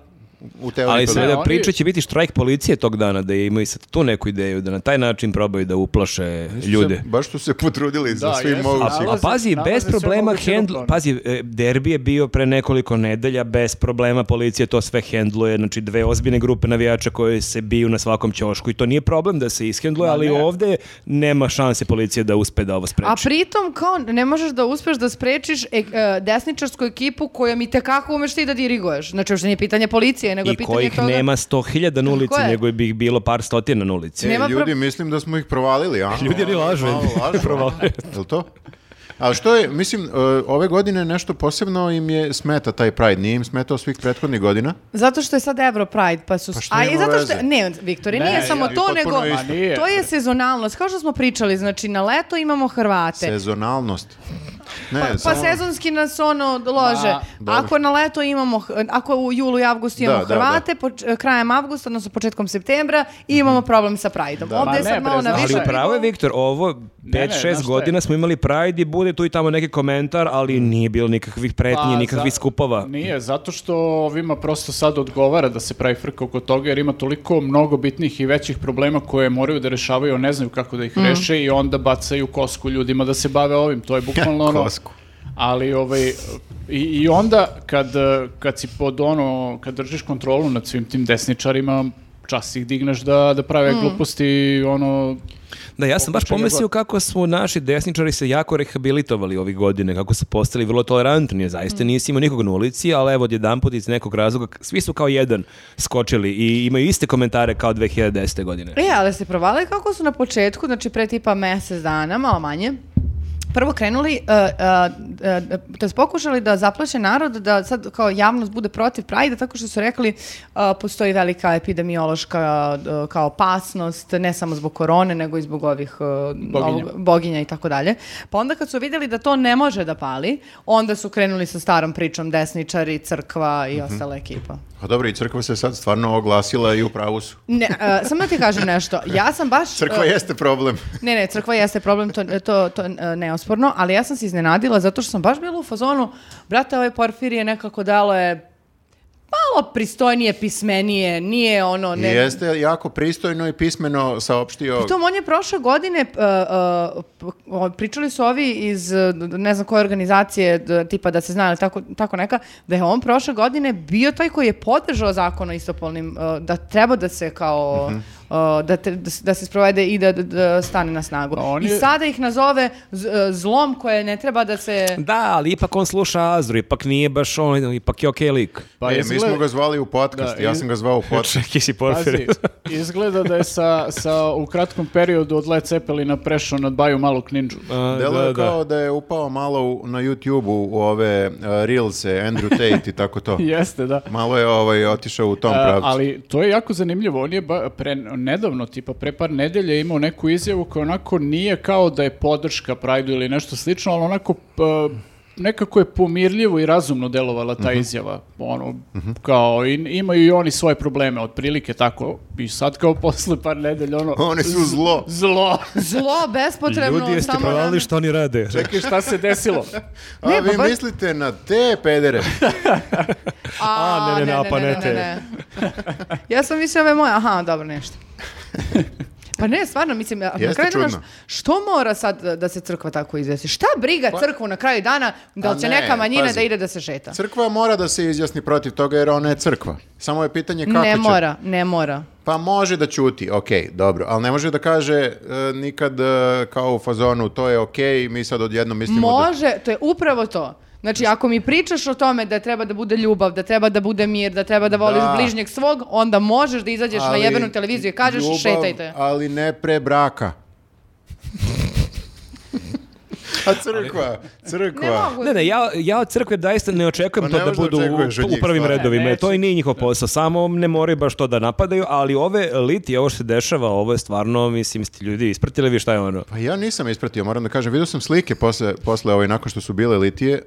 Speaker 4: u teoriji
Speaker 2: Ali
Speaker 4: to
Speaker 2: sve
Speaker 4: pa da-
Speaker 3: Ne,
Speaker 2: da
Speaker 3: oni-
Speaker 2: priča će biti štrajk policije tog dana, da je imaju sad tu neku ideju, da na taj način probaju da uplaše ljude.
Speaker 4: Se- Baš su se potrudili za
Speaker 3: Da,
Speaker 4: svim
Speaker 3: jesu,
Speaker 2: A,
Speaker 4: mogućim.
Speaker 2: a
Speaker 3: Nalaze-
Speaker 2: pazi,
Speaker 3: nalaze
Speaker 2: bez
Speaker 3: sve
Speaker 2: problema
Speaker 3: moguće
Speaker 2: hendl...
Speaker 3: rukovne.
Speaker 2: Pazi, e, derbi je bio pre nekoliko nedelja, bez problema policija to sve hendluje, znači dve ozbiljne grupe navijača koje se biju na svakom ćošku i to nije problem da se ishendluje, ali
Speaker 3: ne.
Speaker 2: ovdje nema šanse policije da uspe da ovo
Speaker 1: A
Speaker 4: Znači-
Speaker 2: spreči.
Speaker 1: pritom kao ne možeš da uspeš da sprečiš e, e, desničarsku ekipu kojom i tekako umeš ti da diriguješ. Znači uopšte nije pitanje policije,
Speaker 3: pa,
Speaker 1: nego je
Speaker 2: I
Speaker 1: pitanje
Speaker 2: kojih
Speaker 1: toga-
Speaker 2: nema sto hiljada na ulici,
Speaker 1: je.
Speaker 2: nego bi ih bilo par stotina na ulici.
Speaker 1: Ne- nema
Speaker 4: Ljudi,
Speaker 1: E, pro-
Speaker 4: mislim da smo ih provalili, a?
Speaker 2: Ljudi, oni lažu.
Speaker 4: Malo lažu, ono. a?
Speaker 2: Provalili.
Speaker 4: Jel to? A što je, mislim, e, ove godine nešto posebno im je smeta taj Pride, nije im smetao svih prethodnih godina.
Speaker 1: Zato što je sad Euro Pride, pa su...
Speaker 4: Pa što
Speaker 1: a
Speaker 4: nema
Speaker 1: i zato što...
Speaker 4: veze?
Speaker 1: Ne, Viktore,
Speaker 3: Ne,
Speaker 1: nije samo
Speaker 3: ja-
Speaker 1: to,
Speaker 4: potpuno
Speaker 1: nego...
Speaker 4: isto.
Speaker 3: Ma nije.
Speaker 1: To je sezonalnost, kao što smo pričali, znači na leto imamo Hrvate,
Speaker 4: Sezonalnost. Ne,
Speaker 1: Pa
Speaker 4: samo-
Speaker 1: sezonski nas ono lože.
Speaker 3: Ma,
Speaker 4: dobro.
Speaker 1: ako na leto imamo, ako u julu i avgustu imamo
Speaker 4: Da, da,
Speaker 1: Hrvate, poč- krajem avgusta, odnosno početkom septembra, i imamo problem sa Prideom.
Speaker 4: Da.
Speaker 1: Ovdje je
Speaker 3: Ma
Speaker 1: sad
Speaker 3: ne,
Speaker 1: malo na
Speaker 3: bre, znaš
Speaker 1: više
Speaker 3: šta
Speaker 2: Ali upravo je Viktor, ovo
Speaker 3: ne, znaš
Speaker 2: 5-6
Speaker 3: šta je.
Speaker 2: godina smo imali Pride i bude tu i tamo neki komentar, ali nije bilo nikakvih pretnji,
Speaker 3: Pa,
Speaker 2: nikakvih
Speaker 3: za-
Speaker 2: skupova.
Speaker 3: Nije, zato što ovima prosto sad odgovara da se pravi frka oko toga, jer ima toliko mnogo bitnih i većih problema koje moraju da rešavaju, a ne znaju kako da ih
Speaker 4: Mhm.
Speaker 3: reše i onda bacaju kosku ljudima da se bave ovim. To je bukvalno ono...
Speaker 4: Kosku.
Speaker 3: Ali ovaj, i, i onda kad, eh, kad si pod ono, kad držiš kontrolu nad svim tim desničarima, čas ih digneš da, da prave
Speaker 4: Mhm.
Speaker 3: gluposti, ono,
Speaker 2: Da, ja sam baš
Speaker 3: Pokušaj
Speaker 2: pomislio
Speaker 3: god.
Speaker 2: kako su naši desničari se jako rehabilitovali ovih godine, kako su postali vrlo tolerantni,
Speaker 3: Mm.
Speaker 2: zaista nisi imao nikog na ulici, ali evo odjedan put iz nekog razloga, k- svi su kao jedan skočili i imaju iste komentare kao 2010. godine.
Speaker 1: E, ali se provale kako su na početku, znači pre tipa mjesec dana, malo manje, prvo krenuli, e, te e, pokušali da zaplaše narod, da sad kao javnost bude protiv Prajda, tako što su rekli uh, postoji velika epidemiološka uh, kao opasnost, ne samo zbog korone, nego i zbog ovih uh, ovog- boginja i tako dalje. Pa onda kad su vidjeli da to ne može da pali, onda su krenuli sa starom pričom desničari, crkva i ostala ekipa.
Speaker 4: A Pa dobro, i crkva se sad stvarno oglasila i u pravu su.
Speaker 1: Ne, uh, samo da ti kažem nešto. Ja sam baš...
Speaker 4: Crkva
Speaker 1: uh,
Speaker 4: jeste problem.
Speaker 1: ne, ne, crkva jeste problem, to, to, to e, neosporno, ali ja sam se iznenadila zato što sam baš bila u fazonu, brate, ovaj porfir je nekako dalo je malo pristojnije, pismenije, nije ono... Ne, Pa
Speaker 4: Jeste jako pristojno i pismeno saopštio.
Speaker 1: Pritom, on je prošle godine, e, e, p- o- pričali su ovi iz e, ne znam koje organizacije, d- tipa da se zna ili tako, tako neka, da je on prošle godine bio taj koji je podržao zakon o istopolnim, e, da treba da se kao, e, da, te- da s- da se sprovede i da, da- da stane na snagu.
Speaker 3: A on
Speaker 1: I
Speaker 3: je-
Speaker 1: sada ih nazove z- e, zlom koje ne treba da se...
Speaker 2: Da, ali ipak on sluša Azru, ipak nije baš on, ipak je okej lik.
Speaker 4: Pa mi
Speaker 3: izgleda-
Speaker 4: smo ga zvali u podcast,
Speaker 3: Da,
Speaker 4: ja
Speaker 3: i-
Speaker 4: sam ga zvao u podcast.
Speaker 2: Čekaj si
Speaker 3: Pazi, izgleda da je sa, sa, u kratkom periodu od Led Zeppelina prešao nad Baju malog ninđu.
Speaker 4: Delo je kao da je upao malo u- na YouTube-u u ove uh, Reelse, Andrew Tate i tako to.
Speaker 3: Jeste, da.
Speaker 4: Malo je ovaj, otišao u tom
Speaker 3: A,
Speaker 4: pravcu.
Speaker 3: E, ali to je jako zanimljivo. On je ba, pre, nedavno, tipa pre par nedelje, imao neku izjavu koja onako nije kao da je podrška Prajdu ili nešto slično, ali onako p- nekako je pomirljivo i razumno delovala
Speaker 4: Mhm.
Speaker 3: ta izjava. Ono, kao, i, imaju i oni svoje probleme, otprilike tako. I sad kao posle par nedelja, ono...
Speaker 4: Oni su zlo.
Speaker 3: Zlo.
Speaker 1: Zlo, bespotrebno,
Speaker 2: Ljudi jeste
Speaker 1: samo nam-
Speaker 2: provalili što oni rade.
Speaker 3: Čekaj, šta se desilo?
Speaker 4: A
Speaker 1: Ne,
Speaker 4: vi
Speaker 1: pa baš-
Speaker 4: mislite na te pedere?
Speaker 1: A,
Speaker 2: A, ne, ne, ne, pa ne te.
Speaker 1: ja sam mislila ove moje, aha, dobro, nešto. Pa ne, stvarno, mislim, ja- na
Speaker 4: Jeste
Speaker 1: kraju dana,
Speaker 4: čudno.
Speaker 1: š- što mora sad da- da se crkva tako izvesti? Šta briga crkvu na kraju dana da
Speaker 4: A
Speaker 1: li će
Speaker 4: ne,
Speaker 1: neka manjina
Speaker 4: pazi.
Speaker 1: da ide da se šeta?
Speaker 4: Crkva mora da se izjasni protiv toga jer ona je crkva. Samo je pitanje kako
Speaker 1: ne
Speaker 4: će.
Speaker 1: mora, ne mora.
Speaker 4: Pa može da ćuti, ok, dobro, ali ne može da kaže e, nikad e, kao u fazonu to je ok, mi sad odjednom mislimo da...
Speaker 1: Može, to je upravo to. Znači, ako mi pričaš o tome da treba da bude ljubav, da treba da bude mir, da treba da voliš
Speaker 4: Da.
Speaker 1: bližnjeg svog, onda možeš da izađeš na
Speaker 4: Ali
Speaker 1: jebenu televiziju i kažeš
Speaker 4: ljubav,
Speaker 1: šetajte.
Speaker 4: Ali ne pre braka. A crkva, crkva.
Speaker 1: Ne mogu.
Speaker 2: Ne, ne, ja, ja od crkve daista ne očekujem
Speaker 4: Pa ne
Speaker 2: to da
Speaker 4: možda
Speaker 2: budu
Speaker 4: očekuješ od
Speaker 2: u, u
Speaker 4: njih,
Speaker 2: prvim
Speaker 4: stvarno.
Speaker 2: redovima, jer to
Speaker 3: Neće.
Speaker 2: i nije njihov posao, samo ne moraju baš to da napadaju, ali ove liti, ovo što se dešava, ovo je stvarno, mislim, ste ljudi ispratili vi šta je ono.
Speaker 4: Pa ja nisam ispratio, moram da kažem, vidio sam slike posle, posle ovaj, nakon što su bile litije e,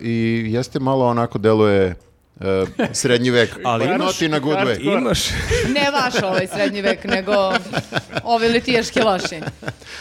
Speaker 4: i jeste malo onako deluje e, srednji vek.
Speaker 2: Ali
Speaker 4: Not
Speaker 2: imaš-
Speaker 4: in a good way.
Speaker 2: Imaš,
Speaker 1: Ne vaš ovaj srednji vek, nego ovi litijaški loši.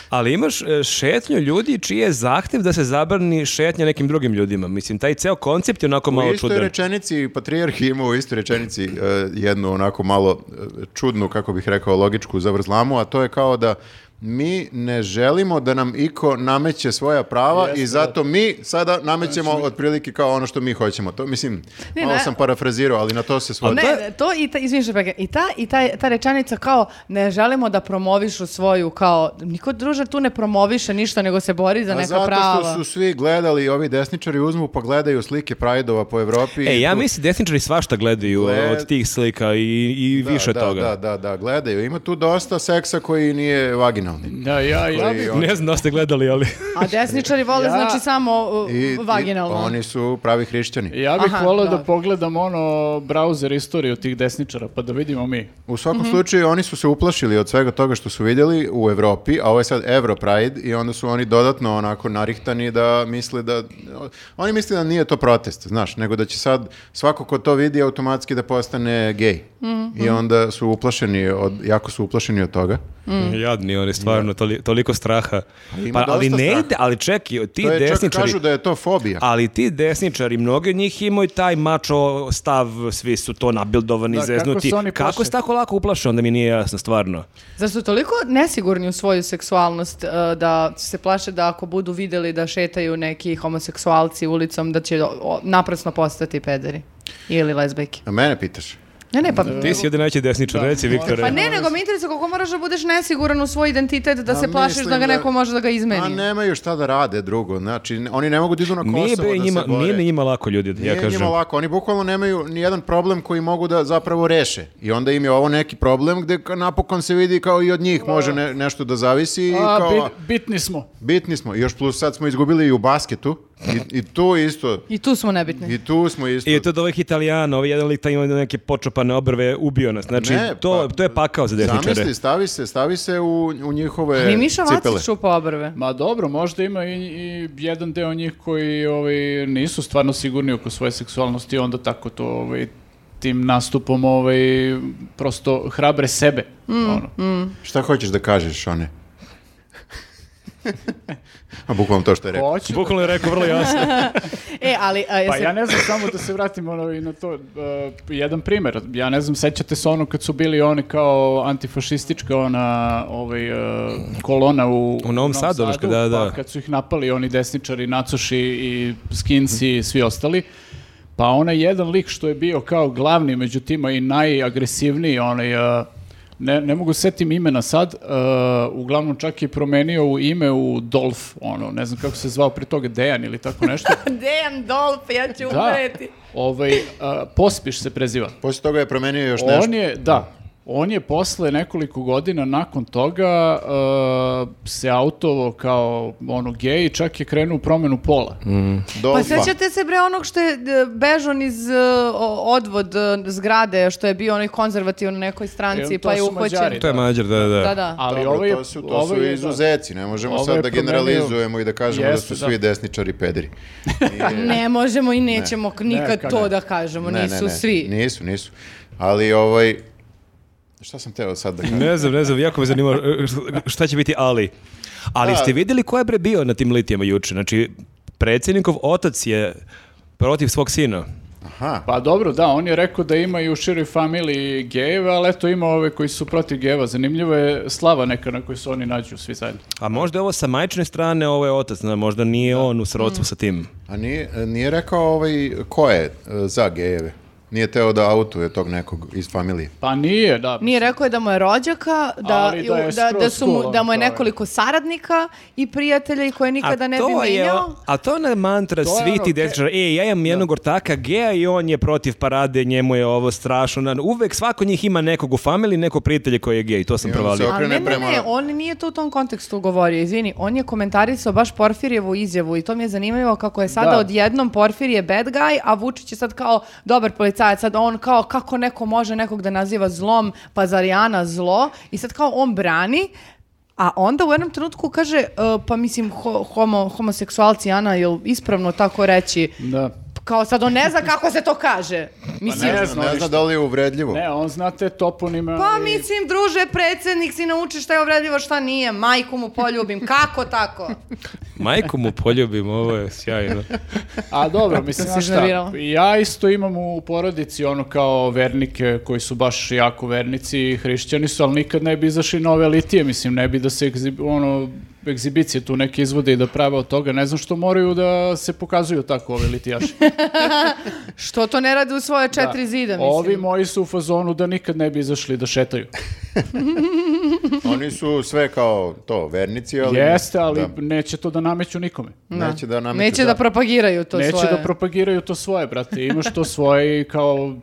Speaker 2: ali imaš e, šetnju ljudi čiji je zahtev da se zabrani šetnja nekim drugim ljudima. Mislim, taj ceo koncept je onako
Speaker 4: U
Speaker 2: malo
Speaker 4: istoj
Speaker 2: čudan.
Speaker 4: rečenici, Patrijarh je imao u istoj rečenici e, jednu onako malo e, čudnu, kako bih rekao, logičku zavrzlamu, a to je kao da mi ne želimo da nam iko nameće svoja prava i zato mi sada namećemo
Speaker 2: Znači
Speaker 4: otprilike kao ono što mi hoćemo. To mislim,
Speaker 1: Ne,
Speaker 4: malo
Speaker 1: ne.
Speaker 4: sam parafrazirao, ali na Pa to se svodi.
Speaker 1: Ne, ne, to i ta, izvini što prekidam, i ta, i ta, ta rečenica kao ne želimo da promovišu svoju kao, niko druže tu ne promoviše ništa nego se bori za
Speaker 4: A
Speaker 1: neka
Speaker 4: Pa zato
Speaker 1: prava.
Speaker 4: što su svi gledali, ovi desničari uzmu pa gledaju slike Prajdova po Evropi.
Speaker 2: E, ja
Speaker 4: Tu-
Speaker 2: mislim, desničari svašta gledaju e,
Speaker 4: Gled-
Speaker 2: od tih slika i, i
Speaker 4: Da,
Speaker 2: više od
Speaker 4: da,
Speaker 2: toga.
Speaker 4: Da, da, da, gledaju. Ima tu dosta seksa koji nije vagina. vaginalni.
Speaker 3: Da, ja, ja
Speaker 4: Koji
Speaker 3: bih...
Speaker 4: on-
Speaker 2: Ne znam da ste gledali, ali...
Speaker 1: A desničari vole
Speaker 3: Ja-
Speaker 1: znači samo uh,
Speaker 4: i- i
Speaker 1: vaginalno.
Speaker 4: Oni su pravi hrišćani.
Speaker 3: Ja bih
Speaker 1: Aha,
Speaker 3: volao da
Speaker 1: da.
Speaker 3: pogledam ono browser istoriju tih desničara, pa da vidimo mi.
Speaker 4: U svakom
Speaker 1: Mhm.
Speaker 4: slučaju oni su se uplašili od svega toga što su vidjeli u Evropi, a ovo je sad Euro Pride i onda su oni dodatno onako narihtani da misle da oni misle da nije to protest, znaš, nego da će sad svako ko to vidi automatski da postane gej.
Speaker 1: Mhm,
Speaker 4: I onda su uplašeni od jako su uplašeni od toga.
Speaker 1: Mm.
Speaker 2: Jadni oni, stvarno, toli- toliko straha.
Speaker 4: ima
Speaker 2: Pa, ali
Speaker 4: dosta
Speaker 2: ne
Speaker 4: straha.
Speaker 2: ide, ali čekaj, ti
Speaker 4: to je čak
Speaker 2: desničari...
Speaker 4: kažu da je to fobija.
Speaker 2: Ali ti desničari, mnogi od njih imaju taj mačo stav, svi su to nabildovani,
Speaker 3: Da, kako
Speaker 2: zeznuti.
Speaker 3: se oni
Speaker 2: Kako,
Speaker 3: plaše?
Speaker 2: se tako lako uplaše, onda mi nije jasno, stvarno.
Speaker 1: Zar su toliko nesigurni u svoju seksualnost uh, da se plaše da ako budu videli da šetaju neki homoseksualci ulicom da će o- o- naprasno postati pederi ili lezbejke?
Speaker 4: A mene pitaš?
Speaker 1: Ne, ne, pa...
Speaker 2: Ti si ovdje najveći desničar,
Speaker 3: Da.
Speaker 2: reci Viktore.
Speaker 1: Pa ne, nego mi interesuje koliko moraš da budeš nesiguran u svoj identitet da
Speaker 3: Pa
Speaker 4: A
Speaker 1: se plašiš da
Speaker 4: mislim
Speaker 1: ga
Speaker 4: da-
Speaker 1: neko može da ga izmeni.
Speaker 4: A nemaju šta da rade drugo, znači ne- oni ne mogu da idu na Kosovo
Speaker 2: Nije, bre
Speaker 4: da
Speaker 2: njima,
Speaker 4: se bore.
Speaker 2: nije ni njima lako ljudi, da ja
Speaker 4: Nije
Speaker 2: kažem.
Speaker 4: njima lako, oni bukvalno nemaju ni jedan problem koji mogu da zapravo reše. I onda im je ovo neki problem gde ka- napokon se vidi kao i od njih može ne- nešto da zavisi i
Speaker 3: A,
Speaker 4: kao ono-
Speaker 3: bit- bitni smo.
Speaker 4: bitni smo. I još plus sad smo izgubili i u basketu i, i tu isto,
Speaker 1: I tu smo nebitni.
Speaker 4: i tu smo isto.
Speaker 2: I je to da ovaj Italijan, ovaj jedan lik taj ima neke počopane obrve, ubio nas. Znači,
Speaker 4: Ne,
Speaker 2: to,
Speaker 4: pa-
Speaker 2: to je pakao za desničare.
Speaker 4: Zamisli, stavi se, stavi se u, u njihove
Speaker 1: I Miša
Speaker 4: cipele.
Speaker 1: Vacić čupa obrve.
Speaker 3: Ma dobro, možda ima i, i jedan deo njih koji ovaj, nisu stvarno sigurni oko svoje seksualnosti i onda tako to ovaj, tim nastupom ovaj, prosto hrabre sebe. ono.
Speaker 4: Šta hoćeš da kažeš, one? A bukvalno to što je rekao.
Speaker 3: Hoću.
Speaker 2: Bukvalno je rekao vrlo jasno.
Speaker 1: E, ali... A,
Speaker 3: Pa
Speaker 1: jesi-
Speaker 3: ja ne znam samo da se vratim ono i na to. uh, jedan primjer, ja ne znam, sećate se ono kad su bili oni kao antifašistička ona ovaj, uh, kolona u,
Speaker 2: Novom Sadu, Daško, da, da.
Speaker 3: Pa kad su ih napali oni desničari, nacoši i skinci i svi ostali. Pa onaj jedan lik što je bio kao glavni među tima i najagresivniji, onaj, uh, ne, ne mogu setim imena sad, uh, uglavnom čak je promenio u ime u Dolf, ono, ne znam kako se zvao pri toga, Dejan ili tako nešto.
Speaker 1: Dejan Dolp, ja ću
Speaker 3: Da,
Speaker 1: umreti.
Speaker 3: ovaj, a, pospiš se preziva.
Speaker 4: Poslije toga je promenio još nešto.
Speaker 3: On je, da, on je posle nekoliko godina nakon toga e, se autovo kao ono gej i čak je krenuo u promenu pola.
Speaker 4: Dolfa.
Speaker 1: Pa sećate se bre onog što je d- bežon iz e, o- odvod e, zgrade, što je bio onaj konzervativno na nekoj stranci,
Speaker 3: E, to
Speaker 1: pa je
Speaker 3: su
Speaker 1: uhvaćen.
Speaker 3: Mađari.
Speaker 2: to je mađar, da, da.
Speaker 1: Da, da.
Speaker 3: Ali
Speaker 4: Dobro,
Speaker 3: ovo je,
Speaker 4: to su, to
Speaker 3: ovo
Speaker 4: su
Speaker 3: je,
Speaker 4: izuzeci, ne možemo
Speaker 3: Ovo
Speaker 4: sad
Speaker 3: je
Speaker 4: da
Speaker 3: promenio-
Speaker 4: generalizujemo i da kažemo
Speaker 3: Jeste,
Speaker 4: da su svi
Speaker 3: da.
Speaker 4: desničari pederi.
Speaker 1: Ne možemo i nećemo k- nikad
Speaker 3: kako
Speaker 1: to
Speaker 3: ne.
Speaker 1: da kažemo,
Speaker 4: Ne,
Speaker 1: nisu
Speaker 4: ne, ne,
Speaker 1: svi.
Speaker 4: Nisu, nisu. Ali ovaj... Šta sam teo sad da kažem?
Speaker 2: Ne znam, ne znam, jako me zanima e, šta će biti ali. Ali
Speaker 4: Da.
Speaker 2: ste vidjeli ko je bre bio na tim litijama juče? Znači, predsjednikov otac je protiv svog sina.
Speaker 4: Aha.
Speaker 3: Pa dobro, da, on je rekao da ima i u široj familiji gejeve, ali eto ima ove koji su protiv gejeva. Zanimljivo je slava neka na kojoj se oni nađu svi zajedno.
Speaker 2: A možda je ovo sa majčine strane, ovo je otac, zna, možda nije on u
Speaker 3: Mm.
Speaker 2: srodstvu sa tim.
Speaker 4: A nije, nije rekao ovaj ko je e, za gejeve? Nije teo da autuje tog nekog iz familije.
Speaker 3: Pa nije, da.
Speaker 1: Nije rekao je da mu je rođaka, da,
Speaker 3: Ali da je
Speaker 1: da, da,
Speaker 3: skroz
Speaker 1: su mu,
Speaker 3: cool,
Speaker 1: da mu je
Speaker 3: ono, to je.
Speaker 1: nekoliko saradnika i prijatelja i koje nikada ne bi
Speaker 2: to je
Speaker 1: menjao.
Speaker 2: o- a to je ona mantra
Speaker 3: je
Speaker 2: svih
Speaker 3: ono,
Speaker 2: ti
Speaker 3: ke-
Speaker 2: desničara. E, ja imam jednog ortaka geja i on je protiv parade, njemu je ovo strašno. Na- Uvek svako njih ima nekog u familiji, neko prijatelje koji je gej. To sam
Speaker 4: I onda
Speaker 2: provalio.
Speaker 4: se
Speaker 1: Ali
Speaker 4: okrene
Speaker 1: ne, ne,
Speaker 4: prema-
Speaker 1: ne, on nije to u tom kontekstu govorio, izvini. On je komentarisao baš Porfirjevu izjavu i to mi je zanimljivo kako je sada
Speaker 3: Da.
Speaker 1: odjednom Porfir je bad guy, a Vučić je sad kao dobar policajac, sad on kao kako neko može nekog da naziva zlom, pa zar je Ana zlo i sad kao on brani A onda u jednom trenutku kaže, e, pa mislim, ho- homo, homoseksualci, Ana, jel ispravno tako reći?
Speaker 3: Da.
Speaker 1: Kao sad on ne zna kako se to kaže. Mislim,
Speaker 4: Pa Ne
Speaker 3: Ne
Speaker 4: znam,
Speaker 3: znam
Speaker 4: ne
Speaker 3: ništa.
Speaker 4: zna da li je uvredljivo.
Speaker 3: Ne, on znate toponima.
Speaker 1: Pa
Speaker 3: i-
Speaker 1: mislim, druže, predsjednik si nauči šta je uvredljivo, šta nije. Majku mu poljubim. Kako tako?
Speaker 2: Majku mu poljubim, ovo je sjajno.
Speaker 3: A dobro, mislim,
Speaker 1: se
Speaker 3: znaš šta,
Speaker 1: iznervirala.
Speaker 3: ja isto imam u porodici ono kao vernike koji su baš jako vernici i hrišćani su, ali nikad ne bi izašli na ove litije, mislim, ne bi da se egzi- ono, egzibicije tu neke izvode i da prave od toga, ne znam što moraju da se pokazuju tako ove litijaši.
Speaker 1: Što to ne radi u svoje četiri zida, mislim.
Speaker 3: Ovi moji su u fazonu da nikad ne bi izašli da šetaju.
Speaker 4: Oni su sve kao to, vernici, ali...
Speaker 3: Jeste, ali
Speaker 4: da,
Speaker 3: neće to da nameću nikome.
Speaker 4: neće da nameću
Speaker 1: Neće da propagiraju to
Speaker 3: neće
Speaker 1: svoje.
Speaker 3: da propagiraju to svoje, brate, imaš to svoje i kao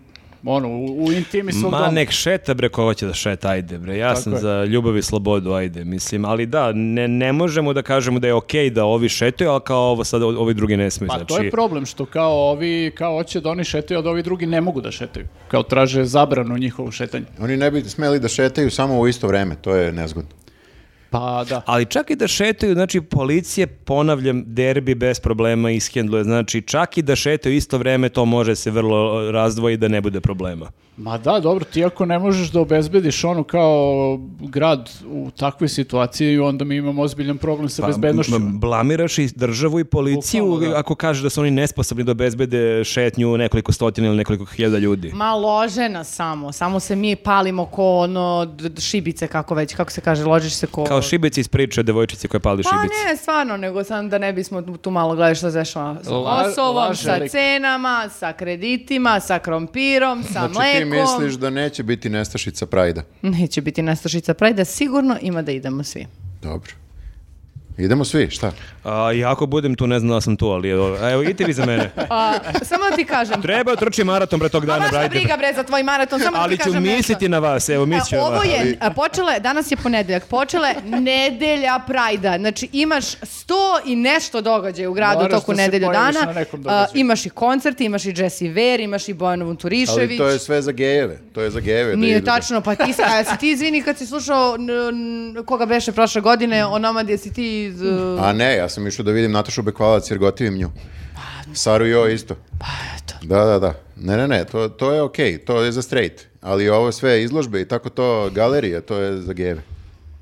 Speaker 3: ono, u, u intimi svog
Speaker 2: Ma
Speaker 3: doma.
Speaker 2: nek šeta bre ko hoće da šeta, ajde bre. Ja
Speaker 3: Tako
Speaker 2: sam
Speaker 3: je.
Speaker 2: za ljubav i slobodu, ajde. Mislim, ali da, ne, ne možemo da kažemo da je okej da ovi šetaju, ali kao ovo sad o- ovi drugi ne smiju.
Speaker 3: Pa
Speaker 2: znači,
Speaker 3: to je problem što kao ovi, kao hoće da oni šetaju, a da ovi drugi ne mogu da šetaju. Kao traže zabranu njihovu šetanju.
Speaker 4: Oni ne bi smeli da šetaju samo u isto vreme, to je nezgodno.
Speaker 3: Pa da.
Speaker 2: Ali čak i da šetaju, znači policije, ponavljam, derbi bez problema ishendluje. Znači čak i da šetaju isto vreme, to može se vrlo razdvoji da ne bude problema.
Speaker 3: Ma da, dobro, ti ako ne možeš da obezbediš ono kao grad u takvoj situaciji, onda mi imamo ozbiljan problem sa Pa, bezbednošću.
Speaker 2: Pa, m- blamiraš i državu i policiju
Speaker 3: Bukvalno, da.
Speaker 2: ako kažeš da su oni nesposobni da obezbede šetnju nekoliko stotina ili nekoliko hiljada ljudi.
Speaker 1: Ma lože nas samo, samo se mi palimo ko ono d- d- šibice kako već, kako se kaže, ložiš se ko...
Speaker 2: Kao šibici iz priče o devojčici koja pali
Speaker 1: Pa
Speaker 2: šibici.
Speaker 1: ne, stvarno, nego sam da ne bismo tu- tu malo gledali što se dešava sa
Speaker 3: La-
Speaker 1: osobom,
Speaker 3: laže
Speaker 1: sa
Speaker 3: lik.
Speaker 1: cenama, sa kreditima, sa krompirom, sa
Speaker 4: Znači ti
Speaker 1: mlekom.
Speaker 4: misliš da neće biti nestašica Prajda.
Speaker 1: Neće biti nestašica prajda, sigurno ima da idemo svi.
Speaker 4: Dobro. Idemo svi, šta?
Speaker 2: A, i ako budem tu, ne znam da sam tu, ali evo, evo idite vi za mene.
Speaker 1: A, samo da ti kažem,
Speaker 2: Treba trči maraton pre tog
Speaker 1: Ma
Speaker 2: dana,
Speaker 1: baš me
Speaker 2: brajte.
Speaker 1: briga bre za tvoj maraton, samo da
Speaker 2: Ali
Speaker 1: ti
Speaker 2: ću
Speaker 1: kažem nešto.
Speaker 2: misliti na vas, evo,
Speaker 1: E,
Speaker 2: mislit ću na
Speaker 1: ovo
Speaker 2: vas.
Speaker 1: je, a, počela je, danas je ponedeljak, počela je nedelja Prajda. Znači imaš sto i nešto događaja u gradu u
Speaker 3: Moraš
Speaker 1: toku
Speaker 3: da se
Speaker 1: nedelju
Speaker 3: pojaviš
Speaker 1: dana.
Speaker 3: na nekom
Speaker 1: A,
Speaker 3: događaju.
Speaker 1: imaš i koncerte, imaš i Jesse Ver, imaš i Bojanu Vunturišević.
Speaker 4: Ali to je sve za gejeve. To je za gejeve. da
Speaker 1: Nije
Speaker 4: idu.
Speaker 1: tačno, pa ti, a jesi ti izvini kad si slušao n- n- koga beše prošle godine, o nama gdje si ti iz... uh,
Speaker 4: A ne, ja sam išao da vidim Natašu Bekvalac jer gotivim nju. Saru Jo isto.
Speaker 1: pa,
Speaker 4: Da, da, da. Ne, ne, ne, to, to je okej, to je za straight. Ali ovo sve izložbe i tako to galerije, to je za gejeve.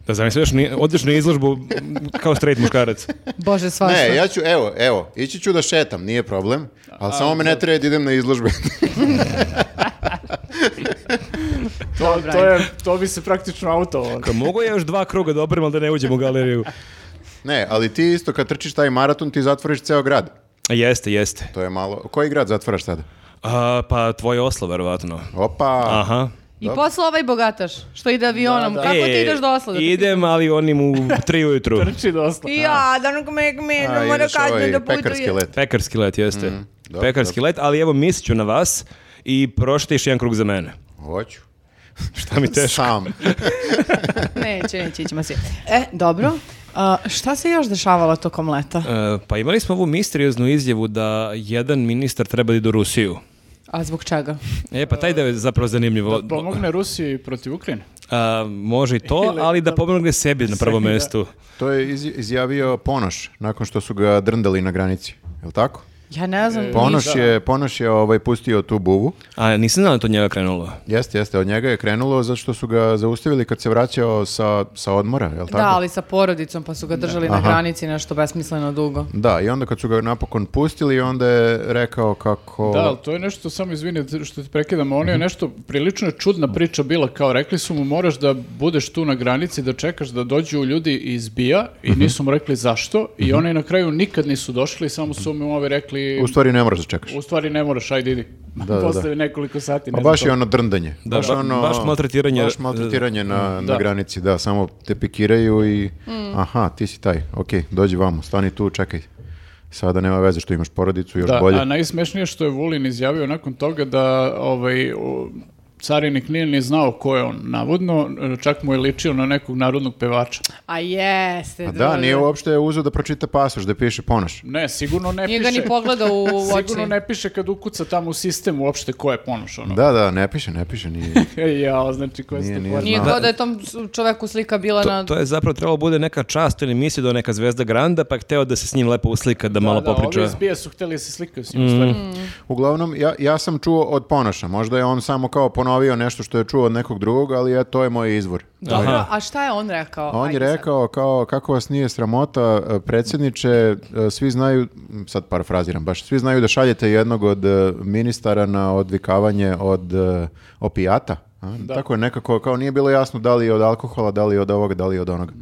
Speaker 2: Da zamisli još ni- odeš na izložbu m, kao straight muškarac.
Speaker 1: Bože, svašta.
Speaker 4: Ne, ja ću, evo, evo, ići ću da šetam, nije problem, ali samo me ne treba da idem na izložbe.
Speaker 3: to, to, je, to bi se praktično auto ono.
Speaker 2: Ka mogu ja još dva kruga da obrim, ali da ne uđem u galeriju.
Speaker 4: ne, ali ti isto kad trčiš taj maraton, ti zatvoriš ceo grad.
Speaker 2: Jeste, jeste.
Speaker 4: To je malo, koji grad zatvaraš sada?
Speaker 2: A, pa tvoj oslo, verovatno.
Speaker 4: Opa,
Speaker 2: Aha.
Speaker 1: I posla ovaj bogataš, što ide avionom. Kako ti
Speaker 2: E,
Speaker 1: ideš do Osla? da ti
Speaker 2: Idem, ali onim u tri ujutru.
Speaker 3: Trči dosla.
Speaker 1: Ja, da nam me, me,
Speaker 4: a,
Speaker 1: mora
Speaker 4: ideš
Speaker 1: kasno
Speaker 4: ovaj
Speaker 1: da putuje.
Speaker 4: pekarski let.
Speaker 2: Pekarski let, jeste.
Speaker 4: Mm, dobro,
Speaker 2: Pekarski let, ali evo mislit ću na vas i prošite još jedan krug za mene.
Speaker 4: Hoću.
Speaker 2: Šta mi teško?
Speaker 4: Sam.
Speaker 1: Neće, neće, ićemo svi. E, dobro. A, šta se još dešavalo tokom leta?
Speaker 2: E, pa imali smo ovu misterioznu izjavu da jedan ministar treba da ide u Rusiju.
Speaker 1: A zbog čega?
Speaker 2: E, pa taj deo je zapravo zanimljivo.
Speaker 3: Da pomogne Rusiji protiv Ukrajine.
Speaker 2: A, može i to, ali da pomogne sebi na prvom mestu.
Speaker 4: To je iz- izjavio Ponoš nakon što su ga drndali na granici. Je li tako?
Speaker 1: Ja ne znam.
Speaker 4: E,
Speaker 2: E,
Speaker 4: Ponoš
Speaker 1: ništa.
Speaker 4: je, Ponoš je ovaj, pustio tu buvu.
Speaker 2: A nisam znala da je to od njega krenulo.
Speaker 4: Jeste, jeste, od njega je krenulo zato što su ga zaustavili kad se vraćao sa, sa odmora, je li tako?
Speaker 1: Da, ali sa porodicom, pa su ga držali na granici nešto besmisleno dugo.
Speaker 4: Da, i onda kad su ga napokon pustili, onda je rekao kako...
Speaker 3: Da, ali to je nešto, samo izvini što ti prekidam, ono
Speaker 4: Mhm.
Speaker 3: je nešto, prilično je čudna priča bila, kao rekli su mu moraš da budeš tu na granici, da čekaš da dođu ljudi iz BIA
Speaker 4: Mhm.
Speaker 3: i nisu mu rekli zašto i oni na kraju nikad nisu došli, samo su mu ovi rekli,
Speaker 4: U stvari ne moraš da čekaš.
Speaker 3: u stvari ne moraš, ajde idi,
Speaker 4: da, da.
Speaker 3: postavi nekoliko sati.
Speaker 4: Pa
Speaker 3: ne
Speaker 4: baš
Speaker 3: znam
Speaker 4: je
Speaker 3: to.
Speaker 4: ono drndanje. ono-
Speaker 2: Da, ba- baš maltretiranje.
Speaker 4: Baš maltretiranje na, na
Speaker 3: e, Da.
Speaker 4: granici, da, samo te pikiraju i... Aha, ti si taj, ok, dođi vamo, stani tu, čekaj. Sada nema veze što imaš porodicu, još
Speaker 3: Da,
Speaker 4: bolje.
Speaker 3: a najsmešnije što je Vulin izjavio nakon toga da ovaj, o, carinik nije ni znao ko je on, navodno, čak mu je ličio na nekog narodnog pevača.
Speaker 1: A jeste.
Speaker 4: A da,
Speaker 1: druže.
Speaker 4: nije uopšte uzeo da pročita pasoš, da piše ponoš.
Speaker 3: Ne, sigurno ne
Speaker 1: Nije ga
Speaker 3: piše-
Speaker 1: ni pogledao u oči.
Speaker 3: Sigurno ne piše kad ukuca tamo u sistem uopšte ko je ponoš, ono.
Speaker 4: Da, da, ne piše, ne piše, nije...
Speaker 3: Jao, znači ko
Speaker 4: Nije,
Speaker 3: ste
Speaker 4: nije
Speaker 3: ponoš.
Speaker 1: Nije
Speaker 4: Da.
Speaker 1: kao da je tom s- čoveku slika bila
Speaker 2: To,
Speaker 1: na...
Speaker 2: to je zapravo trebalo bude neka čast ili misli da je neka zvezda Granda, pa je hteo da se s njim lepo uslika, da, malo
Speaker 3: da, da,
Speaker 2: popriča.
Speaker 3: Ovi iz bija su hteli da se slikaju s njim. u stvari.
Speaker 4: Uglavnom, ja, ja sam čuo od Ponoša. Možda je on samo kao ponovio nešto što je čuo od nekog drugog, ali ja, to je moj izvor.
Speaker 2: Aha.
Speaker 1: Dobro, a šta je on rekao?
Speaker 4: On je
Speaker 1: Ajde sad.
Speaker 4: rekao kao kako vas nije sramota e, predsjedniče, e, svi znaju, m, sad parafraziram baš, svi znaju da šaljete jednog od e, ministara na odvikavanje od e, opijata. a? Tako je nekako, kao nije bilo jasno da li je od alkohola, da li je od ovoga, da li je od onoga.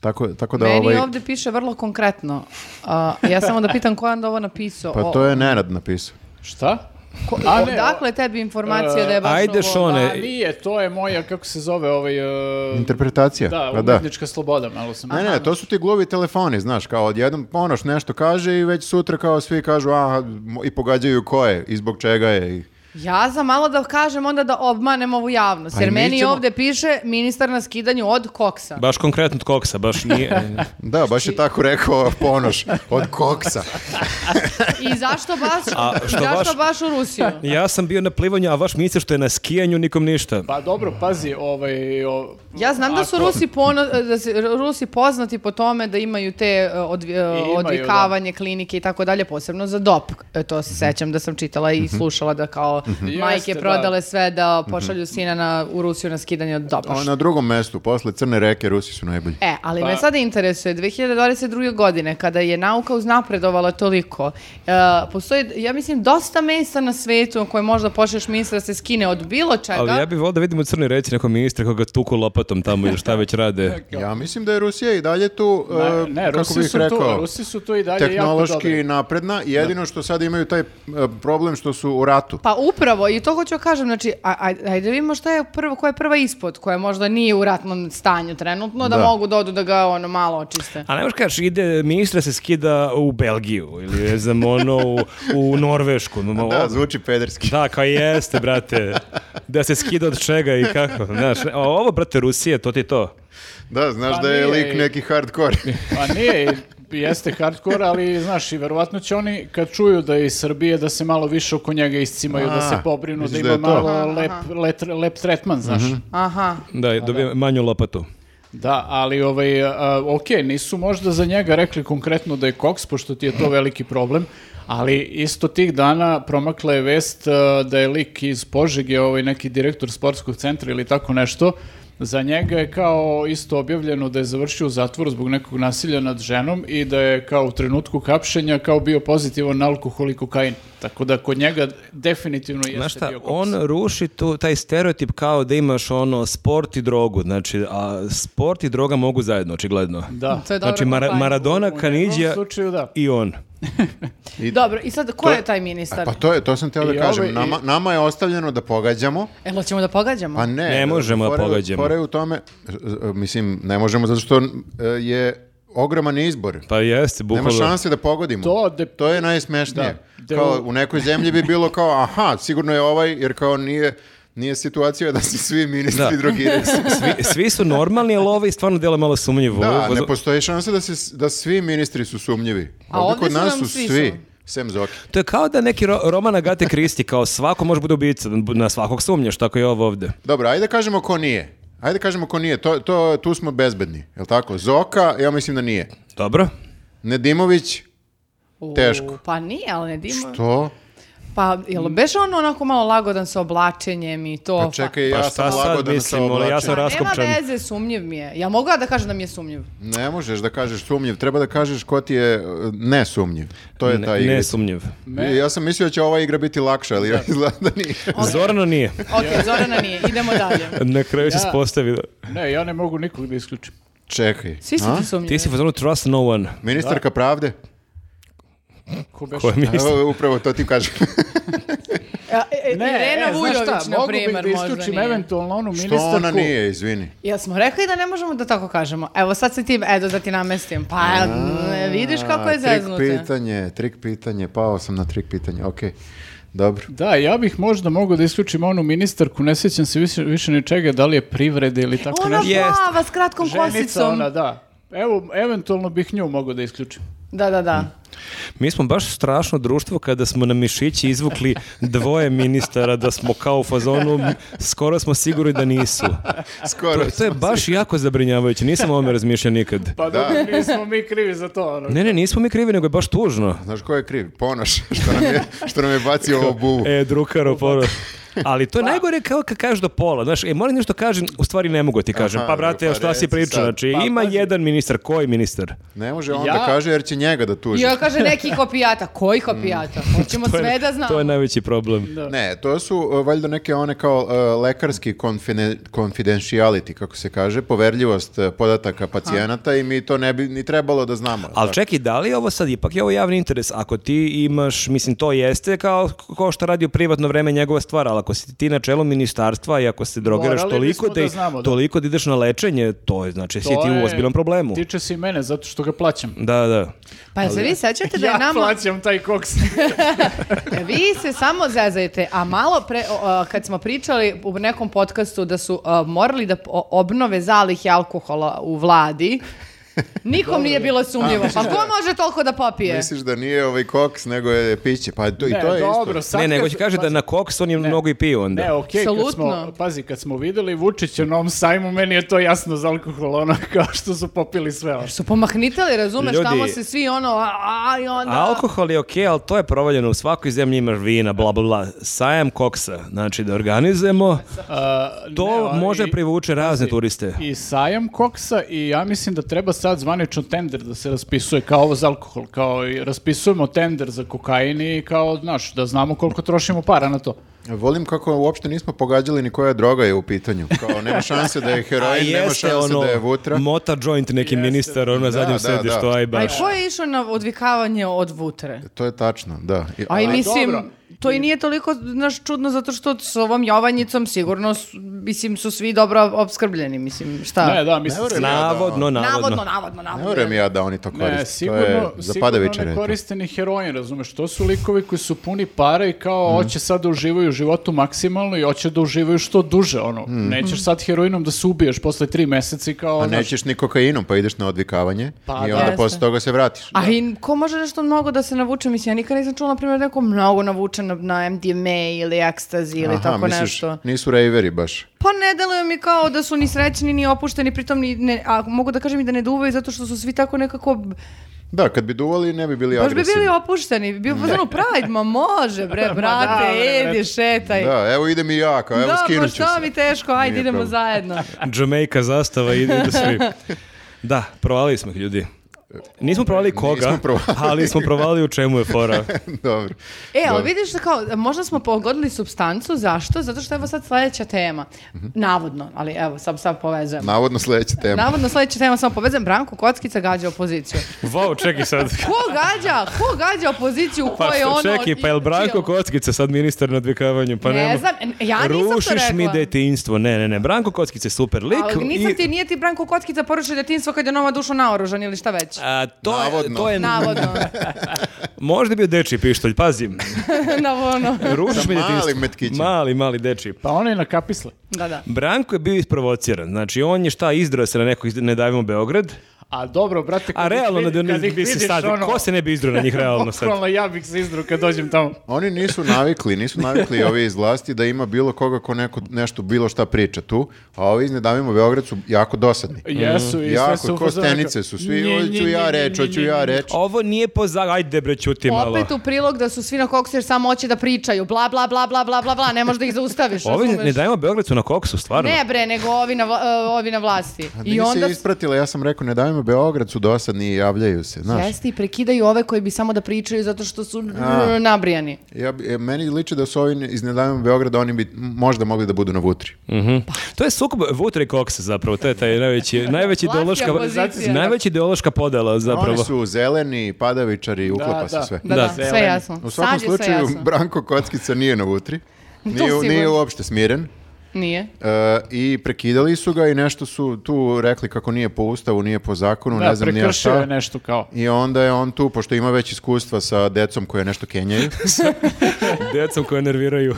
Speaker 4: Tako, tako da
Speaker 1: Meni
Speaker 4: ovaj,
Speaker 1: ovdje piše vrlo konkretno. A, ja samo da pitam ko je onda ovo napisao.
Speaker 4: pa
Speaker 1: O-
Speaker 4: to je Nenad napisao.
Speaker 3: Šta?
Speaker 1: ko-
Speaker 3: A ne,
Speaker 1: odakle tebi informacija da je baš
Speaker 2: Ajde,
Speaker 1: ovo-
Speaker 2: Šone,
Speaker 3: A nije, to je moja, kako se zove, ovaj... e,
Speaker 4: Interpretacija.
Speaker 3: Da,
Speaker 4: pa
Speaker 3: umetnička sloboda, malo sam.
Speaker 4: Ne, ne, to su ti gluvi telefoni, znaš, kao odjednom Ponoš nešto kaže i već sutra kao svi kažu aha, mo- i pogađaju ko je i zbog čega je. i-
Speaker 1: Ja za malo da kažem onda da obmanem ovu javnost,
Speaker 4: Pa i
Speaker 1: jer
Speaker 4: mi
Speaker 1: meni
Speaker 4: ćemo-
Speaker 1: ovdje piše ministar na skidanju od koksa.
Speaker 2: Baš konkretno od koksa, baš nije...
Speaker 4: Da, baš
Speaker 3: Znači-
Speaker 4: je tako rekao Ponoš, od koksa.
Speaker 1: I zašto baš,
Speaker 2: A što
Speaker 1: zašto
Speaker 2: baš-
Speaker 1: baš u Rusiju?
Speaker 2: ja sam bio na plivanju, a vaš ministar što je na skijanju, nikom ništa.
Speaker 3: Pa dobro, pazi, ovaj... o-
Speaker 1: Ja znam da su
Speaker 3: ako-
Speaker 1: Rusi, pono- da se- Rusi poznati po tome da imaju te e, odvi- e,
Speaker 3: imaju,
Speaker 1: odvikavanje klinike i tako dalje, posebno za dop. E, To se sećam da sam čitala i slušala da kao majke
Speaker 3: Mhm. Jeste, da. Mhm.
Speaker 1: prodale sve da pošalju sina na, u Rusiju na skidanje od dopa.
Speaker 3: Ono,
Speaker 4: A Na drugom mestu, posle Crne reke, Rusi su najbolji.
Speaker 1: E, ali
Speaker 3: Pa-
Speaker 1: me sada interesuje, 2022. godine, kada je nauka uznapredovala toliko, e, postoji, ja mislim, dosta mesa na svetu koje možda počneš misliti da se skine od bilo čega.
Speaker 2: Ali ja bih volio da vidim u crnoj reci nekog ministra koga tuku lopatom tamo ili šta već rade.
Speaker 4: Ja mislim da je Rusija i dalje tu,
Speaker 3: Ma,
Speaker 4: e,
Speaker 3: ne,
Speaker 4: kako
Speaker 3: Rusi
Speaker 4: bih
Speaker 3: su,
Speaker 4: rekao,
Speaker 3: tu, Rusi su tu i dalje jako
Speaker 4: tehnološki
Speaker 3: dobri.
Speaker 4: napredna. Jedino što sad imaju taj e, problem što su u ratu.
Speaker 1: Pa upravo, i to hoću da kažem, znači, a- a- ajde vidimo šta je prvo, koja je prva ispod, koja možda nije u ratnom stanju trenutno, da,
Speaker 4: Da.
Speaker 1: mogu dodu da ga ono malo očiste.
Speaker 2: A ne možeš kažeš, ide, ministra se skida u Belgiju ili ne znam, ono, u, u Norvešku. No,
Speaker 4: Da, zvuči pederski.
Speaker 2: Da, kao jeste, brate. Da se skida od čega i kako. Znaš, a ovo, brate, Rusije, to ti je to.
Speaker 4: Da, znaš
Speaker 3: Pa
Speaker 4: da je
Speaker 3: nije
Speaker 4: lik
Speaker 3: i-
Speaker 4: neki hardcore.
Speaker 3: Pa nije, i jeste hardcore, ali znaš, i verovatno će oni kad čuju da je iz Srbije, da se malo više oko njega iscimaju, da se
Speaker 4: A,
Speaker 3: pobrinu, da
Speaker 4: misliš
Speaker 3: ima
Speaker 4: da je to? Mhm.
Speaker 3: malo lep, let- lep tretman, znaš.
Speaker 1: Aha.
Speaker 2: Da, dobije manju lopatu.
Speaker 3: Da, ali ovaj, a, ok, nisu možda za njega rekli konkretno da je koks, pošto ti je to veliki problem, ali isto tih dana promakla je vest a, da je lik iz Požege, ovaj neki direktor sportskog centra ili tako nešto, za njega je kao isto objavljeno da je završio u zatvoru zbog nekog nasilja nad ženom i da je kao u trenutku hapšenja kao bio pozitivan na alkohol i kokain. Tako da kod njega definitivno jeste
Speaker 2: Znaš šta,
Speaker 3: bio koks.
Speaker 2: on ruši tu, taj stereotip kao da imaš ono sport i drogu, znači, a sport i droga mogu zajedno, očigledno.
Speaker 3: Da.
Speaker 1: To je dobro.
Speaker 2: Znači, Mara- Maradona,
Speaker 3: U
Speaker 2: Kanidija
Speaker 3: ovom slučaju da.
Speaker 2: i on.
Speaker 1: Dobro, i sad, ko
Speaker 4: To-
Speaker 1: je taj ministar?
Speaker 4: Pa to je, to sam teo da
Speaker 3: I
Speaker 4: kažem.
Speaker 3: ove- i-
Speaker 4: Nama, nama je ostavljeno da pogađamo,
Speaker 1: E, hoćemo da pogađamo?
Speaker 4: pa ne.
Speaker 2: Ne možemo da
Speaker 4: fora je-
Speaker 2: pogađamo.
Speaker 4: Fora je u tome, e, e, mislim, ne možemo zato što e, je ogroman izbor.
Speaker 2: Pa jeste,
Speaker 4: Nema
Speaker 2: bukvalno.
Speaker 4: šanse da pogodimo.
Speaker 3: To de-
Speaker 4: To je najsmešnije.
Speaker 3: Da. Da.
Speaker 4: Kao, u nekoj zemlji bi bilo kao, aha, sigurno je ovaj, jer kao nije, nije situacija da se svi ministri
Speaker 2: Da.
Speaker 4: drogiraju.
Speaker 2: Svi, svi su normalni, ali ovaj stvarno dela malo sumnjivo.
Speaker 4: Da,
Speaker 2: Ovo-
Speaker 4: ne postoji šansa da, se, da svi ministri su sumnjivi.
Speaker 1: A
Speaker 4: Ovdje
Speaker 1: ovdje
Speaker 4: kod
Speaker 1: su
Speaker 4: nas
Speaker 1: nam
Speaker 4: su
Speaker 1: svi
Speaker 4: svi,
Speaker 1: sumnjivi.
Speaker 4: sem Zoki.
Speaker 2: To je kao da neki ro, roman Agate Kristi, kao svako može bude ubica, na svakog sumnjaš, tako je ovo ovde.
Speaker 4: Dobro, ajde kažemo ko nije. Ajde kažemo ko nije, to, to, tu smo bezbedni, je tako? Zoka, ja mislim da nije.
Speaker 2: Dobro?
Speaker 4: Nedimović,
Speaker 1: U,
Speaker 4: teško.
Speaker 1: Pa nije, ali ne dima.
Speaker 4: to?
Speaker 1: Pa, jel beš on onako malo lagodan sa oblačenjem i to? Pa,
Speaker 4: Pa čekaj,
Speaker 2: Pa
Speaker 4: ja
Speaker 2: šta
Speaker 4: sam
Speaker 2: sad
Speaker 4: lagodan sa
Speaker 2: mislim, ono, ja
Speaker 4: oblačenjem.
Speaker 2: sam-
Speaker 1: Nema
Speaker 2: raskopčan.
Speaker 1: veze, sumnjiv mi je. Ja mogu ja da kažem da mi je sumnjiv?
Speaker 4: Ne možeš da kažeš sumnjiv, treba da kažeš ko ti je e, nesumnjiv. To je ta
Speaker 2: Ne,
Speaker 4: igra.
Speaker 2: ne sumnjiv.
Speaker 4: Ja sam mislio da će ova igra biti lakša, ali izgleda da nije.
Speaker 2: Zorano nije.
Speaker 1: Ok, Zorana nije, idemo dalje.
Speaker 2: Na kraju se
Speaker 3: Ja.
Speaker 2: spostavi. da-
Speaker 3: Ne, ja ne mogu nikog da isključim.
Speaker 4: Čekaj.
Speaker 1: Svi su
Speaker 4: a?
Speaker 1: ti sumnjivi.
Speaker 2: Ti si u fazonu trust no one.
Speaker 4: Ministarka pravde?
Speaker 3: Ko beše?
Speaker 2: Koja mi je isto-
Speaker 4: Evo, upravo to ti kažem.
Speaker 1: A, e, e, Irena
Speaker 3: e, znaš
Speaker 1: Vujović,
Speaker 3: šta,
Speaker 1: na
Speaker 3: mogu bih
Speaker 1: primjer,
Speaker 3: da
Speaker 1: možda
Speaker 3: isključim
Speaker 1: nije.
Speaker 3: eventualno onu
Speaker 4: Što
Speaker 3: ministarku.
Speaker 4: ona nije, izvini.
Speaker 1: Jel smo rekli da ne možemo da tako kažemo? Evo sad se ti, edo da ti namestim. Pa ne, vidiš kako je
Speaker 4: A, trik
Speaker 1: zeznuto.
Speaker 4: pitanje, trik pitanje, pao sam na trik pitanje, okej. Dobro.
Speaker 3: Da, ja bih možda mogao da isključim onu ministarku, ne sjećam se više, više ni čega, da li je privrede ili tako
Speaker 1: Ona
Speaker 3: nešto.
Speaker 2: Jest.
Speaker 1: plava s kratkom
Speaker 3: Ženica
Speaker 1: kosicom.
Speaker 3: ona, da. Evo, eventualno bih nju mogao da isključim.
Speaker 1: Da, da, da.
Speaker 2: Mi smo baš strašno društvo kada smo na mišići izvukli dvoje ministara da smo kao u fazonu, skoro smo sigurni da nisu. To,
Speaker 4: Skoro.
Speaker 2: to je baš jako zabrinjavajuće, nisam o ovome razmišljao nikad.
Speaker 3: Pa
Speaker 4: Da.
Speaker 3: dobro, nismo mi krivi za to. Ono.
Speaker 2: Ne, ne, nismo mi krivi, nego je baš tužno.
Speaker 4: Znaš ko je kriv? Ponoš, što nam je, što nam je bacio ovo bubu.
Speaker 2: E, drukaro, poro. Ali to je
Speaker 3: Pa-
Speaker 2: najgore kao kad kažeš do pola. Znaš, e, moram nešto kažem, u stvari ne mogu ti kažem.
Speaker 4: Aha,
Speaker 2: pa, brate,
Speaker 4: pa
Speaker 2: šta
Speaker 4: reci
Speaker 2: si pričao?
Speaker 4: sad.
Speaker 2: Znači,
Speaker 3: Pa,
Speaker 2: ima
Speaker 3: pazi.
Speaker 2: jedan ministar. Koji ministar?
Speaker 4: Ne može on da
Speaker 3: Ja-
Speaker 4: kaže jer će njega da
Speaker 1: I
Speaker 4: tuži.
Speaker 1: ona kaže neki kopijata. Koji kopijata? Hoćemo
Speaker 2: To je-
Speaker 3: E,
Speaker 1: sve da znamo.
Speaker 2: To je najveći problem.
Speaker 4: Ne, to su uh, valjda neke one kao uh, lekarski konfine, confidentiality, kako se kaže, poverljivost uh, podataka pacijenata i mi to ne bi ni trebalo da znamo.
Speaker 2: Ali čekaj, da li je ovo sad ipak je ovo javni interes? Ako ti imaš, mislim, to jeste kao ko što radi u privatno vreme njegova stvar, ali ali ako si ti na čelu ministarstva i ako se drogiraš
Speaker 3: Morali
Speaker 2: toliko
Speaker 3: bismo
Speaker 2: da,
Speaker 3: da
Speaker 2: i-
Speaker 3: znamo, da.
Speaker 2: toliko da ideš na lečenje, to je znači si ti u ozbiljnom problemu.
Speaker 3: Tiče se i mene, zato što ga plaćam.
Speaker 2: Da, da.
Speaker 1: Pa jel se vi sećate da je
Speaker 3: Ja
Speaker 1: nama... E,
Speaker 3: plaćam taj koks.
Speaker 1: Vi se samo zezajete, a malo pre, o, o, kad smo pričali u nekom podcastu da su o, morali da o- obnove zalihe alkohola u vladi, nikom nije bilo sumnjivo. Pa ko može toliko da popije?
Speaker 4: Misliš da nije ovaj koks, nego je piće. Pa to, i
Speaker 3: Ne,
Speaker 4: to je
Speaker 3: dobro,
Speaker 4: isto.
Speaker 3: sad
Speaker 2: ne, nego
Speaker 3: kad-
Speaker 2: će kaže da
Speaker 3: pazi,
Speaker 2: na koks on je mnogo i pio onda.
Speaker 3: Ne, okej, kad smo,
Speaker 1: Apsolutno.
Speaker 3: pazi, kad smo videli Vučića na ovom sajmu, meni je to jasno za alkohol, ono, kao što su popili sve. ono.
Speaker 1: Su pomahnitali, razumeš,
Speaker 2: Ljudi-
Speaker 1: tamo se svi ono, a, a, i onda...
Speaker 2: Alkohol je okej, ali to je provaljeno. U svakoj zemlji imaš vina, bla, bla, bla. Sajam koksa. Znači da organizujemo,
Speaker 3: A,
Speaker 2: to
Speaker 3: ne, ali-
Speaker 2: može privući razne turiste.
Speaker 3: I sajam koksa i ja mislim da treba sad zvanično tender da se raspisuje kao ovo za alkohol, kao i raspisujemo tender za kokain i kao, znaš, da znamo koliko trošimo para na to.
Speaker 4: Volim kako uopšte nismo pogađali ni koja droga je u pitanju. Kao, nema šanse da je
Speaker 2: A
Speaker 4: heroin, nema
Speaker 2: jeste
Speaker 4: šanse
Speaker 2: ono,
Speaker 4: da je vutra.
Speaker 2: mota joint neki ministar, ono na zadnjem
Speaker 4: da,
Speaker 2: sedištu,
Speaker 4: da.
Speaker 2: aj
Speaker 1: A i
Speaker 2: baš.
Speaker 1: ko je išao na odvikavanje od vutre?
Speaker 4: To je tačno, da. I-
Speaker 1: A i
Speaker 4: ali-
Speaker 1: mislim,
Speaker 3: dobro.
Speaker 1: to i nije toliko znaš, čudno zato što s ovom Jovanjicom sigurno s- mislim, su svi dobro obskrbljeni. Mislim, šta?
Speaker 3: Ne, da, mislim,
Speaker 4: verujem.
Speaker 2: Navodno,
Speaker 1: navodno,
Speaker 2: navodno.
Speaker 1: navodno, navodno.
Speaker 4: Ne verujem ja da oni to koriste.
Speaker 3: Ne,
Speaker 4: to
Speaker 3: sigurno,
Speaker 4: je
Speaker 3: sigurno
Speaker 4: zapadavičar.
Speaker 3: ne
Speaker 4: je to.
Speaker 3: koriste ni heroin, razumeš, to su likovi koji su puni para i
Speaker 4: Mhm.
Speaker 3: kao hoće sad da uživaju u životu maksimalno i hoće da uživaju što duže, ono, nećeš sad heroinom da se ubiješ posle tri meseci kao,
Speaker 4: Mhm. A
Speaker 3: znaš,
Speaker 4: Pa nećeš ni kokainom, pa ideš na odvikavanje
Speaker 3: ono- Pa
Speaker 4: i
Speaker 3: da.
Speaker 4: onda
Speaker 1: Jeste.
Speaker 4: posle toga se vratiš.
Speaker 1: A i ko može nešto mnogo da se navuče? Mislim, ja nikad nisam čula, na primjer, da je neko mnogo navuče na, na MDMA ili ekstazi ili
Speaker 4: Aha,
Speaker 1: tako
Speaker 4: misliš,
Speaker 1: nešto.
Speaker 4: nisu rejveri baš.
Speaker 1: Pa ne deluje mi kao da su ni srećni, ni opušteni, pritom ni, ne, a mogu da kažem i da ne duvaju zato što su svi tako nekako,
Speaker 4: Da, kad bi duvali ne bi bili
Speaker 1: baš bi
Speaker 4: agresivni.
Speaker 1: bili opušteni, bi bio pozvan Pride, ma može bre, brate,
Speaker 3: bre,
Speaker 1: idi, šetaj.
Speaker 4: Da, evo idem i ja, kao, evo
Speaker 1: Dobro,
Speaker 4: skinut ću
Speaker 1: šta
Speaker 4: se.
Speaker 1: mi teško, ajde
Speaker 4: Nije
Speaker 1: idemo
Speaker 4: problem.
Speaker 1: zajedno.
Speaker 2: Jamaica zastava ide do svi. Da, provalili smo ih, ljudi. Nismo provalili koga,
Speaker 4: Nismo provalili.
Speaker 2: ali smo provalili u čemu je fora.
Speaker 4: Dobro.
Speaker 1: E, ali
Speaker 4: Dobro.
Speaker 1: vidiš da kao, možda smo pogodili substancu, zašto? Zato što evo sad sledeća tema. Navodno, ali evo, sad, sad povezujem.
Speaker 4: Navodno sledeća tema.
Speaker 1: Navodno sledeća tema samo povezujem, Branko Kockica gađa opoziciju.
Speaker 2: Vau, čekaj sad.
Speaker 1: Ko gađa? Ko gađa opoziciju? Ko
Speaker 2: Pa
Speaker 1: je ono?
Speaker 2: čekaj, pa je li Branko
Speaker 1: čijel?
Speaker 2: Kockica sad ministar na odvikavanju? Pa
Speaker 1: Ne
Speaker 2: nema.
Speaker 1: znam, e, ja nisam to
Speaker 2: Rušiš mi
Speaker 1: rekla.
Speaker 2: detinjstvo. Ne, ne, ne. Branko Kockica je super lik.
Speaker 1: Ali nisam
Speaker 2: i-
Speaker 1: ti, nije ti Branko Kockica poručio detinstvo kad je nova duša naoružan ili šta već?
Speaker 2: A, to, je,
Speaker 4: Navodno.
Speaker 2: to je,
Speaker 1: Navodno.
Speaker 2: možda je bio dečiji pištolj, pazi.
Speaker 1: Navodno.
Speaker 2: Rušiš
Speaker 4: Sa
Speaker 2: mi
Speaker 4: malim
Speaker 2: detinjstvo.
Speaker 4: metkićem.
Speaker 2: Mali, mali dečiji.
Speaker 3: pa ono je na kapisle.
Speaker 1: Da, da.
Speaker 2: Branko je bio isprovociran, znači on je šta izdrao se na nekog iz- ne davimo Beograd,
Speaker 3: A dobro, brate,
Speaker 2: a realno
Speaker 3: ih
Speaker 2: da
Speaker 3: vid-
Speaker 2: ne
Speaker 3: kad ih
Speaker 2: bi se
Speaker 3: vidiš,
Speaker 2: sad,
Speaker 3: ono,
Speaker 2: ko se ne bi izdrao na njih realno sad?
Speaker 3: bukvalno ja bih se izdru kad dođem tamo.
Speaker 4: Oni nisu navikli, nisu navikli ovi iz vlasti da ima bilo koga ko neko, nešto, bilo šta priča tu, a ovi iz Nedavimo Beograd su jako dosadni.
Speaker 3: Mm-hmm. Jesu i sve su...
Speaker 4: Jako,
Speaker 3: u fazonu kao,
Speaker 4: kostenice su svi,
Speaker 3: "Nje,
Speaker 4: hoću
Speaker 3: nje,
Speaker 4: ja
Speaker 3: nje,
Speaker 4: reći,
Speaker 3: nje,
Speaker 4: hoću
Speaker 3: nje,
Speaker 4: ja
Speaker 3: nje."
Speaker 4: reći.
Speaker 2: Ovo nije po za... Ajde bre, ćuti malo.
Speaker 1: Opet u prilog da su svi na koksu jer samo hoće da pričaju, bla, bla, bla, bla, bla, bla, bla, ne možeš da ih zaustaviš.
Speaker 2: Ovi
Speaker 1: razumeš?
Speaker 2: ne davimo Beograd su na koksu, stvarno.
Speaker 1: Ne bre, nego ovi na, vla- e, ovi na vlasti.
Speaker 4: A
Speaker 1: I
Speaker 4: nisi
Speaker 1: onda...
Speaker 4: ispratila, ja sam rekao, ne davimo Beograd, su dosadni i javljaju se, znaš.
Speaker 1: Jeste i prekidaju ove koji bi samo da pričaju zato što su r- nabrijani.
Speaker 4: Ja, bi- e, meni liči da su ovi iz Ne davimo Beograda, oni bi m- možda mogli da budu na vutri.
Speaker 2: To je sukob Vutra i Koksa zapravo, to je taj najveći, najveći
Speaker 1: Vlast i
Speaker 2: ideološka,
Speaker 1: opozicija.
Speaker 2: najveći ideološka podela zapravo.
Speaker 4: Oni su zeleni, padavičari, uklapa
Speaker 3: Da,
Speaker 4: se
Speaker 3: da.
Speaker 4: sve.
Speaker 1: Da,
Speaker 2: Da.
Speaker 1: da, sve
Speaker 3: Zeleni.
Speaker 1: jasno.
Speaker 4: U svakom
Speaker 1: Sad je sve
Speaker 4: slučaju,
Speaker 1: jasno.
Speaker 4: Branko Kockica nije na vutri. Nije,
Speaker 1: sigurno.
Speaker 4: nije uopšte smiren.
Speaker 1: Nije.
Speaker 4: E, I prekidali su ga i nešto su tu rekli kako nije po ustavu, nije po zakonu,
Speaker 3: Da,
Speaker 4: ne znam ni ja
Speaker 3: prekršio
Speaker 4: šta.
Speaker 3: je nešto kao.
Speaker 4: I onda je on tu, pošto ima već iskustva sa decom koje nešto kenjaju.
Speaker 2: Decom koje nerviraju.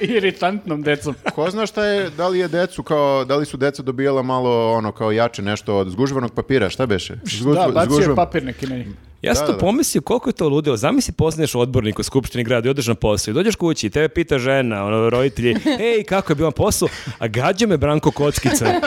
Speaker 3: Iritantnom decom.
Speaker 4: Ko zna šta je, da li je decu kao, da li su deca dobijala malo ono kao jače nešto od zgužvanog papira, šta beše? Zgu-
Speaker 3: Da, bacio je
Speaker 4: zgužvan-
Speaker 3: papir neki na njih.
Speaker 2: Ja sam
Speaker 4: Da,
Speaker 2: to
Speaker 4: da.
Speaker 2: pomislio koliko je to ludilo. Zamisli postaneš odbornik u Skupštini grada i odeš na posao i dođeš kući i tebe pita žena, ono, roditelji, ej, kako je bio na poslu, a gađa me Branko Kockica.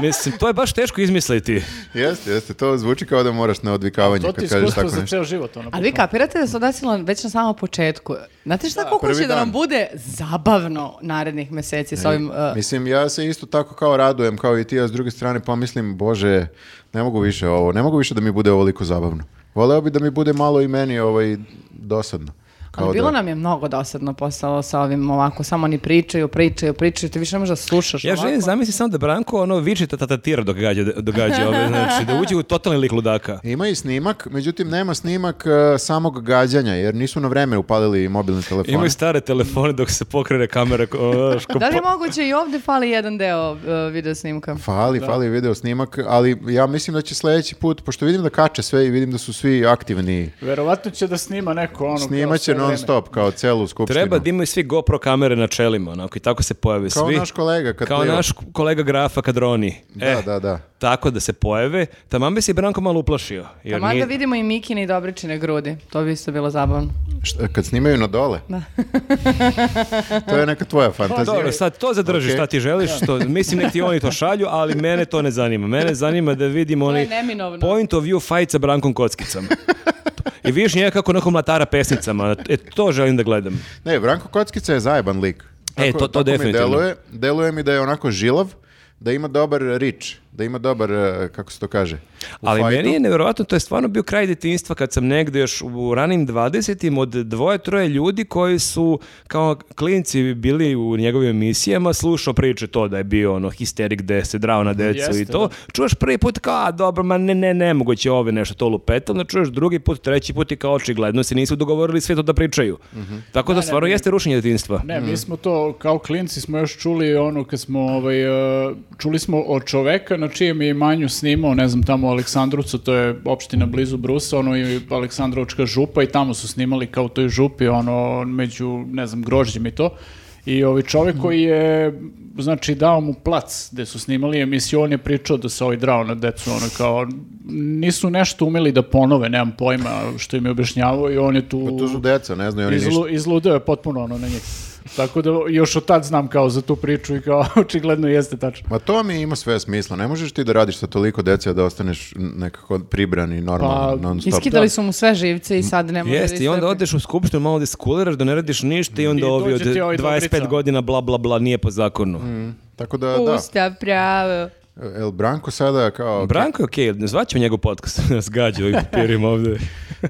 Speaker 2: Mislim, to je baš teško izmisliti.
Speaker 4: Jeste, jeste, to zvuči kao da moraš na odvikavanje
Speaker 3: To ti
Speaker 4: kad
Speaker 3: je
Speaker 4: kažeš
Speaker 3: iskustvo
Speaker 4: tako
Speaker 3: za
Speaker 4: nešto.
Speaker 3: ceo život. Ono,
Speaker 1: Ali vi kapirate da se odasilo već na samom početku. Znate šta koliko
Speaker 4: prvi
Speaker 1: će da nam
Speaker 4: dan.
Speaker 1: bude zabavno narednih meseci sa ovim... uh,
Speaker 4: Mislim, ja se isto tako kao radujem, kao i ti, a s druge strane pa mislim, bože, ne mogu više ovo, ne mogu više da mi bude ovoliko zabavno. Voleo bi da mi bude malo i meni ovaj dosadno. Kao
Speaker 1: Ali bilo
Speaker 4: da-
Speaker 1: nam je mnogo dosadno postalo sa ovim ovako, samo oni pričaju, pričaju, pričaju, ti više ne možeš da slušaš
Speaker 2: Ja
Speaker 1: ovako.
Speaker 2: želim zamisli samo da Branko ono viče tatatira dok gađa, dok gađa ove, znači da uđe u totalni lik ludaka.
Speaker 4: Ima i snimak, međutim nema snimak e, samog gađanja, jer nisu na vreme upalili mobilni telefon.
Speaker 2: Imaju stare telefone dok se pokrene kamera. ko- o, ško-
Speaker 1: Da li je moguće i ovdje fali jedan deo uh, video snimka?
Speaker 4: Fali, fali video snimak, ali ja mislim da će sljedeći put, pošto vidim da kače sve i vidim da su svi aktivni,
Speaker 3: Verovatno će da snima neko ono... kao
Speaker 4: snimaće
Speaker 3: sve vreme.
Speaker 4: non stop kao celu skupštinu.
Speaker 2: Treba da imaju svi GoPro kamere na čelima, onako, i tako se pojave
Speaker 4: Kao
Speaker 2: svi.
Speaker 4: naš kolega kad
Speaker 2: Kao
Speaker 4: pliva.
Speaker 2: naš kolega grafa kad roni.
Speaker 4: Da,
Speaker 2: E,
Speaker 4: da, da.
Speaker 2: Tako da se pojave. Taman bi se i Branko malo uplašio. Jer
Speaker 1: Taman
Speaker 2: nije-
Speaker 1: da Pa vidimo i Mikine i Dobričine grudi. To bi isto bilo zabavno.
Speaker 4: Šta, kad snimaju na dole? to je neka tvoja fantazija.
Speaker 2: Dobro, sad to zadrži
Speaker 4: Ok.
Speaker 2: šta ti želiš, što, mislim nek ti oni to šalju, ali mene to ne zanima. Mene zanima da vidim onaj
Speaker 1: neminovno.
Speaker 2: point of view fight sa Brankom Kockicom. I vidiš njega kako onako mlatara pesnicama. E, to želim da gledam.
Speaker 4: Ne, Branko Kockica je zajeban lik.
Speaker 2: E, to- to definitivno.
Speaker 4: Mi deluje, deluje mi da je onako žilav, da ima dobar rič, da ima dobar, e, kako se to kaže, u
Speaker 2: Ali
Speaker 4: fajtu.
Speaker 2: meni je nevjerovatno, to je stvarno bio kraj detinjstva kad sam negde još u ranim 20-im od dvoje, troje ljudi koji su kao klinci bili u njegovim emisijama, slušao priče to da je bio ono histerik da se drao na decu
Speaker 3: Jeste,
Speaker 2: i to. Čuješ prvi put kao, a, dobro, ma ne, ne, nemoguće ove nešto to lupetam, onda čuješ drugi put, treći put i kao očigledno se nisu dogovorili sve to da pričaju. Tako da stvarno jeste rušenje detinjstva.
Speaker 3: Ne,
Speaker 4: Mm.
Speaker 3: mi smo to, kao klinci smo još čuli ono kad smo, ovaj, e, čuli smo od čoveka na čijem je imanju snimao, ne znam, tamo u Aleksandrovcu, to je opština blizu Brusa, ono i Aleksandrovačka župa i tamo su snimali kao u toj župi, ono, među, ne znam, grožđem i to. I ovaj čovek
Speaker 4: Mm.
Speaker 3: koji je, znači, dao mu plac gde su snimali emisiju, on je pričao da se ovaj drao na decu, ono kao, nisu nešto umeli da ponove, nemam pojma što im je objašnjavao i on je tu...
Speaker 4: Pa To su deca, ne znaju oni ništa.
Speaker 3: Izlu, izludeo je potpuno ono na njih. Tako da još od tad znam kao za tu priču i kao očigledno jeste tačno.
Speaker 4: Ma to mi ima sve smisla. Ne možeš ti da radiš sa toliko dece a da ostaneš nekako pribran i normalan
Speaker 3: Pa,
Speaker 4: non stop.
Speaker 1: Iskidali su mu sve živce i sad ne može da
Speaker 2: Jeste, i onda
Speaker 1: istrpi.
Speaker 2: odeš u skupštinu, malo diskuliraš da ne radiš ništa i onda
Speaker 3: I
Speaker 2: ovi od
Speaker 3: dođe ti ovaj
Speaker 2: 25
Speaker 3: dobrica.
Speaker 2: godina bla bla bla nije po zakonu.
Speaker 4: Tako da, da.
Speaker 1: Ustav pravo.
Speaker 4: El Branko sada kao...
Speaker 2: Branko je okej, ne zvaćemo njegov podcast, nas gađa ovim papirima ovde.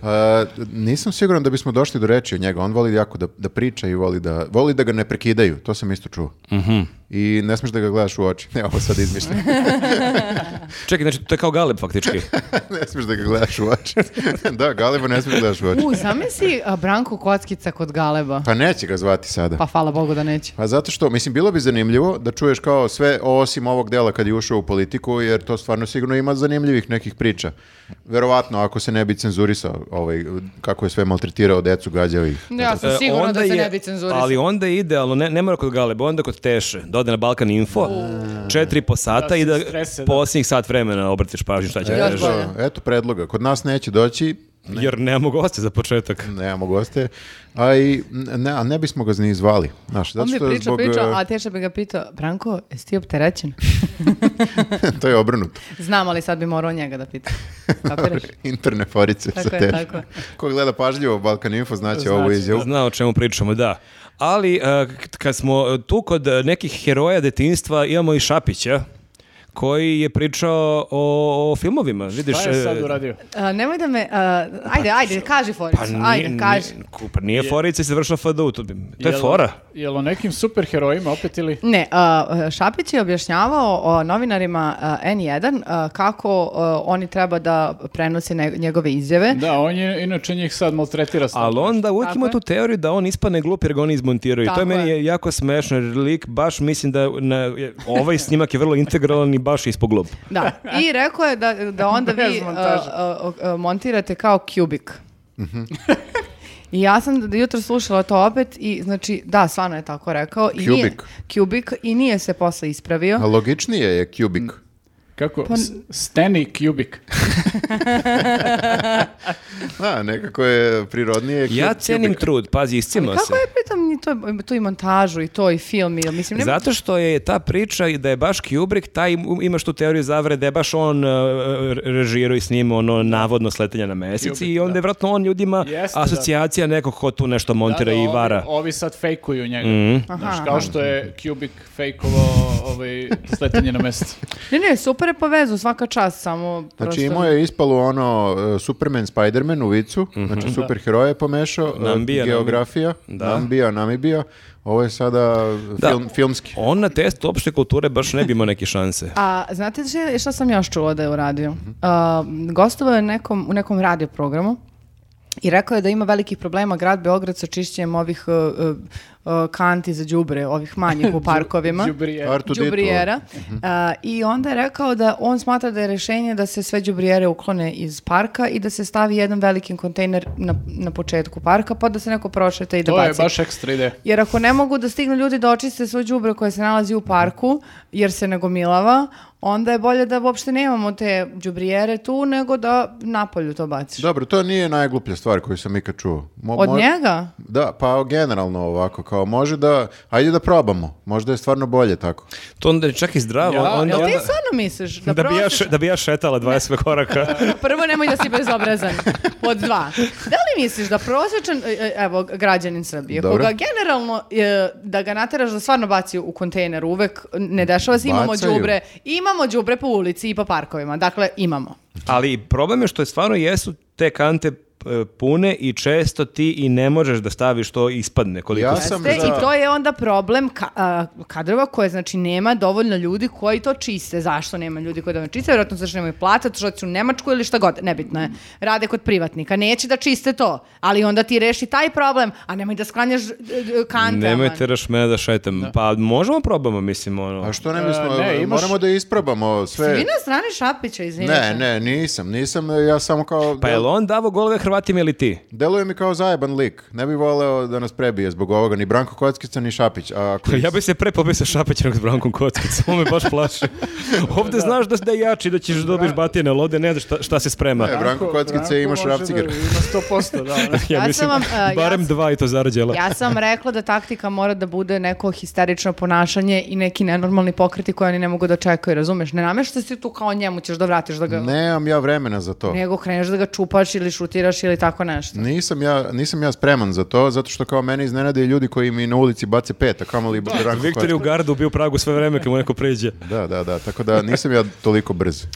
Speaker 4: A, Pa, nisam siguran da bismo došli do reči od njega. On voli jako da, da priča i voli da, voli da ga ne prekidaju. To sam isto čuo.
Speaker 1: Mhm.
Speaker 4: I ne smeš da ga gledaš u oči. Ne, ovo sad izmišljam.
Speaker 2: Čekaj, znači to je kao Galeb faktički.
Speaker 4: ne smeš da ga gledaš u oči. da, Galeba ne smeš da gledaš u oči.
Speaker 1: U, zamisli a, Branko Kockica kod Galeba.
Speaker 4: Pa neće ga zvati sada.
Speaker 1: Pa hvala Bogu da neće.
Speaker 4: Pa zato što, mislim, bilo bi zanimljivo da čuješ kao sve osim ovog dela kad je ušao u politiku, jer to stvarno sigurno ima zanimljivih nekih priča. Verovatno, ako se ne bi cenzurisao ovaj, kako je sve maltretirao decu, gađao ih.
Speaker 1: Ja sam
Speaker 2: E,
Speaker 1: sigurna
Speaker 2: onda
Speaker 1: da se
Speaker 2: je-
Speaker 1: ne bi cenzurisao.
Speaker 2: Ali onda je idealno, ne, ne mora kod Galeba, onda kod Teše, da ode na Balkan Info, četiri i po sata
Speaker 3: Da se
Speaker 2: i da
Speaker 3: strese, da.
Speaker 2: posljednjih sat vremena obratiš pažnju šta će da
Speaker 1: Još
Speaker 2: kažeš.
Speaker 1: bolje.
Speaker 4: Eto, eto predloga. Kod nas neće doći,
Speaker 2: Jer nemamo goste za početak.
Speaker 4: nemamo goste, a i ne, a ne bismo ga ni zvali. Znaš, zato
Speaker 1: On mi
Speaker 4: što
Speaker 1: priča,
Speaker 4: zbog,
Speaker 1: priča,
Speaker 2: e-
Speaker 1: a Teša bi ga pitao, Branko, jesi ti opterećen?
Speaker 4: to je obrnuto.
Speaker 1: Znam, ali sad bi morao njega da pita. Kapiraš?
Speaker 4: Interne forice
Speaker 1: Tako
Speaker 4: sa
Speaker 1: je,
Speaker 4: težom.
Speaker 1: tako je.
Speaker 4: Ko gleda pažljivo Balkan Info znaće ovu izjavu.
Speaker 2: Zna o čemu pričamo, da. Ali e, k- kad smo e, tu kod e, nekih heroja detinjstva, imamo i Šapića, koji je pričao o, o filmovima. Vidiš,
Speaker 3: Šta je sad
Speaker 2: e,
Speaker 3: uradio?
Speaker 1: A, nemoj da me... a, ajde, ajde, kaži Foris.
Speaker 2: Pa
Speaker 1: ajde,
Speaker 2: nije,
Speaker 1: kaži.
Speaker 2: nije- ku- pa nije forica i se završila FDU, to, bi- to je fora.
Speaker 3: Jel o nekim superherojima opet ili...
Speaker 1: Ne, a, Šapić je objašnjavao o novinarima e, a, N1 a, kako a, oni treba da prenose ne- njegove izjave.
Speaker 3: Da, on je, inače njih sad maltretira stavno.
Speaker 2: Ali onda uvijek
Speaker 1: Tako
Speaker 2: ima
Speaker 1: je.
Speaker 2: tu teoriju da on ispane glup jer ga oni izmontiraju. I to
Speaker 1: Tako
Speaker 2: je meni
Speaker 1: je.
Speaker 2: je jako smešno jer lik baš mislim da na, je- ovaj snimak je vrlo integralan i baš ispod glup.
Speaker 1: Da, i rekao je da, da onda
Speaker 3: Bez
Speaker 1: vi e,
Speaker 3: montaže.
Speaker 1: a, a, a, e, montirate kao kubik.
Speaker 2: Mhm.
Speaker 1: I ja sam d- jutro slušala to opet i znači, da, stvarno je tako rekao. I Nije,
Speaker 4: Kubik.
Speaker 1: kubik i nije se posle ispravio.
Speaker 4: A logičnije je Kubik.
Speaker 1: Mm.
Speaker 3: Kako? S- Stanley Kubrick.
Speaker 4: Da, nekako je prirodnije Cu-
Speaker 2: Ja cenim
Speaker 4: Kubik.
Speaker 2: trud, pazi, iscima se.
Speaker 1: Kako je pritom i to, tu i montažu i to i film i mislim nema
Speaker 2: Zato što je ta priča i da je baš Kubrick, taj im- imaš tu teoriju zavre da je baš on režiro režirao i snimao ono navodno sletanje na mesec
Speaker 3: Kubrick,
Speaker 2: i onda je vratno on ljudima
Speaker 3: Jeste, da.
Speaker 2: asocijacija nekog ko tu nešto montira
Speaker 3: Da, da,
Speaker 2: i vara.
Speaker 3: Ovi, ovi sad fejkuju njega.
Speaker 2: Mhm.
Speaker 3: Znaš, kao što je Kubrick fejkovao ovaj, sletanje na mesto.
Speaker 1: Ne, ne, super dobre povezu, svaka čast, samo
Speaker 4: Znači imao je ispalu ono uh, Superman, Spiderman u vicu, znači super heroje pomešao, uh,
Speaker 2: Mhm. Nambija,
Speaker 4: geografija,
Speaker 2: Namibija. Da.
Speaker 4: Nambija, Namibija, ovo je sada film, filmski.
Speaker 2: On na testu opšte kulture baš ne bi imao neke šanse.
Speaker 1: A znate šta, šta sam još čula da je uradio?
Speaker 4: Mhm.
Speaker 1: A, gostovao je nekom, u nekom radio programu i rekao je da ima velikih problema grad Beograd sa čišćenjem ovih e, e, e, kanti za đubre, ovih manjih u parkovima.
Speaker 3: Đubrije.
Speaker 4: Artu Mhm. Ditu.
Speaker 1: Đubrijera. A, I onda je rekao da on smatra da je rešenje da se sve đubrijere uklone iz parka i da se stavi jedan veliki kontejner na, na početku parka pa da se neko prošeta i da
Speaker 3: To je
Speaker 1: baci.
Speaker 3: baš ekstra ideja.
Speaker 1: Jer ako ne mogu da stignu ljudi da očiste svo đubre koje se nalazi u parku, jer se nagomilava, onda je bolje da uopšte nemamo te đubrijere tu, nego da napolju to baciš.
Speaker 4: Dobro, to nije najgluplja stvar koju sam ikad čuo. Mo-
Speaker 1: Od
Speaker 4: mo-
Speaker 1: njega?
Speaker 4: Da, pa generalno ovako, kao može da, ajde da probamo, možda je stvarno bolje tako.
Speaker 2: To onda je čak i zdravo.
Speaker 3: Ja,
Speaker 2: onda,
Speaker 1: Jel ti
Speaker 2: onda-
Speaker 1: stvarno misliš da,
Speaker 2: da, bi ja,
Speaker 1: prosiš-
Speaker 2: še- da bi ja šetala 20 koraka.
Speaker 1: Prvo, nemoj da si bezobrazan. Pod dva. Da li misliš da prosječan, e, e, evo, građanin Srbije,
Speaker 4: Dobro.
Speaker 1: koga generalno, e, da ga nateraš da stvarno baci u kontejner uvek, ne dešava se, imamo
Speaker 4: Bacaju.
Speaker 1: đubre, imamo đubre po ulici i po parkovima, dakle, imamo.
Speaker 2: Ali problem je što je stvarno jesu te kante e, pune i često ti i ne možeš da staviš to ispadne koliko
Speaker 4: Ja
Speaker 2: se-
Speaker 4: sam
Speaker 1: Jeste,
Speaker 4: za-
Speaker 1: I to je onda problem ka, a, kadrova koje znači nema dovoljno ljudi koji to čiste. Zašto nema ljudi koji dovoljno čiste? Vjerojatno zato što nemaju plata, zato što su u Nemačku ili šta god, nebitno je. Rade kod privatnika, neće da čiste to, ali onda ti reši taj problem, a nemoj da sklanjaš e, e, kante.
Speaker 2: Nemoj
Speaker 1: aman.
Speaker 2: teraš mene da šetam. Pa možemo probamo, mislim, ono.
Speaker 4: A što ne
Speaker 3: E,
Speaker 4: bismo,
Speaker 3: ne, imaš-
Speaker 4: moramo da isprobamo sve.
Speaker 1: Vi na strani Šapića, izvinite.
Speaker 4: Ne, ne, nisam, nisam, ja samo kao...
Speaker 2: Pa je li on davo golove Hrvatima ili ti?
Speaker 4: Deluje mi kao zajeban lik. Ne bih voleo da nas prebije zbog ovoga ni Branko Kockica ni Šapić. A ako
Speaker 2: Ja bi se pre pobio sa Šapećem s Brankom Kockicom, on me baš plaši. Ovde znaš da, da je jači, da ćeš dobiješ batine, lode, ne znaš šta, šta se sprema.
Speaker 4: E, Branko Kockica i imaš
Speaker 3: može da
Speaker 4: Ravciger.
Speaker 3: Ima 100%, da. da.
Speaker 1: Ja sam vam, a,
Speaker 2: barem
Speaker 1: ja sam-
Speaker 2: dva i to zarađela.
Speaker 1: Ja sam rekla da taktika mora da bude neko histerično ponašanje i neki nenormalni pokreti koje oni ne mogu da čekaju, razumeš? Ne namešta si tu kao njemu, ćeš da vratiš da ga...
Speaker 4: Nemam ja vremena za to.
Speaker 1: Nego kreneš da ga čupaš ili šutiraš ili tako nešto.
Speaker 4: Nisam ja, nisam ja spreman za to, zato što kao mene iznenade ljudi koji mi na ulici bace pet, a kamoli Branko
Speaker 2: Viktor je u
Speaker 4: Kockica.
Speaker 2: gardu bio u Pragu sve vreme kad mu neko pređe.
Speaker 4: Da, da, da, tako da nisam ja toliko brz.
Speaker 1: Uh,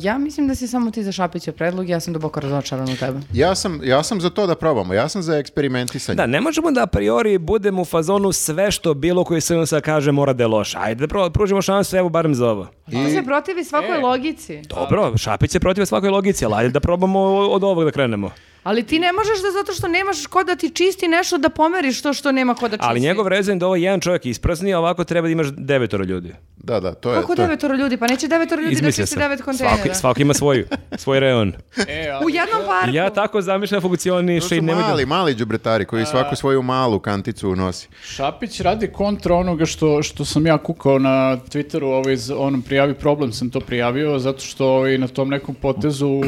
Speaker 1: ja mislim da si samo ti za Šapića predlog, ja sam duboko razočaran u tebe.
Speaker 4: Ja sam, ja sam za to da probamo, ja sam za eksperimentisanje.
Speaker 2: Da, ne možemo da a priori budemo u fazonu sve što bilo koji se sad kaže mora da je loše. Ajde da pro- pružimo šansu, evo barem za ovo.
Speaker 1: Ti se protivi svakoj
Speaker 3: E.
Speaker 1: logici,
Speaker 2: Dobro, Šapić se protiv svakoj logici, ali ajde da probamo o- od ovog da krenemo.
Speaker 1: ali ti ne možeš da zato što nemaš ko da ti čisti nešto da pomeriš to što nema ko da čisti.
Speaker 2: Ali njegov rezon je da ovo jedan čovjek isprazni, a ovako treba da imaš devetoro ljudi.
Speaker 4: Da, da, to je...
Speaker 1: Kako
Speaker 4: to je-
Speaker 1: devetoro ljudi? Pa neće devetoro ljudi da
Speaker 2: Izmislio
Speaker 1: čisti
Speaker 2: sam.
Speaker 1: devet kontejnera.
Speaker 2: Svako, svako ima svoju, svoj reon.
Speaker 3: E,
Speaker 1: U
Speaker 3: ali-
Speaker 1: jednom parku.
Speaker 2: Ja tako zamišljam
Speaker 4: To
Speaker 2: funkcioniše i
Speaker 4: su
Speaker 2: ne
Speaker 4: mali, mali džubretari koji svaku svoju malu kanticu unosi.
Speaker 3: Šapić radi kontra onoga što, što sam ja kukao na Twitteru, ovaj, z- onom prijavi problem sam to prijavio, zato što ovaj, na tom nekom potezu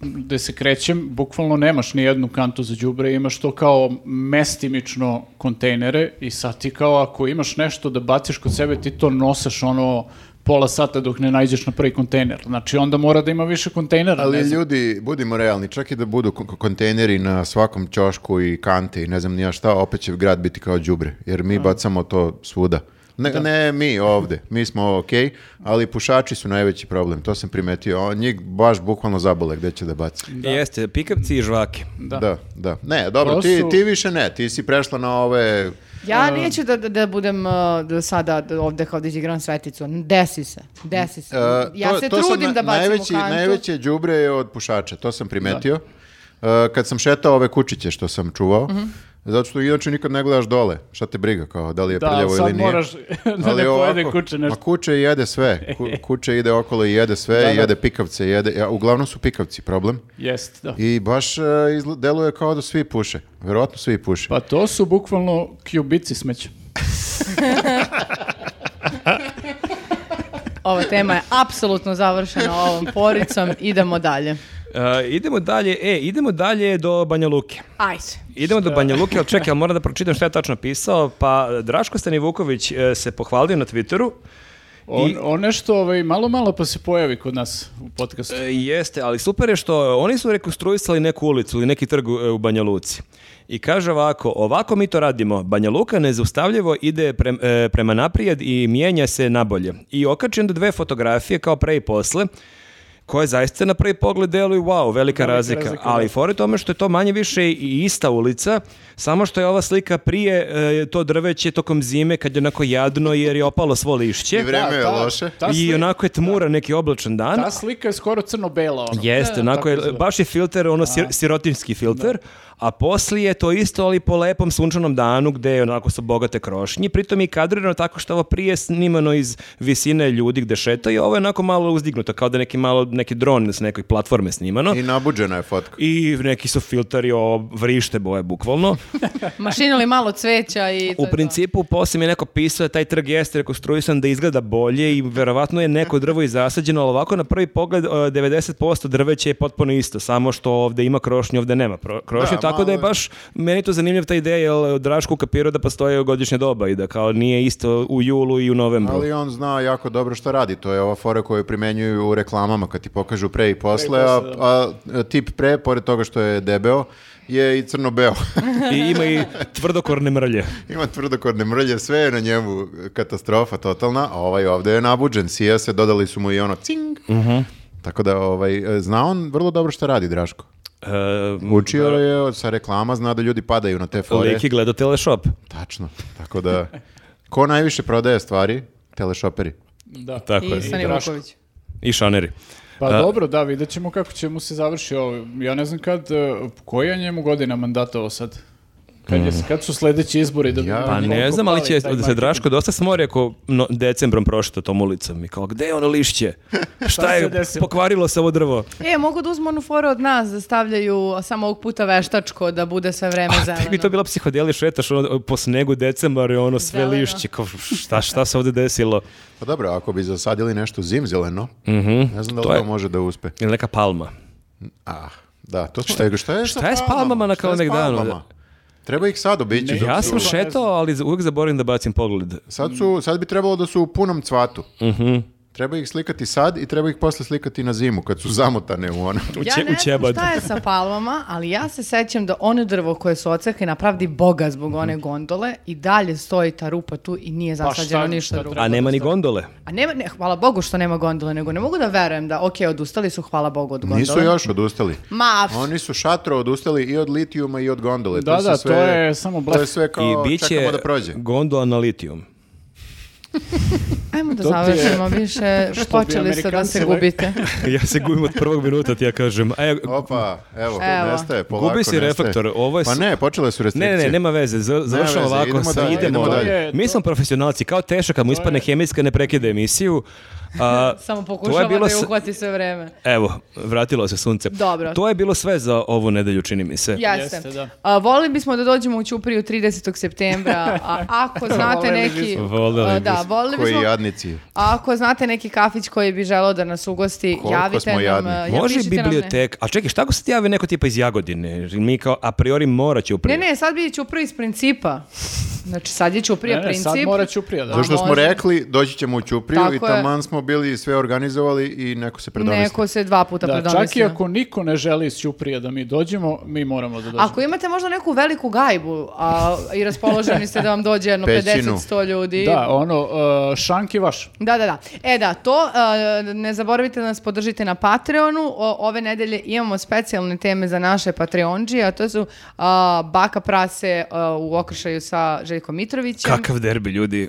Speaker 3: gde se krećem, bukvalno nemaš ni jednu kantu za đubre, imaš to kao mestimično kontejnere i sad ti kao ako imaš nešto da baciš kod sebe, ti to nosaš ono pola sata dok ne najđeš na prvi kontejner. Znači onda mora da ima više kontejnera.
Speaker 4: Ali
Speaker 3: ne znam.
Speaker 4: ljudi, budimo realni, čak i da budu kon- kontejneri na svakom ćošku i kante i ne znam nija šta, opet će grad biti kao đubre, jer mi bacamo to svuda. Ne, ne mi ovde, mi smo ok, ali pušači su najveći problem, to sam primetio. On, njih baš bukvalno zabole gde će da baci.
Speaker 2: Jeste, pikapci i žvake.
Speaker 4: Da, da. Ne, dobro,
Speaker 3: To
Speaker 4: ti,
Speaker 3: su-
Speaker 4: ti više ne, ti si prešla na ove...
Speaker 1: Ja neću da, da, da budem uh, da sada da ovde kao da igram sveticu. Desi se, desi se.
Speaker 4: e,
Speaker 1: ja
Speaker 4: to-
Speaker 1: se
Speaker 4: to sam
Speaker 1: trudim
Speaker 4: na-
Speaker 1: da bacim
Speaker 4: najveći,
Speaker 1: u kantu.
Speaker 4: Najveće đubre je od pušača, to sam primetio. E, kad sam šetao ove kućiće što sam čuvao,
Speaker 1: Mhm.
Speaker 4: zato što inače nikad ne gledaš dole, šta te briga kao, da li je
Speaker 3: Da,
Speaker 4: prljavo ili
Speaker 3: sad
Speaker 4: nije.
Speaker 3: moraš da ne pojede kuće
Speaker 4: ma
Speaker 3: nešto.
Speaker 4: kuće jede sve. Ku- kuće ide okolo i jede sve,
Speaker 3: Da, da.
Speaker 4: jede pikavce, jede, ja, uglavnom su pikavci problem.
Speaker 3: Jest, da.
Speaker 4: I baš e, izgl- deluje kao da svi puše. Verovatno svi puše.
Speaker 3: Pa to su bukvalno kjubici smeća.
Speaker 1: Ova tema je apsolutno završena ovom poricom. Idemo dalje.
Speaker 2: E, idemo dalje, e, idemo dalje do Banja Luke.
Speaker 1: Ajde.
Speaker 2: Idemo do Banja Luke, ali čekaj, ali moram da pročitam šta je tačno pisao. Pa Draško Stanivuković e, se pohvalio na Twitteru
Speaker 3: On, on nešto ovaj, malo malo pa se pojavi kod nas u podcastu.
Speaker 2: E, Jeste, ali super je što oni su rekonstruisali neku ulicu ili neki trg u e, u Banja Luci. I kaže ovako, ovako mi to radimo. Banja Luka nezaustavljivo ide prem- e, prema naprijed i mijenja se nabolje. I okačim do dve fotografije kao pre i posle, koje zaista na prvi pogled deluju, wow, velika, razlika.
Speaker 3: razlika,
Speaker 2: Ali fore tome što je to manje više i ista ulica, samo što je ova slika prije e, to drveće tokom zime kad je onako jadno jer je opalo svo lišće.
Speaker 4: I vreme je
Speaker 3: Da, ta-
Speaker 4: loše.
Speaker 3: ta
Speaker 2: I
Speaker 3: sli-
Speaker 2: onako je tmura neki oblačan dan.
Speaker 3: Ta slika je skoro crno-bela. Ono.
Speaker 2: Jeste, onako je,
Speaker 3: izgleda.
Speaker 2: baš je filter, ono sir, sirotinski filter, a poslije je to isto, ali po lepom sunčanom danu gde je onako su bogate krošnje, pritom je i kadrirano tako što ovo prije snimano iz visine ljudi gde šetaju, ovo je onako malo uzdignuto, kao da je neki malo, neki dron ili s nekoj platforme snimano.
Speaker 4: I nabuđena je fotka.
Speaker 2: I neki su filteri o vrište boje, bukvalno.
Speaker 1: Mašinili malo cveća i to
Speaker 2: U
Speaker 1: je to.
Speaker 2: principu, poslije mi je neko pisao da taj trg jeste rekonstruisan da izgleda bolje i verovatno je neko drvo i zasađeno, ali ovako na prvi pogled e, 90% drveće je potpuno isto, samo što ovde ima krošnju, ovde nema pro- krošnju,
Speaker 4: Da,
Speaker 2: tako da je
Speaker 4: malo je.
Speaker 2: baš, meni je to zanimljiva ta ideja, jer Drašku kapirao da postoje godišnje doba i da kao nije isto u julu i u novembru.
Speaker 4: Ali on zna jako dobro što radi. To je ova fora koju primenjuju u reklamama kad ti pokažu pre i posle, a, a tip pre, pored toga što je debeo, je i crno-beo.
Speaker 2: I ima i tvrdokorne mrlje.
Speaker 4: Ima tvrdokorne mrlje, sve je na njemu katastrofa totalna, a ovaj ovde je nabuđen, sija se, dodali su mu i ono cing. Tako da ovaj, zna on vrlo dobro što radi Draško.
Speaker 2: E,
Speaker 4: Učio je od- sa reklama, zna da ljudi padaju na te fore.
Speaker 2: lik je gledao teleshop.
Speaker 4: Tačno. Tako da, ko najviše prodaje stvari? Telešoperi.
Speaker 3: Da.
Speaker 2: Tako je.
Speaker 1: I Sani
Speaker 3: Draško.
Speaker 1: Vuković.
Speaker 2: I šaneri.
Speaker 3: Pa
Speaker 2: Da.
Speaker 3: dobro, da, vidjet ćemo kako će mu se završi ovo. Ja ne znam kad, e, koja je njemu godina mandata ovo sad? Kad, je, kad su sledeći izbori? Da
Speaker 4: Ja-
Speaker 2: Mm. Pa ne
Speaker 3: koliko
Speaker 2: znam, ali
Speaker 3: pali
Speaker 2: će
Speaker 3: taj
Speaker 2: da se
Speaker 3: marketing?
Speaker 2: Draško dosta smori ako no, decembrom prošeta tom ulicom i kao, gde je ono lišće? Šta je,
Speaker 3: se desilo?"
Speaker 2: pokvarilo se ovo drvo?
Speaker 1: E, mogu da uzmu onu foru od nas da stavljaju a samo ovog puta veštačko da bude sve vreme zeleno.
Speaker 2: Tek bi to bila psihodeli šetaš ono, po snegu decembar i ono sve
Speaker 1: Zeleno.
Speaker 2: lišće, kao, šta, šta se ovde desilo?
Speaker 4: Pa dobro, ako bi zasadili nešto zimzeleno, ne znam da li
Speaker 2: Mhm. To
Speaker 4: to,
Speaker 2: je-
Speaker 4: može da uspe.
Speaker 2: Ili neka palma.
Speaker 4: Ah, da, to šta je, šta je, sa
Speaker 2: šta je s palmama na
Speaker 4: Šta je s
Speaker 2: Kalemegdanu?
Speaker 4: palmama? Treba ih sad
Speaker 1: E,
Speaker 4: obići.
Speaker 3: Ne,
Speaker 4: dok
Speaker 2: Ja
Speaker 4: su-
Speaker 2: sam šetao, ali uvijek zaboravim da bacim pogled.
Speaker 4: Sad, su, sad bi trebalo da su u punom cvatu.
Speaker 2: Mhm.
Speaker 4: Treba ih slikati sad i treba ih posle slikati na zimu kad su zamotane u ono.
Speaker 2: U,
Speaker 1: Ja
Speaker 2: će-
Speaker 1: ne
Speaker 2: u
Speaker 1: znam
Speaker 2: ćebad.
Speaker 1: šta je sa palmama, ali ja se sećam da ono drvo koje su ocekli napravdi boga zbog
Speaker 2: Mhm.
Speaker 1: one gondole i dalje stoji ta rupa tu i nije
Speaker 3: Pa
Speaker 1: zasađeno
Speaker 3: šta-
Speaker 1: ništa
Speaker 3: šta
Speaker 1: drugo.
Speaker 2: A nema ni gondole.
Speaker 1: A nema, ne, hvala Bogu što nema gondole, nego ne mogu da verujem da, ok, odustali su, hvala Bogu od
Speaker 3: Pa
Speaker 1: gondole.
Speaker 4: Nisu još odustali.
Speaker 1: Ma, pff,
Speaker 4: Oni su šatro odustali i od litijuma i od gondole.
Speaker 3: Da,
Speaker 4: to se
Speaker 3: da,
Speaker 4: sve,
Speaker 3: to je samo blef.
Speaker 4: To je sve kao
Speaker 2: I bit će
Speaker 4: čekamo da prođe.
Speaker 2: gondola na litijum.
Speaker 1: ajmo da
Speaker 3: To ti je-
Speaker 1: završimo više,
Speaker 3: Što bi
Speaker 1: počeli ste da
Speaker 3: Amerikanci
Speaker 1: se
Speaker 3: rekli.
Speaker 1: gubite.
Speaker 2: ja se gubim od prvog minuta, ti ja kažem. E,
Speaker 4: Opa, evo,
Speaker 1: Evo.
Speaker 4: nestaje, polako
Speaker 2: Gubi si
Speaker 4: nestaje.
Speaker 2: reflektor, ovo je
Speaker 4: Pa
Speaker 2: s-
Speaker 4: ne, počele su
Speaker 2: Ne,
Speaker 4: restrikcije.
Speaker 2: ne, ne, nema veze, za- završamo
Speaker 4: veze,
Speaker 2: ovako,
Speaker 4: idemo
Speaker 2: sa-
Speaker 4: dalje,
Speaker 2: idemo
Speaker 4: idemo
Speaker 2: dalje.
Speaker 3: dalje.
Speaker 2: Mi smo profesionalci, kao Teša kad mu ispadne hemijska ne prekida emisiju. A,
Speaker 1: Samo
Speaker 2: to je
Speaker 1: pokušava
Speaker 2: bilo
Speaker 1: da je
Speaker 2: s-
Speaker 1: uhvati sve vreme.
Speaker 2: Evo, vratilo se sunce.
Speaker 1: Dobro.
Speaker 2: To je bilo sve za ovu nedelju, čini mi se.
Speaker 1: Jeste.
Speaker 3: Jeste, da.
Speaker 1: A, volili bismo da dođemo u Ćupriju 30. septembra, a ako znate
Speaker 3: Voleli
Speaker 1: neki...
Speaker 3: bismo.
Speaker 2: Voleli
Speaker 1: a, da,
Speaker 2: bismo.
Speaker 1: volili
Speaker 4: Koji
Speaker 1: bismo...
Speaker 4: jadnici.
Speaker 1: A ako znate neki kafić koji bi želeo da nas ugosti,
Speaker 4: Koliko smo
Speaker 1: javite nam.
Speaker 4: jadni.
Speaker 1: e,
Speaker 2: Može
Speaker 1: napišite nam, ne.
Speaker 2: bibliotek, a čekaj, šta ako se ti javi neko tipa iz Jagodine? Mi kao a priori morat će uprije.
Speaker 1: Ne, ne, sad bi Ćuprija iz principa. Znači, sad je Ćuprija
Speaker 3: Ne, ne,
Speaker 1: princip.
Speaker 3: sad mora Ćuprija, da.
Speaker 1: Pa
Speaker 4: Zašto smo
Speaker 1: može.
Speaker 4: rekli, doći ćemo u Ćupriju
Speaker 1: Tako
Speaker 4: i
Speaker 1: je.
Speaker 4: taman smo bili sve organizovali i neko se predomislio.
Speaker 1: Neko se dva puta
Speaker 3: Da,
Speaker 1: predomislio.
Speaker 3: čak i ako niko ne želi iz Ćuprija da mi dođemo, mi moramo da dođemo.
Speaker 1: Ako imate možda neku veliku gajbu a, i raspoloženi ste da vam dođe jedno
Speaker 4: Pećinu.
Speaker 1: 50-100 ljudi.
Speaker 3: Da, ono, uh, šanki vaš.
Speaker 1: Da, da, da. E da, to e, ne zaboravite da nas podržite na Patreonu. O- ove nedelje imamo specijalne teme za naše Patreonđije, a to su a, baka prase a, u okršaju sa Željkom Mitrovićem.
Speaker 2: Kakav derbi, ljudi.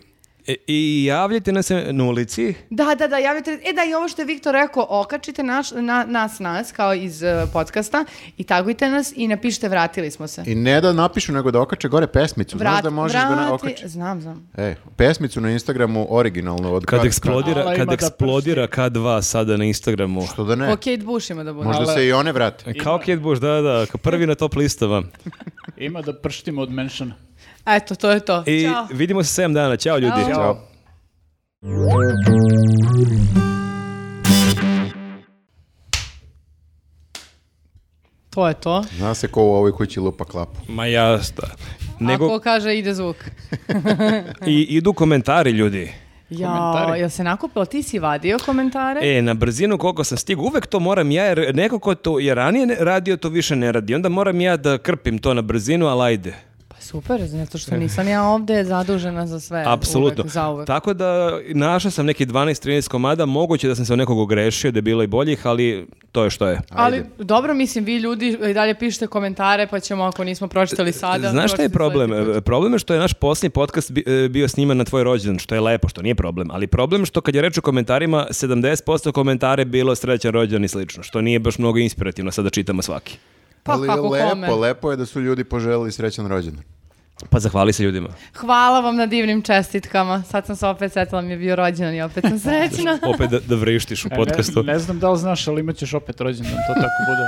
Speaker 2: E, I javljajte nam se na ulici.
Speaker 1: Da, da, da, javite. E da, i ovo što je Viktor rekao, okačite naš, na, nas, nas, kao iz uh, podcasta i tagujte nas i napišite vratili smo se.
Speaker 4: I ne da napišu, nego da okače gore pesmicu. Znaš da možeš da na okači.
Speaker 1: Znam, znam.
Speaker 4: E, pesmicu na Instagramu originalno. Od
Speaker 2: Kad
Speaker 4: kad-
Speaker 2: eksplodira,
Speaker 3: Ala ima
Speaker 2: kad
Speaker 3: da
Speaker 2: eksplodira K2 sada na Instagramu. E,
Speaker 4: Što da ne?
Speaker 1: O Kate Bushima da bude.
Speaker 4: Možda
Speaker 3: Ale-
Speaker 4: se i one vrate.
Speaker 2: Kao Kid Bush, da, da, kao prvi na top listama.
Speaker 3: Ima da prštimo od menšana.
Speaker 1: Eto, to je to.
Speaker 2: I
Speaker 1: Ćao.
Speaker 2: vidimo se 7 dana. Ćao ljudi.
Speaker 1: Ćao.
Speaker 4: Ćao.
Speaker 1: To je to.
Speaker 4: Zna se ko u ovoj kući lupa klapu.
Speaker 2: Ma jasno.
Speaker 1: Nego...
Speaker 2: Nego
Speaker 1: Ako kaže ide zvuk.
Speaker 2: i idu komentari ljudi.
Speaker 1: Ja,
Speaker 3: Komentari.
Speaker 1: jel se nakupilo? Ti si vadio komentare?
Speaker 2: E, na brzinu koliko sam stigao, uvek to moram ja, jer neko ko to je ranije ne- radio, to više ne radi. Onda moram ja da krpim to na brzinu, ali ajde.
Speaker 1: Pa super, zato što nisam ja ovde zadužena za sve.
Speaker 2: E. Apsolutno.
Speaker 1: Uvek, zauvek.
Speaker 2: Tako da našao sam neki 12-13 komada, moguće da sam se od nekog ogrešio, da je bilo i boljih, ali to je što je.
Speaker 1: Ali dobro, mislim, vi ljudi i dalje pišete komentare, pa ćemo ako nismo pročitali sada...
Speaker 2: E, Znaš šta je
Speaker 1: pročitati
Speaker 2: problem? E,
Speaker 1: sledeći put.
Speaker 2: Problem je što je naš posljednji podcast bi- e, bio sniman na tvoj rođendan, što je lepo, što nije problem. Ali problem je što kad je reč o komentarima, 70% komentare je bilo srećan rođendan i slično, što nije baš mnogo inspirativno sada čitamo svaki.
Speaker 1: Pa
Speaker 4: Ali
Speaker 1: kako
Speaker 4: lepo,
Speaker 1: kome?
Speaker 4: lepo je da su ljudi poželili srećan rođendan.
Speaker 2: Pa zahvali se ljudima.
Speaker 1: Hvala vam na divnim čestitkama. Sad sam se opet setila, mi je bio rođendan i opet sam srećna.
Speaker 2: Opet da, da vrištiš u
Speaker 3: E, ne-
Speaker 2: podcastu.
Speaker 3: Ne, znam da li znaš, ali imat ćeš opet rođendan, to tako bude.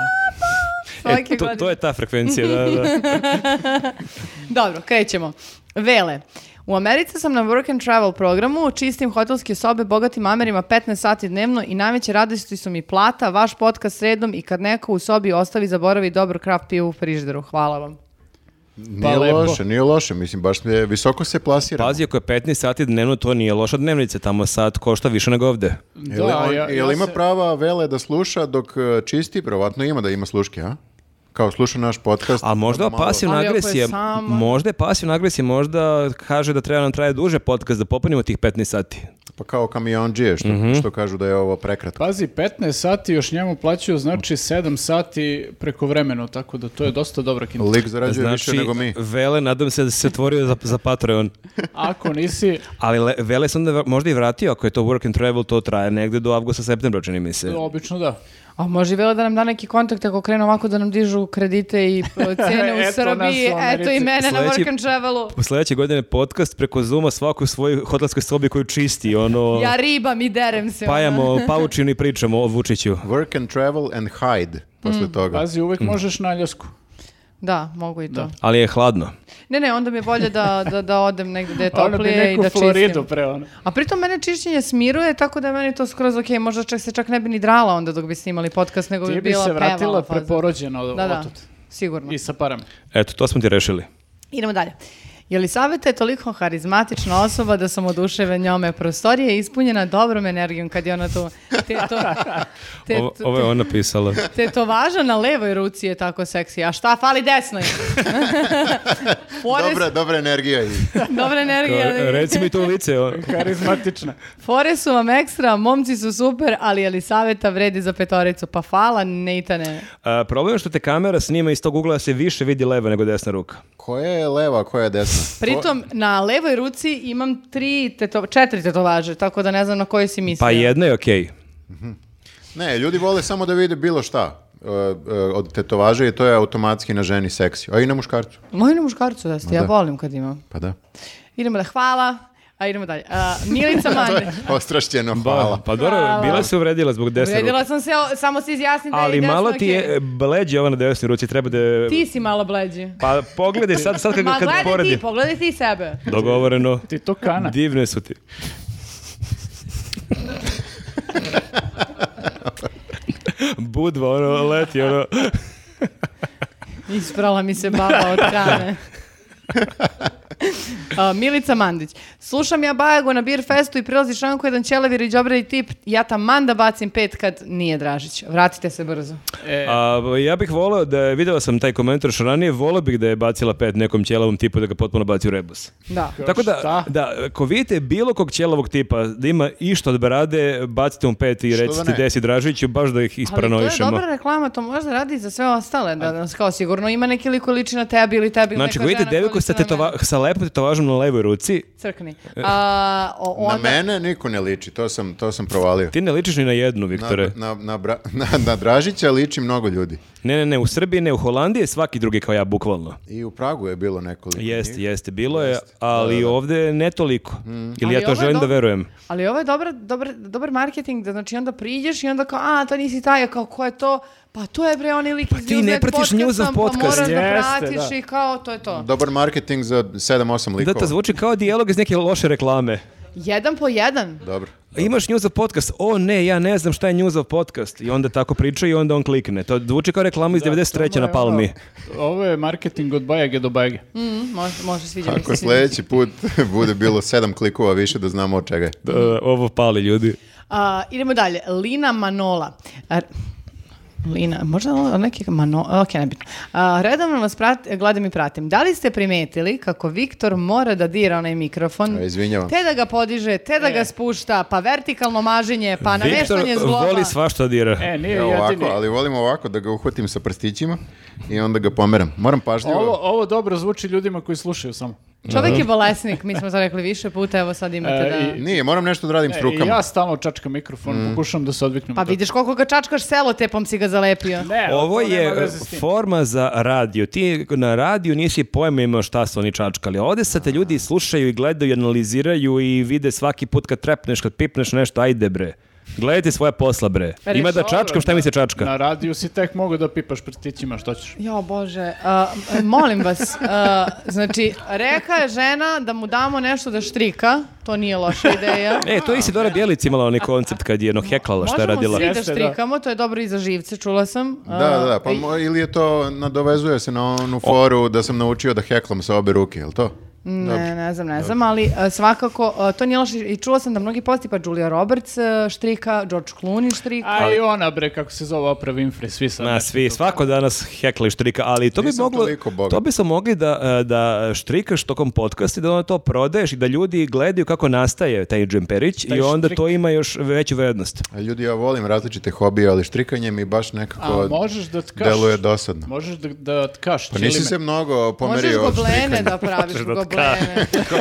Speaker 1: Svake
Speaker 2: E, to,
Speaker 1: godine.
Speaker 2: to je ta frekvencija, da, da.
Speaker 1: Dobro, krećemo. Vele. U Americi sam na work and travel programu, čistim hotelske sobe bogatim Amerima 15 sati dnevno i najveće radosti su mi plata, vaš podcast sredom i kad neko u sobi ostavi zaboravi dobro kraft pivo u frižderu. Hvala vam.
Speaker 4: Nije
Speaker 3: lepo.
Speaker 4: loše, nije loše, mislim, baš je, visoko se plasira.
Speaker 2: Pazi, ako je 15 sati dnevno, to nije loša dnevnica, tamo sad košta više nego ovde.
Speaker 4: Jel,
Speaker 3: Da,
Speaker 4: on-
Speaker 3: ja-
Speaker 4: jel
Speaker 3: ja
Speaker 4: ima
Speaker 3: se-
Speaker 4: prava Vele da sluša dok e, čisti? Vjerovatno ima da ima sluške, a? Kao sluša naš podcast.
Speaker 2: A možda
Speaker 4: onda malo-
Speaker 2: pasivna
Speaker 1: Ali ako je
Speaker 2: agresija,
Speaker 1: sama-
Speaker 2: možda je pasivna agresija, možda kaže da treba nam traje duže podcast da popunimo tih 15 sati.
Speaker 4: Pa kao kamionđije, što,
Speaker 3: Mhm.
Speaker 4: što kažu da je ovo prekratko.
Speaker 3: Pazi, 15 sati još njemu plaćaju, znači 7 sati preko vremenu, tako da to je dosta dobra kinta.
Speaker 4: Lik zarađuje
Speaker 2: Znači,
Speaker 4: više nego mi.
Speaker 2: Vele, nadam se da si se otvorio za, za Patreon.
Speaker 3: Ako nisi,
Speaker 2: Ali le- Vele sam da možda i vratio, ako je to work and travel, to traje negde do avgusta, septembra, čini mi se.
Speaker 3: obično da.
Speaker 1: A može i Vela da nam da neki kontakt ako krenu ovako da nam dižu kredite i e, cene u
Speaker 3: Eto
Speaker 1: Srbiji.
Speaker 3: nas u Americi.
Speaker 1: Eto i mene na
Speaker 2: Sledeći-
Speaker 1: work and travelu.
Speaker 2: Po sledeće godine podcast preko Zuma svaku u svojoj hotelskoj sobi koju čisti, ono...
Speaker 1: Ja ribam i derem se. ono.
Speaker 2: Pajamo paučinu i pričamo o Vučiću.
Speaker 4: Work and travel and hide posle
Speaker 1: Mm.
Speaker 4: toga.
Speaker 3: Pazi, uvek možeš na Aljasku.
Speaker 1: Da, mogu i to.
Speaker 2: Ali je hladno.
Speaker 1: Ne, ne, onda mi je bolje da, da, da odem negdje gde je
Speaker 3: Ono bi
Speaker 1: toplije i
Speaker 3: neku
Speaker 1: da čistim.
Speaker 3: Floridu pre ono.
Speaker 1: A pritom mene čišćenje smiruje, tako da je meni to skroz ok, možda čak se čak ne bi ni drala onda dok bi snimali podcast, nego
Speaker 3: Ti
Speaker 1: bi
Speaker 3: bi
Speaker 1: bila
Speaker 3: se vratila
Speaker 1: pevala faza.
Speaker 3: preporođena od
Speaker 1: Da, da,
Speaker 3: otud.
Speaker 1: sigurno.
Speaker 3: I sa parama.
Speaker 2: Eto, to smo ti rešili.
Speaker 1: Idemo dalje. Jelisaveta je toliko harizmatična osoba da sam oduševe njome. Prostorija je ispunjena dobrom energijom kad je ona tu. Te, to, te,
Speaker 2: Ovo, ovo je ona pisala.
Speaker 1: tetovaža na levoj ruci je tako seksi. A šta fali desnoj? Fore,
Speaker 4: Dobra,
Speaker 1: dobra,
Speaker 4: dobra energija. i-
Speaker 1: energija.
Speaker 2: Reci mi to u lice. o-
Speaker 3: Karizmatična.
Speaker 1: Fore su vam ekstra, momci su super, ali Elisaveta vredi za petoricu. Pa fala, Neitane.
Speaker 2: A, problem je što te kamera snima iz tog ugla da se više vidi leva nego desna ruka.
Speaker 4: Koja je leva, koja je desna?
Speaker 1: Pritom, na levoj ruci imam tri teto, četiri tetovaže, tako da ne znam na koji si mislio.
Speaker 2: Pa jedna je okej.
Speaker 4: Ne, ljudi vole samo da vide bilo šta e, e, od tetovaže i to je automatski na ženi seksi. A i na muškarcu.
Speaker 1: Moj na muškarcu jeste, ja
Speaker 4: Da.
Speaker 1: volim kad imam.
Speaker 4: Pa da.
Speaker 1: Idemo da hvala, a idemo dalje. A, Milica Mande.
Speaker 4: Ostrašćeno, hvala.
Speaker 2: Pa dobro,
Speaker 1: Hvala.
Speaker 2: bila se uvredila zbog desne ruke.
Speaker 1: Uredila sam se, o- samo se izjasni da je
Speaker 2: Ali
Speaker 1: i desno,
Speaker 2: malo ti
Speaker 1: okej.
Speaker 2: je bleđe ova na desnoj ruci, treba da... je-
Speaker 1: Ti si malo bleđi.
Speaker 2: Pa pogledaj sad, sad kad,
Speaker 1: Ma
Speaker 2: kad
Speaker 1: gledaj
Speaker 2: poredi.
Speaker 1: ti, pogledaj ti sebe.
Speaker 2: Dogovoreno.
Speaker 3: Ti to kana.
Speaker 2: Divne su ti. Budva, ono, leti, ono.
Speaker 1: Isprala mi se baba od kane. A, Milica Mandić. Slušam ja Bajago na Beer Festu i prilazi šanku jedan ćelavir i džobre i tip. Ja taman da bacim pet kad nije Dražić. Vratite se brzo.
Speaker 3: E,
Speaker 2: A, ja bih voleo da je, video sam taj komentar što ranije, voleo bih da je bacila pet nekom ćelavom tipu da ga potpuno baci u rebus.
Speaker 1: Da.
Speaker 2: Tako da,
Speaker 3: šta?
Speaker 2: da, ako vidite bilo kog ćelavog tipa da ima išta od brade, bacite mu pet i
Speaker 4: Što da
Speaker 2: recite
Speaker 4: ne?
Speaker 2: desi Dražiću, baš da ih
Speaker 1: Ali to je
Speaker 2: isparanoišemo.
Speaker 1: dobra reklama, to možda radi i za sve ostale. Da, nas kao sigurno ima neki lik koji liči na tebi ili tebi. ili
Speaker 2: Znači,
Speaker 1: neka
Speaker 2: ako vidite
Speaker 1: žena koja
Speaker 2: deviku sa,
Speaker 1: liči na mene.
Speaker 2: tetova, sa lepom tetovažom na levoj ruci,
Speaker 1: Crkni. A, o- onda...
Speaker 4: Na mene niko ne liči, to sam, to sam provalio.
Speaker 2: ti ne ličiš ni na jednu,
Speaker 4: Na,
Speaker 2: Viktore.
Speaker 4: na, na, bra- na- na Dražića liči mnogo ljudi.
Speaker 2: Ne, ne, ne, u Srbiji, ne, u Holandiji je svaki drugi kao ja, bukvalno.
Speaker 4: I u Pragu je bilo nekoliko
Speaker 2: Jeste,
Speaker 4: njih.
Speaker 2: Mhm. jeste, bilo je, ali ovdje ne toliko. Ili
Speaker 1: Ali
Speaker 2: ja
Speaker 1: ovo
Speaker 2: to
Speaker 1: je
Speaker 2: želim da
Speaker 1: dobro.
Speaker 2: verujem.
Speaker 1: Ali ovo je dobar, dobar, dobar marketing, da znači onda priđeš i onda kao, a, to nisi taj, a kao, ko je to? Pa to je bre onaj lik
Speaker 2: Pa
Speaker 1: iz
Speaker 2: ti ne
Speaker 1: Newsnet
Speaker 2: pratiš
Speaker 1: podcasta,
Speaker 2: Newsnet podcast.
Speaker 1: Pa moraš da
Speaker 3: Jeste,
Speaker 1: pratiš
Speaker 3: da.
Speaker 1: i kao, to je to.
Speaker 4: Dobar marketing za 7-8
Speaker 2: Da,
Speaker 4: likova.
Speaker 2: to zvuči kao dijalog iz neke loše reklame.
Speaker 1: Jedan po jedan.
Speaker 4: Dobro.
Speaker 2: Imaš njuzov podcast? O ne, ja ne znam šta je njuzov podcast. I onda tako priča i onda on klikne. To zvuči kao reklama iz 93. na
Speaker 1: ono-
Speaker 2: Palmi.
Speaker 3: Ovo je marketing od bajage do bajage.
Speaker 1: Mm, može, može, sviđa mi se.
Speaker 4: Ako
Speaker 1: sviđa mi se.
Speaker 4: sljedeći put bude bilo sedam klikova više da znamo od čega je.
Speaker 2: Da, da, ovo pali ljudi.
Speaker 1: A, idemo dalje. Lina Manola. Ar- Lina, možda o- neki Manola, ok, nebitno. A, redovno vas prat, gledam i pratim. Da li ste primetili kako Viktor mora da dira onaj mikrofon?
Speaker 4: E, izvinjavam.
Speaker 1: Te da ga podiže, te
Speaker 2: E.
Speaker 1: da ga spušta, pa vertikalno maženje, pa
Speaker 2: Viktor
Speaker 1: nameštanje zgloba.
Speaker 2: voli svašta dira.
Speaker 3: E, nije
Speaker 4: Ja
Speaker 3: jedini.
Speaker 4: ovako, ali volim ovako da ga uhvatim sa prstićima i onda ga pomeram. Moram pažljivo.
Speaker 3: Ovo, ovo dobro zvuči ljudima koji slušaju samo.
Speaker 1: Čovjek je bolesnik, mi smo to rekli više puta, evo sad imate
Speaker 3: E,
Speaker 1: da...
Speaker 3: i-
Speaker 4: Nije, moram nešto da radim s
Speaker 3: E,
Speaker 4: rukama.
Speaker 3: i ja stalno čačkam mikrofon,
Speaker 2: Mm.
Speaker 3: pokušam da se odviknem.
Speaker 1: Pa
Speaker 3: od toga.
Speaker 1: vidiš koliko ga čačkaš selotepom si ga zalepio.
Speaker 3: Ne,
Speaker 2: Ovo
Speaker 3: E, to nema
Speaker 2: je
Speaker 3: veze s tim.
Speaker 2: forma za radio. Ti na radiju nisi pojma imao šta su oni čačkali. Ovde sad te ljudi slušaju i gledaju i analiziraju i vide svaki put kad trepneš, kad pipneš nešto, ajde bre. Gledajte svoja posla
Speaker 3: E,
Speaker 2: bre. Ima da čačkam, šta mi se čačka?
Speaker 3: Na radiju si tek mogu da pipaš prstićima što ćeš.
Speaker 1: Jo bože, e, a, m- molim vas, a, znači reka je žena da mu damo nešto da štrika, to nije loša ideja.
Speaker 2: E, to je isti Dora Bjelic imala onaj koncept kad je ono heklala šta je
Speaker 1: Možemo
Speaker 2: radila.
Speaker 1: svi da
Speaker 3: Jeste, da.
Speaker 1: štrikamo, to je dobro i za živce, čula sam. A,
Speaker 4: Da, da, da, pa
Speaker 1: i-
Speaker 4: mo- ili je to, nadovezuje se na onu foru da sam naučio da heklam sa obe ruke, jel to?
Speaker 1: Ne, ne znam, ne znam, ali a, svakako, a, to nije loše i čula sam da mnogi posti, pa Julia Roberts a, štrika, George Clooney štrika.
Speaker 3: A i ona bre, kako se zove Oprah Winfrey, svi sad.
Speaker 2: Na
Speaker 3: nešto
Speaker 2: svi,
Speaker 3: to-
Speaker 2: svako danas hekla i štrika, ali to bi
Speaker 4: Nisam
Speaker 2: moglo,
Speaker 4: toliko bogat.
Speaker 2: to bi smo mogli da, e, da štrikaš tokom podcasta i da onda to prodaješ i da ljudi gledaju kako nastaje taj džemperić i onda
Speaker 3: štrik.
Speaker 2: to ima još veću vrednost.
Speaker 4: A Ljudi, ja volim različite hobije, ali štrikanje mi baš
Speaker 3: A
Speaker 4: nekako
Speaker 3: možeš da tkaš.
Speaker 4: deluje dosadno.
Speaker 3: Možeš da, da tkaš.
Speaker 4: Pa nisi
Speaker 3: ćilime.
Speaker 4: se mnogo
Speaker 1: Možeš
Speaker 4: pomerio od
Speaker 1: goblene
Speaker 4: štrikanja.
Speaker 1: da praviš,
Speaker 2: Možeš da
Speaker 1: goblene.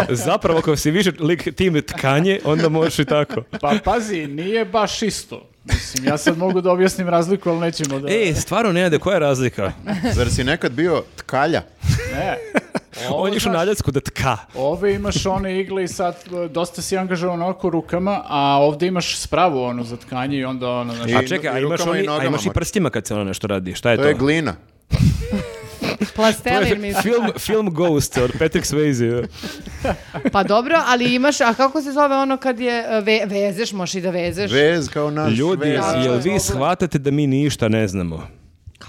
Speaker 2: Zapravo, ako si više lik tim tkanje, onda možeš i tako.
Speaker 3: Pa pazi, nije baš isto. Mislim, ja sad mogu da objasnim razliku, ali nećemo da...
Speaker 2: E, stvarno Nenade, koja je razlika?
Speaker 4: Zar si nekad bio tkalja?
Speaker 3: ne.
Speaker 2: On je išao na Aljasku da tka.
Speaker 3: Ove imaš one igle i sad e, dosta si angažovan oko rukama, a ovde imaš spravu ono za tkanje i onda ono, znaš,
Speaker 4: I-
Speaker 2: A čekaj, a
Speaker 4: i
Speaker 2: imaš,
Speaker 4: rukama i
Speaker 2: oni, a
Speaker 4: nogama
Speaker 2: imaš i
Speaker 4: možda.
Speaker 2: prstima kad se ono nešto radi. Šta je to?
Speaker 4: To je glina.
Speaker 2: To je
Speaker 1: Plastelin mi se.
Speaker 2: film, film Ghost od Patrick Swayze.
Speaker 1: Pa dobro, ali imaš, a kako se zove ono kad je, e, ve, vezeš, možeš i da vezeš.
Speaker 4: Vez kao naš
Speaker 2: Ljudi,
Speaker 4: vez.
Speaker 1: Da,
Speaker 2: jel
Speaker 1: to
Speaker 2: vi
Speaker 1: je
Speaker 2: shvatate da mi ništa ne znamo?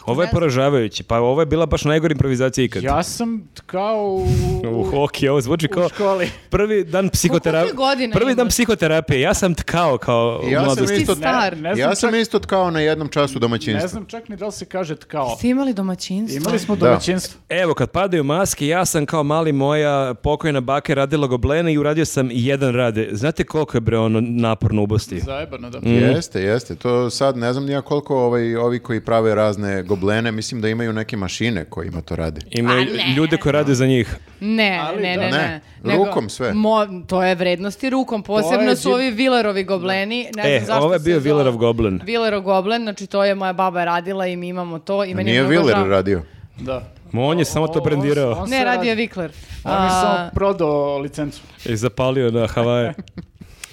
Speaker 2: Ovo je
Speaker 1: ne znam?
Speaker 2: poražavajuće. Pa ovo je bila baš najgora improvizacija ikad.
Speaker 3: ja sam tkao u,
Speaker 2: U hoki, ovo zvuči kao
Speaker 3: u školi.
Speaker 2: prvi dan psihoterapije.
Speaker 1: Koliko godina
Speaker 2: Prvi dan
Speaker 1: imaš?
Speaker 2: psihoterapije. Ja sam tkao kao u
Speaker 4: Ja sam
Speaker 2: mladosti.
Speaker 1: Ti
Speaker 4: isto-
Speaker 1: star.
Speaker 3: Ne znam,
Speaker 4: Ja sam
Speaker 3: čak,
Speaker 4: isto tkao na jednom času
Speaker 3: ne
Speaker 4: domaćinstva.
Speaker 3: znam čak ni da li se kaže tkao.
Speaker 1: Ste imali domaćinstvo?
Speaker 3: Imali smo
Speaker 4: Da.
Speaker 3: domaćinstvo.
Speaker 2: Evo, kad padaju maske, ja sam kao mali moja pokojna baka je radila goblene i uradio sam jedan rade. Znate koliko je bre ono naporno u Bosni?
Speaker 3: Zajebano, da.
Speaker 2: Mm.
Speaker 4: Jeste, jeste. To sad ne znam nija koliko ovaj, ovi koji prave razne goblene, mislim da imaju neke mašine kojima to rade.
Speaker 2: Ima ljude koji rade za njih.
Speaker 1: Ne,
Speaker 3: Ali
Speaker 1: ne,
Speaker 3: da.
Speaker 1: ne,
Speaker 4: Ne,
Speaker 1: ne.
Speaker 4: rukom sve.
Speaker 1: mo- to je vrednosti rukom,
Speaker 3: To je
Speaker 1: posebno su
Speaker 3: džip-
Speaker 1: ovi Villerovi gobleni. Ne
Speaker 2: E,
Speaker 1: znam zašto
Speaker 2: ovo je
Speaker 1: se
Speaker 2: bio
Speaker 1: zove.
Speaker 2: Villerov goblen.
Speaker 1: Villerov goblen, znači to je moja baba radila i mi imamo to. I meni je
Speaker 4: Nije
Speaker 1: mnogo
Speaker 4: Willer
Speaker 1: žao.
Speaker 4: radio.
Speaker 3: da.
Speaker 2: On je samo to
Speaker 3: O,
Speaker 2: brendirao
Speaker 3: on se
Speaker 1: Ne, radio je
Speaker 3: radi-
Speaker 1: Vikler.
Speaker 3: On je samo prodao licencu.
Speaker 2: i zapalio na Havaje.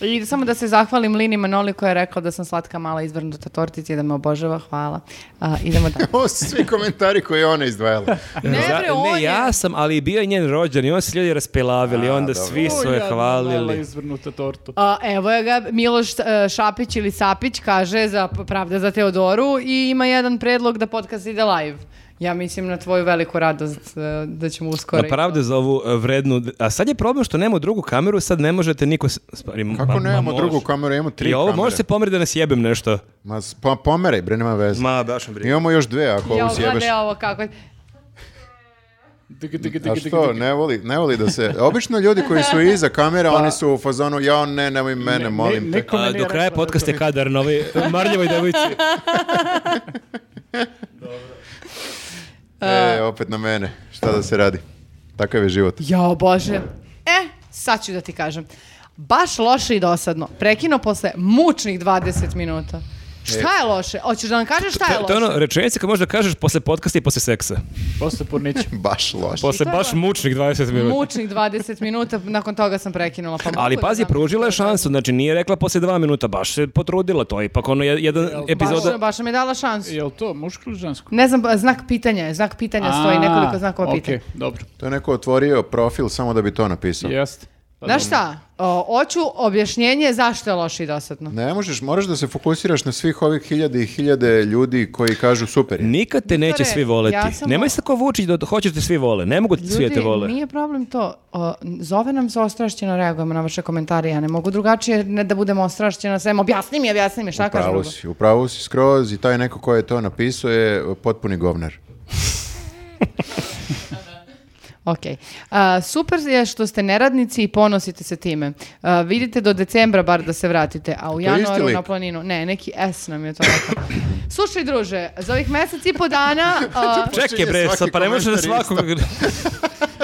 Speaker 1: I samo da se zahvalim Lini Manoli koja je rekla da sam slatka mala izvrnuta tortica i da me obožava. Hvala. A, idemo dalje.
Speaker 4: Ovo su svi komentari koje je ona izdvajala.
Speaker 1: ne,
Speaker 2: Za-
Speaker 1: bre, on
Speaker 2: ne,
Speaker 1: je-
Speaker 2: ja sam, ali bio je njen rođan i on se ljudi raspelavili, onda
Speaker 4: dobro.
Speaker 2: svi su je
Speaker 3: Ujadna mala
Speaker 2: hvalili.
Speaker 3: izvrnuta tortu.
Speaker 1: A, evo je ga, Miloš e, Šapić ili Sapić kaže za Pravda za Teodoru i ima jedan predlog da podcast ide live. Ja mislim na tvoju veliku radost e, da ćemo uskoro.
Speaker 2: Na pravde za ovu e, vrednu... A sad je problem što nemamo drugu kameru, sad ne možete niko... s- stvari, ma-
Speaker 4: Kako
Speaker 2: ma
Speaker 4: nemamo
Speaker 2: može.
Speaker 4: drugu kameru, imamo tri
Speaker 2: I ovo
Speaker 4: kamere.
Speaker 2: može se pomeri da nas jebem nešto.
Speaker 4: Ma, s- pa, pomeraj, bre, nema veze.
Speaker 2: Ma, baš briga.
Speaker 4: Imamo još dve, ako
Speaker 1: Ja
Speaker 4: ovu sjebeš.
Speaker 1: ne, ovo kako je.
Speaker 3: Dig, dig, dig,
Speaker 4: A
Speaker 3: dig,
Speaker 4: što,
Speaker 3: dig.
Speaker 4: ne voli, ne voli da se... Obično ljudi koji su iza kamera, oni su u fazonu, ja ne, nemoj mene,
Speaker 3: Ne-
Speaker 4: molim
Speaker 3: ne-
Speaker 4: te.
Speaker 3: nikome
Speaker 2: A,
Speaker 3: nije
Speaker 2: do kraja
Speaker 3: rekla da
Speaker 2: podcasta je
Speaker 3: to-
Speaker 2: kadar na ovoj marljivoj devojci.
Speaker 4: E, opet na mene, šta da se radi. Takav je život.
Speaker 1: Jao bože. E, sad ću da ti kažem. Baš loše i dosadno. Prekino posle mučnih 20 minuta. Šta je loše? Hoćeš da nam kažeš šta je
Speaker 2: E. To, to je
Speaker 1: loše?
Speaker 2: ono rečenica koju možda kažeš posle podcasta i posle seksa.
Speaker 3: Posle pornića.
Speaker 4: Baš loš.
Speaker 2: Posle
Speaker 1: to je
Speaker 2: baš
Speaker 1: ono-
Speaker 2: mučnih 20 minuta.
Speaker 1: Mučnih 20 minuta, nakon toga sam prekinula. Pa
Speaker 2: Ali
Speaker 1: mogu da
Speaker 2: pazi,
Speaker 1: znam
Speaker 2: pružila je
Speaker 1: što kažem.
Speaker 2: šansu, znači nije rekla posle dva minuta, baš se potrudila to, je ipak ono je- jedan epizoda...
Speaker 1: Baš, baš mi je dala šansu.
Speaker 3: Je li to muško ili žensko?
Speaker 1: Ne znam, ba- znak pitanja je, znak pitanja stoji, nekoliko znakova
Speaker 3: okej,
Speaker 1: pitanja.
Speaker 3: dobro.
Speaker 4: To je neko otvorio profil samo da bi to napisao.
Speaker 3: Jeste.
Speaker 1: Znaš šta? O, hoću objašnjenje zašto je loše i dosadno.
Speaker 4: Ne možeš, moraš da se fokusiraš na svih ovih hiljade i hiljade ljudi koji kažu super je.
Speaker 2: Nikad te neće
Speaker 1: Viktore,
Speaker 2: svi voleti.
Speaker 1: ja sam-
Speaker 2: Nemoj se tako vući da hoćeš da svi vole. Ne mogu ti svi da te
Speaker 1: Ljudi,
Speaker 2: vole.
Speaker 1: nije problem to. O, zove nam se ostrašćeno, reagujemo na vaše komentare. Ja ne mogu drugačije ne da budem ostrašćena. Sem, objasni mi, objasni mi, šta kažem
Speaker 4: Upravo si, upravo si skroz i taj neko ko je to napisao je potpuni govnar.
Speaker 1: Ok. A, super je što ste neradnici i ponosite se time. A, vidite do decembra bar da se vratite, a u
Speaker 4: je isti
Speaker 1: januaru
Speaker 4: lik.
Speaker 1: na planinu. Ne, neki S nam je to rekao. Slušaj, druže, za ovih mesec i po dana... a,
Speaker 2: Čekaj bre,
Speaker 4: Svaki
Speaker 2: sad pa ne možeš da
Speaker 4: komentar isto.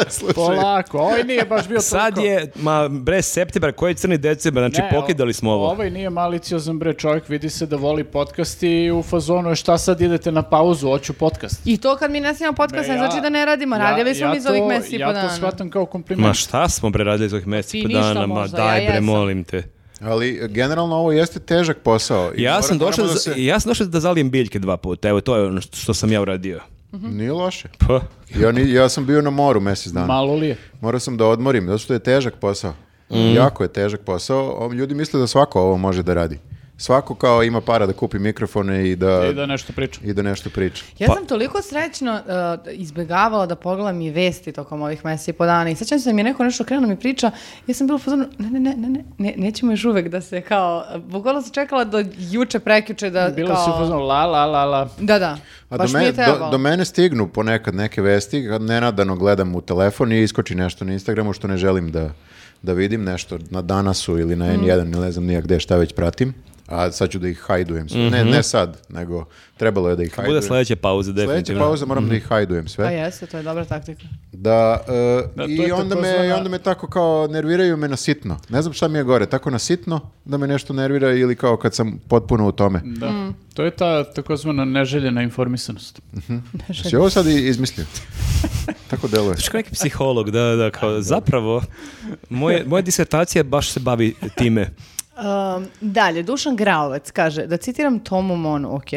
Speaker 2: svakog...
Speaker 3: Polako, ovaj nije baš bio
Speaker 2: Sad
Speaker 3: toliko-
Speaker 2: je, ma bre, septembar, koji je crni decembar, znači
Speaker 3: Ne,
Speaker 2: pokidali smo ovo.
Speaker 3: Ovaj nije maliciozan bre, čovjek vidi se da voli podcast i u fazonu je šta sad idete na pauzu, hoću podcast. E,
Speaker 1: I to kad mi ne snimamo podcast, ne
Speaker 3: Ja-
Speaker 1: znači da ne radimo. Radili smo mi za
Speaker 3: to-
Speaker 1: ovih mesec i po
Speaker 3: Ja
Speaker 1: dana.
Speaker 3: to shvatam kao kompliment.
Speaker 2: Ma šta smo bre radili za ovih mjesec
Speaker 1: Pa Ti
Speaker 2: i po
Speaker 1: ništa
Speaker 2: pa dana, ma
Speaker 1: možda,
Speaker 2: daj
Speaker 1: ja
Speaker 2: bre,
Speaker 1: jesam.
Speaker 2: molim te.
Speaker 4: Ali e, generalno ovo jeste težak posao. i
Speaker 2: Ja
Speaker 4: mora-
Speaker 2: sam, došao
Speaker 4: moramo
Speaker 2: da,
Speaker 4: da se-
Speaker 2: ja sam došao da zalijem biljke dva puta, evo to je ono što- što sam ja uradio.
Speaker 4: Nije loše.
Speaker 2: Pa,
Speaker 4: Ja, ni- ja sam bio na moru mjesec dana.
Speaker 3: Malo li je?
Speaker 4: Morao sam da odmorim, zato što je težak posao.
Speaker 2: Mm.
Speaker 4: Jako je težak posao. O, Ljudi misle da svako ovo može da radi. Svako kao ima para da kupi mikrofone i da,
Speaker 3: I da nešto pričam.
Speaker 4: i da nešto priča.
Speaker 1: Ja
Speaker 2: Pa-
Speaker 1: sam toliko srećno uh, izbjegavala da pogledam i vesti tokom ovih mjeseci i po dana i sećam se da mi je neko nešto krenuo mi priča, ja sam bila u fazonu, ne, ne, ne, ne, ne, ne, nećemo još uvek da se kao, bukvalno sam čekala do juče, prekjuče da
Speaker 3: Bilo
Speaker 1: kao...
Speaker 3: se u fazonu la la la la.
Speaker 1: Da, da,
Speaker 4: A
Speaker 1: baš
Speaker 4: do,
Speaker 1: mi
Speaker 4: mene,
Speaker 1: je
Speaker 4: do,
Speaker 1: trebalo.
Speaker 4: do mene stignu ponekad neke vesti, kad nenadano gledam u telefon i iskoči nešto na Instagramu što ne želim da, da vidim, nešto na danasu ili
Speaker 1: Mm.
Speaker 4: na N1, ili ne znam nija gde šta već pratim. A sad ću da ih hajdujem sve. Ne, ne sad, nego trebalo je da ih hajdujem.
Speaker 2: Mhm. Pa, bude sledeće pauze,
Speaker 4: Sledeća
Speaker 2: definitivno. Mhm.
Speaker 4: pauza moram da ih hajdujem sve.
Speaker 1: Pa jeste, to je dobra taktika.
Speaker 4: Da, e,
Speaker 3: Da, to
Speaker 4: i,
Speaker 3: je
Speaker 4: onda me,
Speaker 3: takozvana-
Speaker 4: i onda me tako kao nerviraju me na sitno. Ne znam šta mi je gore, tako na sitno da me nešto nervira ili kao kad sam potpuno u tome.
Speaker 3: Da.
Speaker 1: Mm.
Speaker 3: To je ta takozvana neželjena informisanost.
Speaker 4: Si Znači, ovo sad i- izmislio? tako deluje.
Speaker 2: Znaš kao neki psiholog, da, da, kao zapravo, moje, moja disertacija baš se bavi time.
Speaker 1: Um, dalje, Dušan Graovac kaže, da citiram Tomu Monu, ok,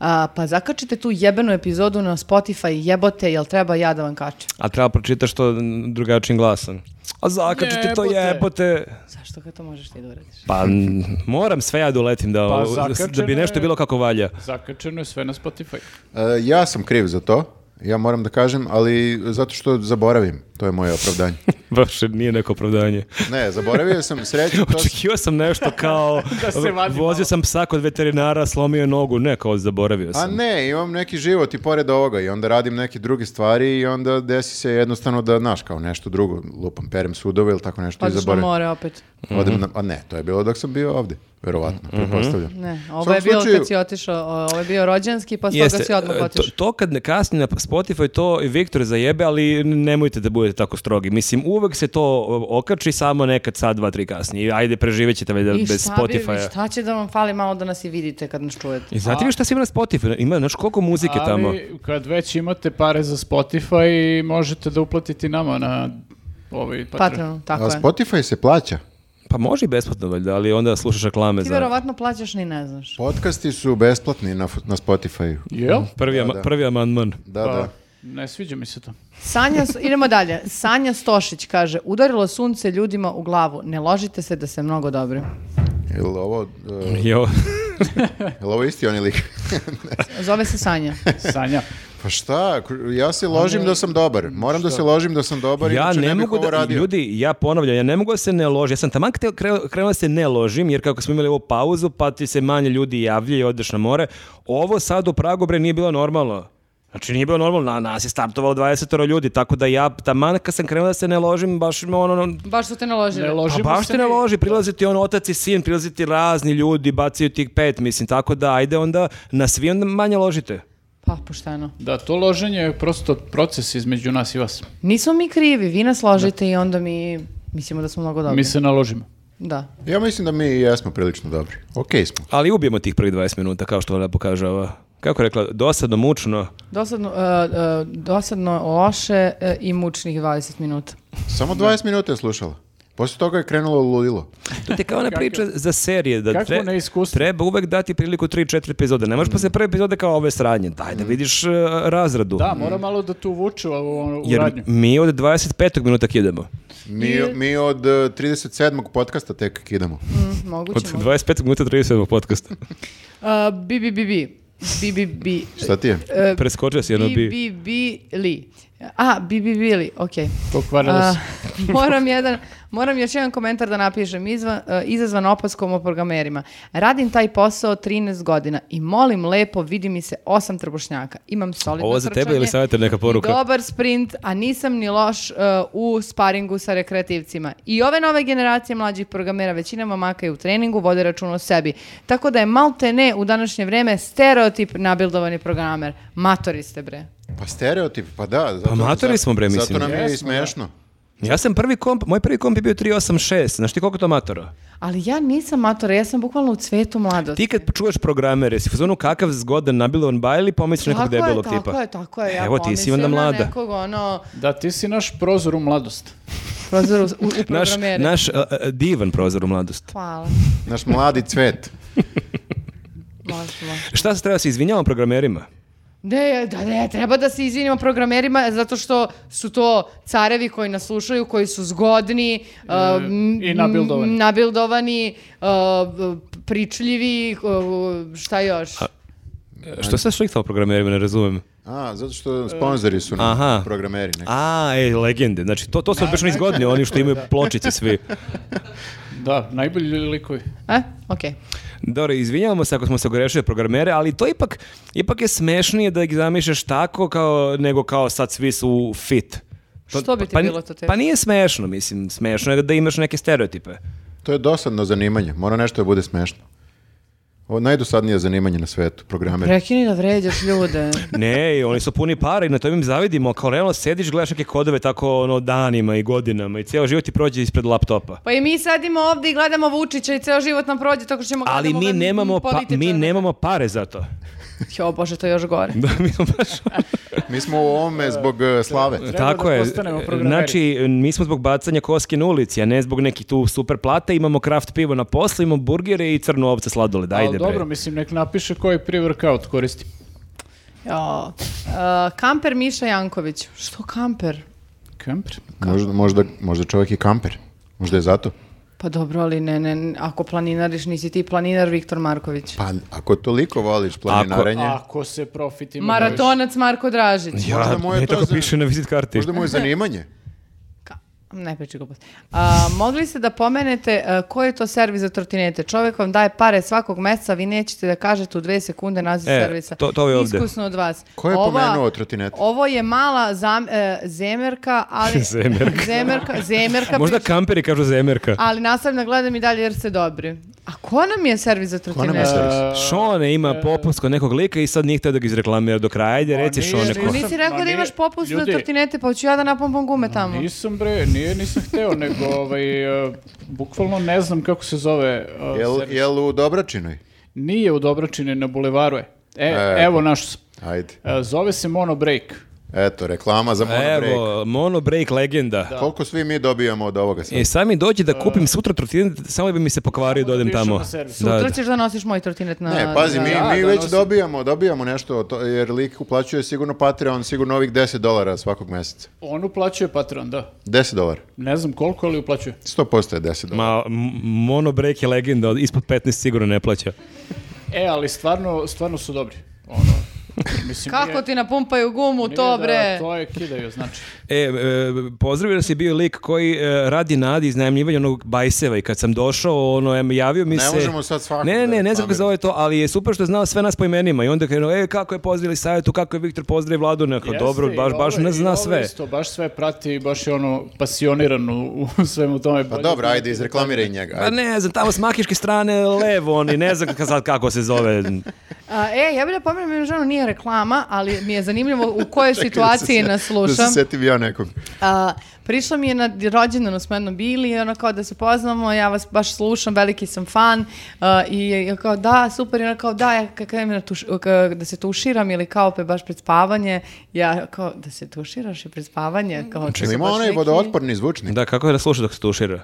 Speaker 1: a, pa zakačite tu jebenu epizodu na Spotify, jebote, jel treba ja da vam kačem?
Speaker 2: A treba pročitaš to drugačijim glasom. A zakačite to
Speaker 3: Jebote.
Speaker 2: jebote.
Speaker 1: Zašto, kako to možeš ti da uradiš?
Speaker 2: Pa n- moram sve ja doletim da,
Speaker 3: Pa,
Speaker 2: da
Speaker 3: zakačeno
Speaker 2: bi
Speaker 3: je.
Speaker 2: nešto bilo kako valja.
Speaker 3: Zakačeno je sve na Spotify.
Speaker 4: E, ja sam kriv za to, ja moram da kažem, ali zato što zaboravim. To je moje opravdanje.
Speaker 2: Baš nije neko opravdanje.
Speaker 4: Ne, zaboravio sam sreću. To sam-
Speaker 2: Očekio sam nešto kao,
Speaker 3: Da se vadi
Speaker 2: vozio
Speaker 3: malo.
Speaker 2: sam psa kod veterinara, slomio je nogu, ne, kao zaboravio
Speaker 4: A
Speaker 2: sam.
Speaker 4: ne, imam neki život i pored ovoga i onda radim neke druge stvari i onda desi se jednostavno da, znaš, kao nešto drugo, lupam, perem sudove ili tako nešto i
Speaker 1: Odiš na
Speaker 4: zaboravim.
Speaker 1: more opet.
Speaker 2: Mhm.
Speaker 4: Odem na, a ne, to je bilo dok sam bio ovdje, verovatno, pretpostavljam.
Speaker 1: Ne,
Speaker 4: U
Speaker 1: ovo
Speaker 4: svakom
Speaker 1: je bilo
Speaker 4: slučaju,
Speaker 1: kad si otišao, o- ovo je bio rođanski, pa s toga si odmah
Speaker 2: e, to,
Speaker 1: otišao.
Speaker 2: to kad ne kasni na Spotify, to i Viktor zajebe, ali nemojte da budete tako strogi. Mislim, uvek se to o, okači, samo nekad sad, dva, tri kasnije. Ajde, preživjet ćete valjda
Speaker 1: I
Speaker 2: bez
Speaker 1: šta bi-
Speaker 2: Spotify-a.
Speaker 1: Šta će da vam fali malo da nas i vidite kad nas čujete?
Speaker 2: I znate vi šta se ima na Spotify? Ima, znaš, koliko muzike tamo?
Speaker 3: Ali kad već imate pare za Spotify, možete da uplatite i nama na ovaj Patreon.
Speaker 1: Patreon, tako
Speaker 4: a
Speaker 1: je.
Speaker 4: Spotify se plaća.
Speaker 2: Pa može i besplatno, valjda, ali onda slušaš reklame
Speaker 1: Ti
Speaker 2: za...
Speaker 1: verovatno plaćaš ni ne znaš.
Speaker 4: Podcasti su besplatni na, f- na Spotify.
Speaker 3: Jel?
Speaker 2: Prvi, ama- prvi amandman.
Speaker 4: Da,
Speaker 3: Pa,
Speaker 4: da.
Speaker 3: Ne sviđa mi se to.
Speaker 1: Sanja, idemo dalje. Sanja Stošić kaže, udarilo sunce ljudima u glavu, ne ložite se da se mnogo dobro.
Speaker 4: Jel ovo,
Speaker 2: Mm.
Speaker 4: e,
Speaker 2: Jo.
Speaker 4: jel ovo isti oni lik?
Speaker 1: Zove se Sanja.
Speaker 3: Sanja.
Speaker 4: Pa šta, kr- ja se ložim da sam dobar. Moram da se ložim da sam dobar,
Speaker 2: Pa Ja
Speaker 4: inače
Speaker 2: ne
Speaker 4: ne bih
Speaker 2: mogu
Speaker 4: ovo
Speaker 2: da,
Speaker 4: radio.
Speaker 2: ljudi, ja ponavljam, ja ne mogu da se ne ložim. Ja sam taman hteo- kreo- krenuo da se ne ložim, jer kako smo imali ovu pauzu, pa ti se manje ljudi javlja i odeš na more. Ovo sad u Pragu, bre, nije bilo normalno. Znači nije bilo normalno, na, nas je startovalo 20 ljudi, tako da ja taman kad sam krenuo da se ne ložim, baš me ono, ono,
Speaker 1: Baš su te naložili.
Speaker 3: Ne
Speaker 2: pa
Speaker 3: ložimo
Speaker 2: baš
Speaker 3: se
Speaker 2: te ne
Speaker 3: mi.
Speaker 2: loži, prilaze ti on otac i sin, prilaze ti razni ljudi, bacaju ti pet, mislim, tako da ajde onda na svi onda manje ložite.
Speaker 1: Pa, pošteno.
Speaker 3: Da, to loženje je prosto proces između nas i vas.
Speaker 1: Nismo mi krivi, vi nas ložite i onda mi mislimo da smo mnogo dobri.
Speaker 3: Mi se naložimo.
Speaker 1: Da.
Speaker 4: Ja mislim da mi i jesmo prilično dobri. Okej smo.
Speaker 2: Ali ubijemo tih prvih 20 minuta, kao što lepo kaže ova. Kako je rekla, dosadno, mučno.
Speaker 1: Dosadno, e, e, dosadno loše e, i mučnih 20 minuta.
Speaker 4: Samo 20 minuta je slušala. Posle toga je krenulo ludilo.
Speaker 2: To ti je kao ona priča za serije, da
Speaker 3: Kakvo
Speaker 2: tre-
Speaker 3: neiskustvo? Mm.
Speaker 2: treba uvek dati priliku 3-4 epizode. Ne možeš posle prve epizode kao ove sranje. Daj da vidiš e, razradu.
Speaker 3: Da, mora malo da tu vuču ovu onu, u radnju.
Speaker 2: Mm. Jer mi od 25. minuta kidemo.
Speaker 4: Mi, mi od e, 37. podcasta tek kidamo.
Speaker 1: Mm, moguće,
Speaker 2: Od
Speaker 1: moguće.
Speaker 2: 25. minuta 37. podcasta.
Speaker 1: A, E, bi, bi, bi, bi. Bi, bi, bi.
Speaker 4: Šta ti je?
Speaker 1: E,
Speaker 2: Preskočio si jedno
Speaker 1: bi,
Speaker 2: bi.
Speaker 1: bi, bi, li. A, bi, bi, bi, li, okej.
Speaker 3: Pokvarila se.
Speaker 1: A, moram, jedan, moram još jedan komentar da napišem. Izva, e, izazvan opaskom o programerima. Radim taj posao 13 godina i molim lepo, vidi mi se osam trbušnjaka. Imam solidno
Speaker 2: Ovo za tebe ili
Speaker 1: trčanje
Speaker 2: savjetar neka poruka?
Speaker 1: i dobar sprint, a nisam ni loš e, u sparingu sa rekreativcima. I ove nove generacije mlađih programera, većina momaka je u treningu, vode račun o sebi. Tako da je malte ne u današnje vreme stereotip nabildovani programer. Matori ste bre.
Speaker 4: Pa stereotip, pa da. Zato,
Speaker 2: Pa matori
Speaker 4: zato-
Speaker 2: smo, bre, mislim.
Speaker 4: Zato nam je i
Speaker 3: Jesmo, da.
Speaker 4: smešno.
Speaker 2: Ja sam prvi komp, moj prvi komp je bio 386. Znaš ti koliko je to matora?
Speaker 1: Ali ja nisam matora, ja sam bukvalno u cvetu mladosti.
Speaker 2: Ti kad čuvaš programere, si u fazonu kakav zgodan nabilovan baja ili pomisliš nekog
Speaker 1: Tako je,
Speaker 2: debelog
Speaker 1: tako
Speaker 2: tipa?
Speaker 1: je, tako je. Ja
Speaker 2: Evo, ti si
Speaker 1: pomislim
Speaker 2: onda
Speaker 1: na
Speaker 2: mlada.
Speaker 1: nekog ono,
Speaker 3: Da, ti si naš prozor u mladost.
Speaker 1: prozor u, u
Speaker 2: Naš,
Speaker 1: programere.
Speaker 2: naš a, a, divan prozor u mladost.
Speaker 1: Hvala.
Speaker 4: Naš mladi cvet.
Speaker 1: Može, može.
Speaker 2: Šta se treba se izvinjavam programerima?
Speaker 1: Ne, da ne, treba da se izvinimo programerima zato što su to carevi koji nas slušaju, koji su zgodni, uh, m-
Speaker 3: E, i nabildovani.
Speaker 1: m- nabildovani, uh, p- pričljivi, uh, šta još?
Speaker 2: E, Što se šlikta o programerima, ne razumem.
Speaker 4: A, zato što sponzori su nam
Speaker 2: Aha.
Speaker 4: programeri. neki.
Speaker 2: A, ej, legende. Znači, to, to su obično izgodni, oni što imaju pločice svi.
Speaker 3: Da, najbolji likovi.
Speaker 1: E, okej.
Speaker 2: Dobro, izvinjavamo se ako smo se ogrešili programere, ali to ipak, ipak je smešnije da ih zamišljaš tako kao, nego kao sad svi su fit.
Speaker 1: Što bi ti
Speaker 2: pa, pa-
Speaker 1: bilo to teško?
Speaker 2: Pa nije smešno, mislim, smešno je da imaš neke stereotipe.
Speaker 4: To je dosadno zanimanje. Mora nešto da bude smešno. Ovo je najdosadnije zanimanje na svetu, programeri.
Speaker 1: Prekini da vređaš ljude.
Speaker 2: Ne, i oni su puni para i na to im zavidimo. Kao realno sediš, gledaš neke kodove tako ono danima i godinama i cijelo život ti prođe ispred laptopa.
Speaker 1: Pa i mi sadimo ovdje i gledamo Vučića i ceo život nam prođe tako što ćemo
Speaker 2: Ali
Speaker 1: gledamo
Speaker 2: mi
Speaker 1: ove
Speaker 2: nemamo, pa- mi
Speaker 1: političare.
Speaker 2: nemamo pare za to.
Speaker 1: Jo, bože, to je još gore.
Speaker 2: Da, mi smo baš...
Speaker 4: Mi smo u ovome zbog e, slave.
Speaker 3: Treba
Speaker 2: Tako
Speaker 3: da
Speaker 2: je.
Speaker 3: postanemo programeri.
Speaker 2: Znači, mi smo zbog bacanja koske na ulici, a ne zbog nekih tu super plata. Imamo kraft pivo na poslu, imamo burgere i crnu ovce sladole. Dajde,
Speaker 3: Ali
Speaker 2: bre.
Speaker 3: dobro, mislim, nek napiše koji pre-workout koristi.
Speaker 1: Jo. Uh, kamper Miša Janković. Što kamper?
Speaker 3: Kemper.
Speaker 4: Možda, možda, možda čovjek je kamper. Možda je zato.
Speaker 1: Pa dobro, ali ne, ne, ako planinariš, nisi ti planinar Viktor Marković.
Speaker 4: Pa, ako toliko voliš planinarenje,
Speaker 3: Ako se profitima...
Speaker 1: Maratonac Marko Dražić.
Speaker 2: Ja,
Speaker 4: Možda mu je
Speaker 2: ne
Speaker 4: to
Speaker 2: tako
Speaker 4: za-
Speaker 2: piše na vizit karti.
Speaker 4: možda mu je zanimanje.
Speaker 1: Ka- Ne priči glupost. A, mogli ste da pomenete a, koji je to servis za trotinete? Čovjek vam daje pare svakog meseca, vi nećete da kažete u dve sekunde naziv
Speaker 2: E,
Speaker 1: servisa.
Speaker 2: to- to je ovdje.
Speaker 1: Iskusno od vas.
Speaker 4: Ko je
Speaker 1: Ova-
Speaker 4: pomenuo trotinete?
Speaker 1: Ovo je mala zam, e, zemerka, ali...
Speaker 2: Zemerka.
Speaker 1: zemerka, zemerka
Speaker 2: Možda
Speaker 1: piše,
Speaker 2: kamperi kažu zemerka.
Speaker 1: ali nastavno gledam i dalje jer ste dobri. A ko nam je servis za
Speaker 4: Ko nam je
Speaker 1: trotinete?
Speaker 4: servis?
Speaker 2: Šone ima popust kod nekog lika i sad nije htio da ga izreklamira do kraja. Ajde, reci
Speaker 3: nije,
Speaker 2: Šone
Speaker 3: nije.
Speaker 2: ko.
Speaker 1: Znači, Nisi rekao
Speaker 3: Ma
Speaker 1: da
Speaker 3: nije,
Speaker 1: imaš popust na
Speaker 3: ljudi.
Speaker 1: trotinete, pa hoću ja da napompam gume tamo.
Speaker 3: Nisam bre, nije, nisam hteo, nego ovaj, e, bukvalno ne znam kako se zove. e,
Speaker 4: Jel,
Speaker 3: servis.
Speaker 4: jel u Dobračinoj?
Speaker 3: Nije u Dobračini, na bulevaru je. E,
Speaker 4: E.
Speaker 3: evo naš. sam.
Speaker 4: Ajde.
Speaker 3: E, zove se Mono Break.
Speaker 4: Eto, reklama za monobreak.
Speaker 2: Evo, monobreak legenda.
Speaker 4: Koliko svi mi dobijamo od ovoga sad?
Speaker 2: E, sad mi dođi da kupim sutra trotinet, samo bi mi se pokvario da odem
Speaker 3: Samo da
Speaker 2: tamo.
Speaker 3: pišemo servis.
Speaker 2: Da,
Speaker 1: Sutra
Speaker 2: da.
Speaker 1: ćeš da nosiš moj trotinet na...
Speaker 4: Ne, pazi, mi,
Speaker 3: da,
Speaker 4: mi
Speaker 3: da
Speaker 4: već
Speaker 3: nosim.
Speaker 4: dobijamo, dobijamo nešto, to, jer lik uplaćuje sigurno Patreon, sigurno ovih 10 dolara svakog mjeseca.
Speaker 3: On uplaćuje Patreon, da.
Speaker 4: 10 dolara.
Speaker 3: Ne znam koliko, ali uplaćuje.
Speaker 4: 100% je 10 dolara.
Speaker 2: Ma, m- monobreak je legenda, od- ispod 15 sigurno ne plaća.
Speaker 3: E, ali stvarno, stvarno su dobri. Ono, mislim,
Speaker 1: Kako
Speaker 3: nije-
Speaker 1: ti napumpaju gumu,
Speaker 3: nije
Speaker 1: to
Speaker 3: da-
Speaker 1: bre.
Speaker 3: to je kidaju, znači.
Speaker 2: E, e, pozdravio nas je bio lik koji e, radi nadi iznajmljivanja onog bajseva i kad sam došao, ono, em, javio mi
Speaker 4: Ne
Speaker 2: se...
Speaker 4: možemo sad svakog
Speaker 2: Ne, ne, ne,
Speaker 4: da
Speaker 2: ne znam
Speaker 4: reklamiramo.
Speaker 2: kako se zove to, ali je super što je znao sve nas po imenima i onda je krenuo, e, kako je pozdravili savjetu, kako je Viktor pozdravio vladu, neko,
Speaker 3: Jeste,
Speaker 2: dobro,
Speaker 3: i
Speaker 2: baš, baš
Speaker 3: ovo-
Speaker 2: ne
Speaker 3: i
Speaker 2: zna
Speaker 3: ovo
Speaker 2: sve.
Speaker 3: Isto, baš sve prati, baš je ono pasioniran u, u svemu tome.
Speaker 4: Pa dobro, ajde, izreklamiraj njega.
Speaker 2: Pa
Speaker 4: Ajde.
Speaker 2: ne znam, tamo s makiške strane levo, oni ne znam ka- sad kako se zove.
Speaker 1: A, e, ja bih da pomenem jednu ženu, nije reklama, ali mi je zanimljivo u kojoj situaciji nas
Speaker 4: Da
Speaker 1: slušam.
Speaker 4: se setim ja nekog.
Speaker 1: A, prišla mi je na rođendanu smo jednom bili i ona kao da se poznamo, ja vas baš slušam, veliki sam fan a, i ja kao da, super, i ona kao da, ja kad krenem na tuš- ka- da se tuširam ili kao pe baš pred spavanje, ja kao da se tuširaš i pred spavanje, kao to su
Speaker 4: Znači, Ima
Speaker 1: baš
Speaker 4: onaj
Speaker 1: neki-
Speaker 4: vodootporni zvučnik.
Speaker 2: Da, kako je da sluša dok se tušira?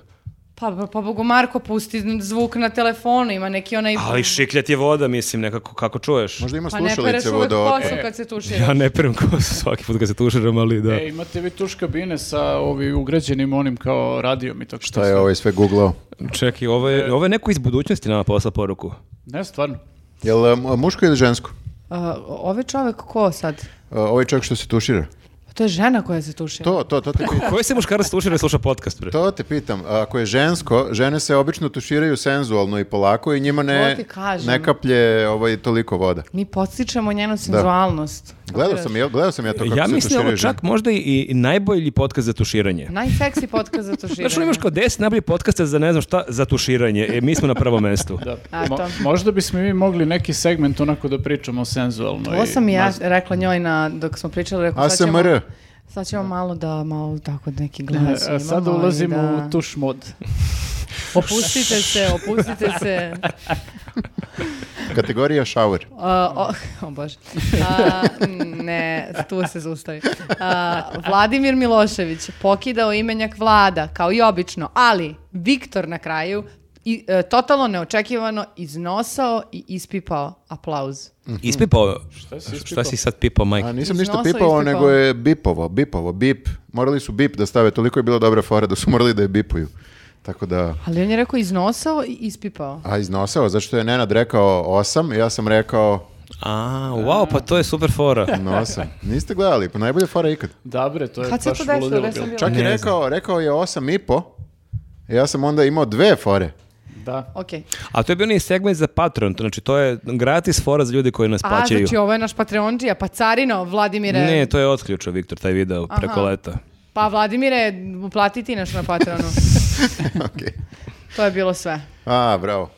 Speaker 1: Pa, pa, pa Bogu Marko, pusti zvuk na telefonu, ima neki onaj...
Speaker 2: Ali šiklja ti je voda, mislim, nekako, kako čuješ?
Speaker 4: Možda ima
Speaker 1: Pa ne pereš
Speaker 4: slušalice
Speaker 1: uvek
Speaker 4: vodo.
Speaker 1: kosu kad se tušira.
Speaker 2: Ja ne perem kosu svaki put kad se tuširam, ali da.
Speaker 3: E, imate vi tuš kabine sa ovi ugrađenim onim kao radijom i tako
Speaker 4: Šta je ovaj sve googlao?
Speaker 2: Čekaj, ovo je, ovo je neko iz budućnosti nama posla poruku.
Speaker 3: Ne, stvarno.
Speaker 4: Jel e, mu- muško ili žensko?
Speaker 1: A, ovaj čovek ko sad?
Speaker 4: E, Ovaj čovjek što se tušira.
Speaker 1: Pa to je žena koja se tušira.
Speaker 4: To, to, to te pitam.
Speaker 2: Koji se muškarac tušira i sluša podcast, bre?
Speaker 4: To te pitam. Ako je žensko, žene se obično tuširaju senzualno i polako i njima
Speaker 1: To
Speaker 4: ne,
Speaker 1: ti kažem.
Speaker 4: ne kaplje ovaj, toliko voda.
Speaker 1: Mi podstičemo njenu senzualnost.
Speaker 4: Gledao
Speaker 1: Kapiraš?
Speaker 4: sam, ja, gledao sam ja to kako
Speaker 2: Ja mislim
Speaker 4: se
Speaker 2: da je
Speaker 4: tuširaju
Speaker 2: ovo
Speaker 4: žene.
Speaker 2: čak možda i, i najbolji podcast za tuširanje.
Speaker 1: Najseksi podcast za tuširanje.
Speaker 2: Znaš, ono imaš kao 10 najboljih podcasta za ne znam šta, za tuširanje. E, mi smo na prvom mestu.
Speaker 3: Da.
Speaker 1: A,
Speaker 3: Mo-
Speaker 1: to.
Speaker 3: možda bismo i mi mogli neki segment onako da pričamo senzualno.
Speaker 1: Ovo
Speaker 3: i
Speaker 1: sam i ja
Speaker 3: maz-
Speaker 1: rekla njoj na, dok smo pričali, rekao, sad ćemo,
Speaker 4: ASMR.
Speaker 1: sad ćemo malo da, malo tako neki glas
Speaker 3: E, a Sada ulazimo
Speaker 1: da...
Speaker 3: u tuš mod.
Speaker 1: Opustite se, opustite se.
Speaker 4: Kategorija shower.
Speaker 1: A, o, o bože. A, ne, tu se zaustavi. A, Vladimir Milošević pokidao imenjak Vlada, kao i obično, ali Viktor na kraju i, e, totalno neočekivano iznosao i ispipao aplauz.
Speaker 2: Ispipao,
Speaker 3: Šta si
Speaker 2: šta
Speaker 3: ispipao?
Speaker 2: si sad pipao,
Speaker 4: A
Speaker 1: E,
Speaker 2: majke?
Speaker 4: nisam
Speaker 1: Iznosao
Speaker 4: ništa
Speaker 1: i
Speaker 4: pipao,
Speaker 1: pipao.
Speaker 4: nego je bipovo, bipovo, bip. Morali su bip da stave, toliko je bila dobra fora da su morali da je bipuju. Tako da...
Speaker 1: Ali on je rekao iznosao i ispipao.
Speaker 4: A iznosao, zašto je Nenad rekao osam, ja sam rekao
Speaker 2: A, wow, pa to je super fora.
Speaker 4: na osam. Niste gledali, pa najbolja fora ikad.
Speaker 3: Da bre, to je
Speaker 1: Kad se
Speaker 3: baš
Speaker 1: to desilo,
Speaker 3: ludilo
Speaker 1: gde sam
Speaker 3: bilo.
Speaker 1: bila?
Speaker 4: Čak je
Speaker 2: Ne
Speaker 4: rekao, rekao je osam i po, ja sam onda imao dve fore.
Speaker 3: Da.
Speaker 1: Ok.
Speaker 2: A to je bio onaj segment za Patreon, to znači to je gratis fora za ljudi koji nas
Speaker 1: A,
Speaker 2: plaćaju.
Speaker 1: znači ovo je naš Patreonđija, pa carino, Vladimire.
Speaker 2: Ne, to je otključao Viktor, taj video preko leta.
Speaker 1: Pa Vladimire, uplatiti naš na Patreonu.
Speaker 4: Okej.
Speaker 1: to je bilo sve.
Speaker 4: A, bravo.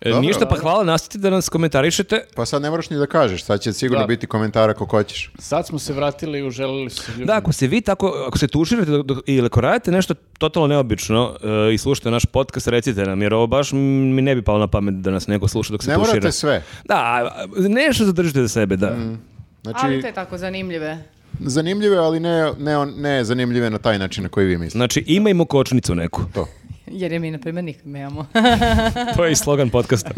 Speaker 2: E,
Speaker 4: Dobro.
Speaker 2: ništa, pa hvala, nastavite da nas komentarišete.
Speaker 4: Pa sad ne moraš ni da kažeš, sad će sigurno
Speaker 3: Da.
Speaker 4: biti komentara ako hoćeš.
Speaker 3: Sad smo se vratili i uželili su se ljudi.
Speaker 2: Da, ako se vi tako, ako se tuširate dok- dok- ili ako radite nešto totalno neobično e, i slušate naš podcast, recite nam, jer ovo baš m, mi ne bi palo na pamet da nas neko sluša dok se
Speaker 4: Ne
Speaker 2: tušira.
Speaker 4: morate sve.
Speaker 2: Da, a, nešto zadržite za sebe, da.
Speaker 1: Ali
Speaker 4: Znači,
Speaker 1: to je tako zanimljive.
Speaker 4: zanimljive, ali ne, ne, on- ne zanimljive na taj način na koji vi mislite.
Speaker 2: Znači, imajmo kočnicu neku.
Speaker 1: Jer je mi, na primjer, nikad nemamo.
Speaker 2: To je i slogan podcasta.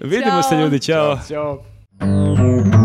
Speaker 2: Vidimo se ljudi, ćao.
Speaker 3: Ćao.
Speaker 6: Alarm.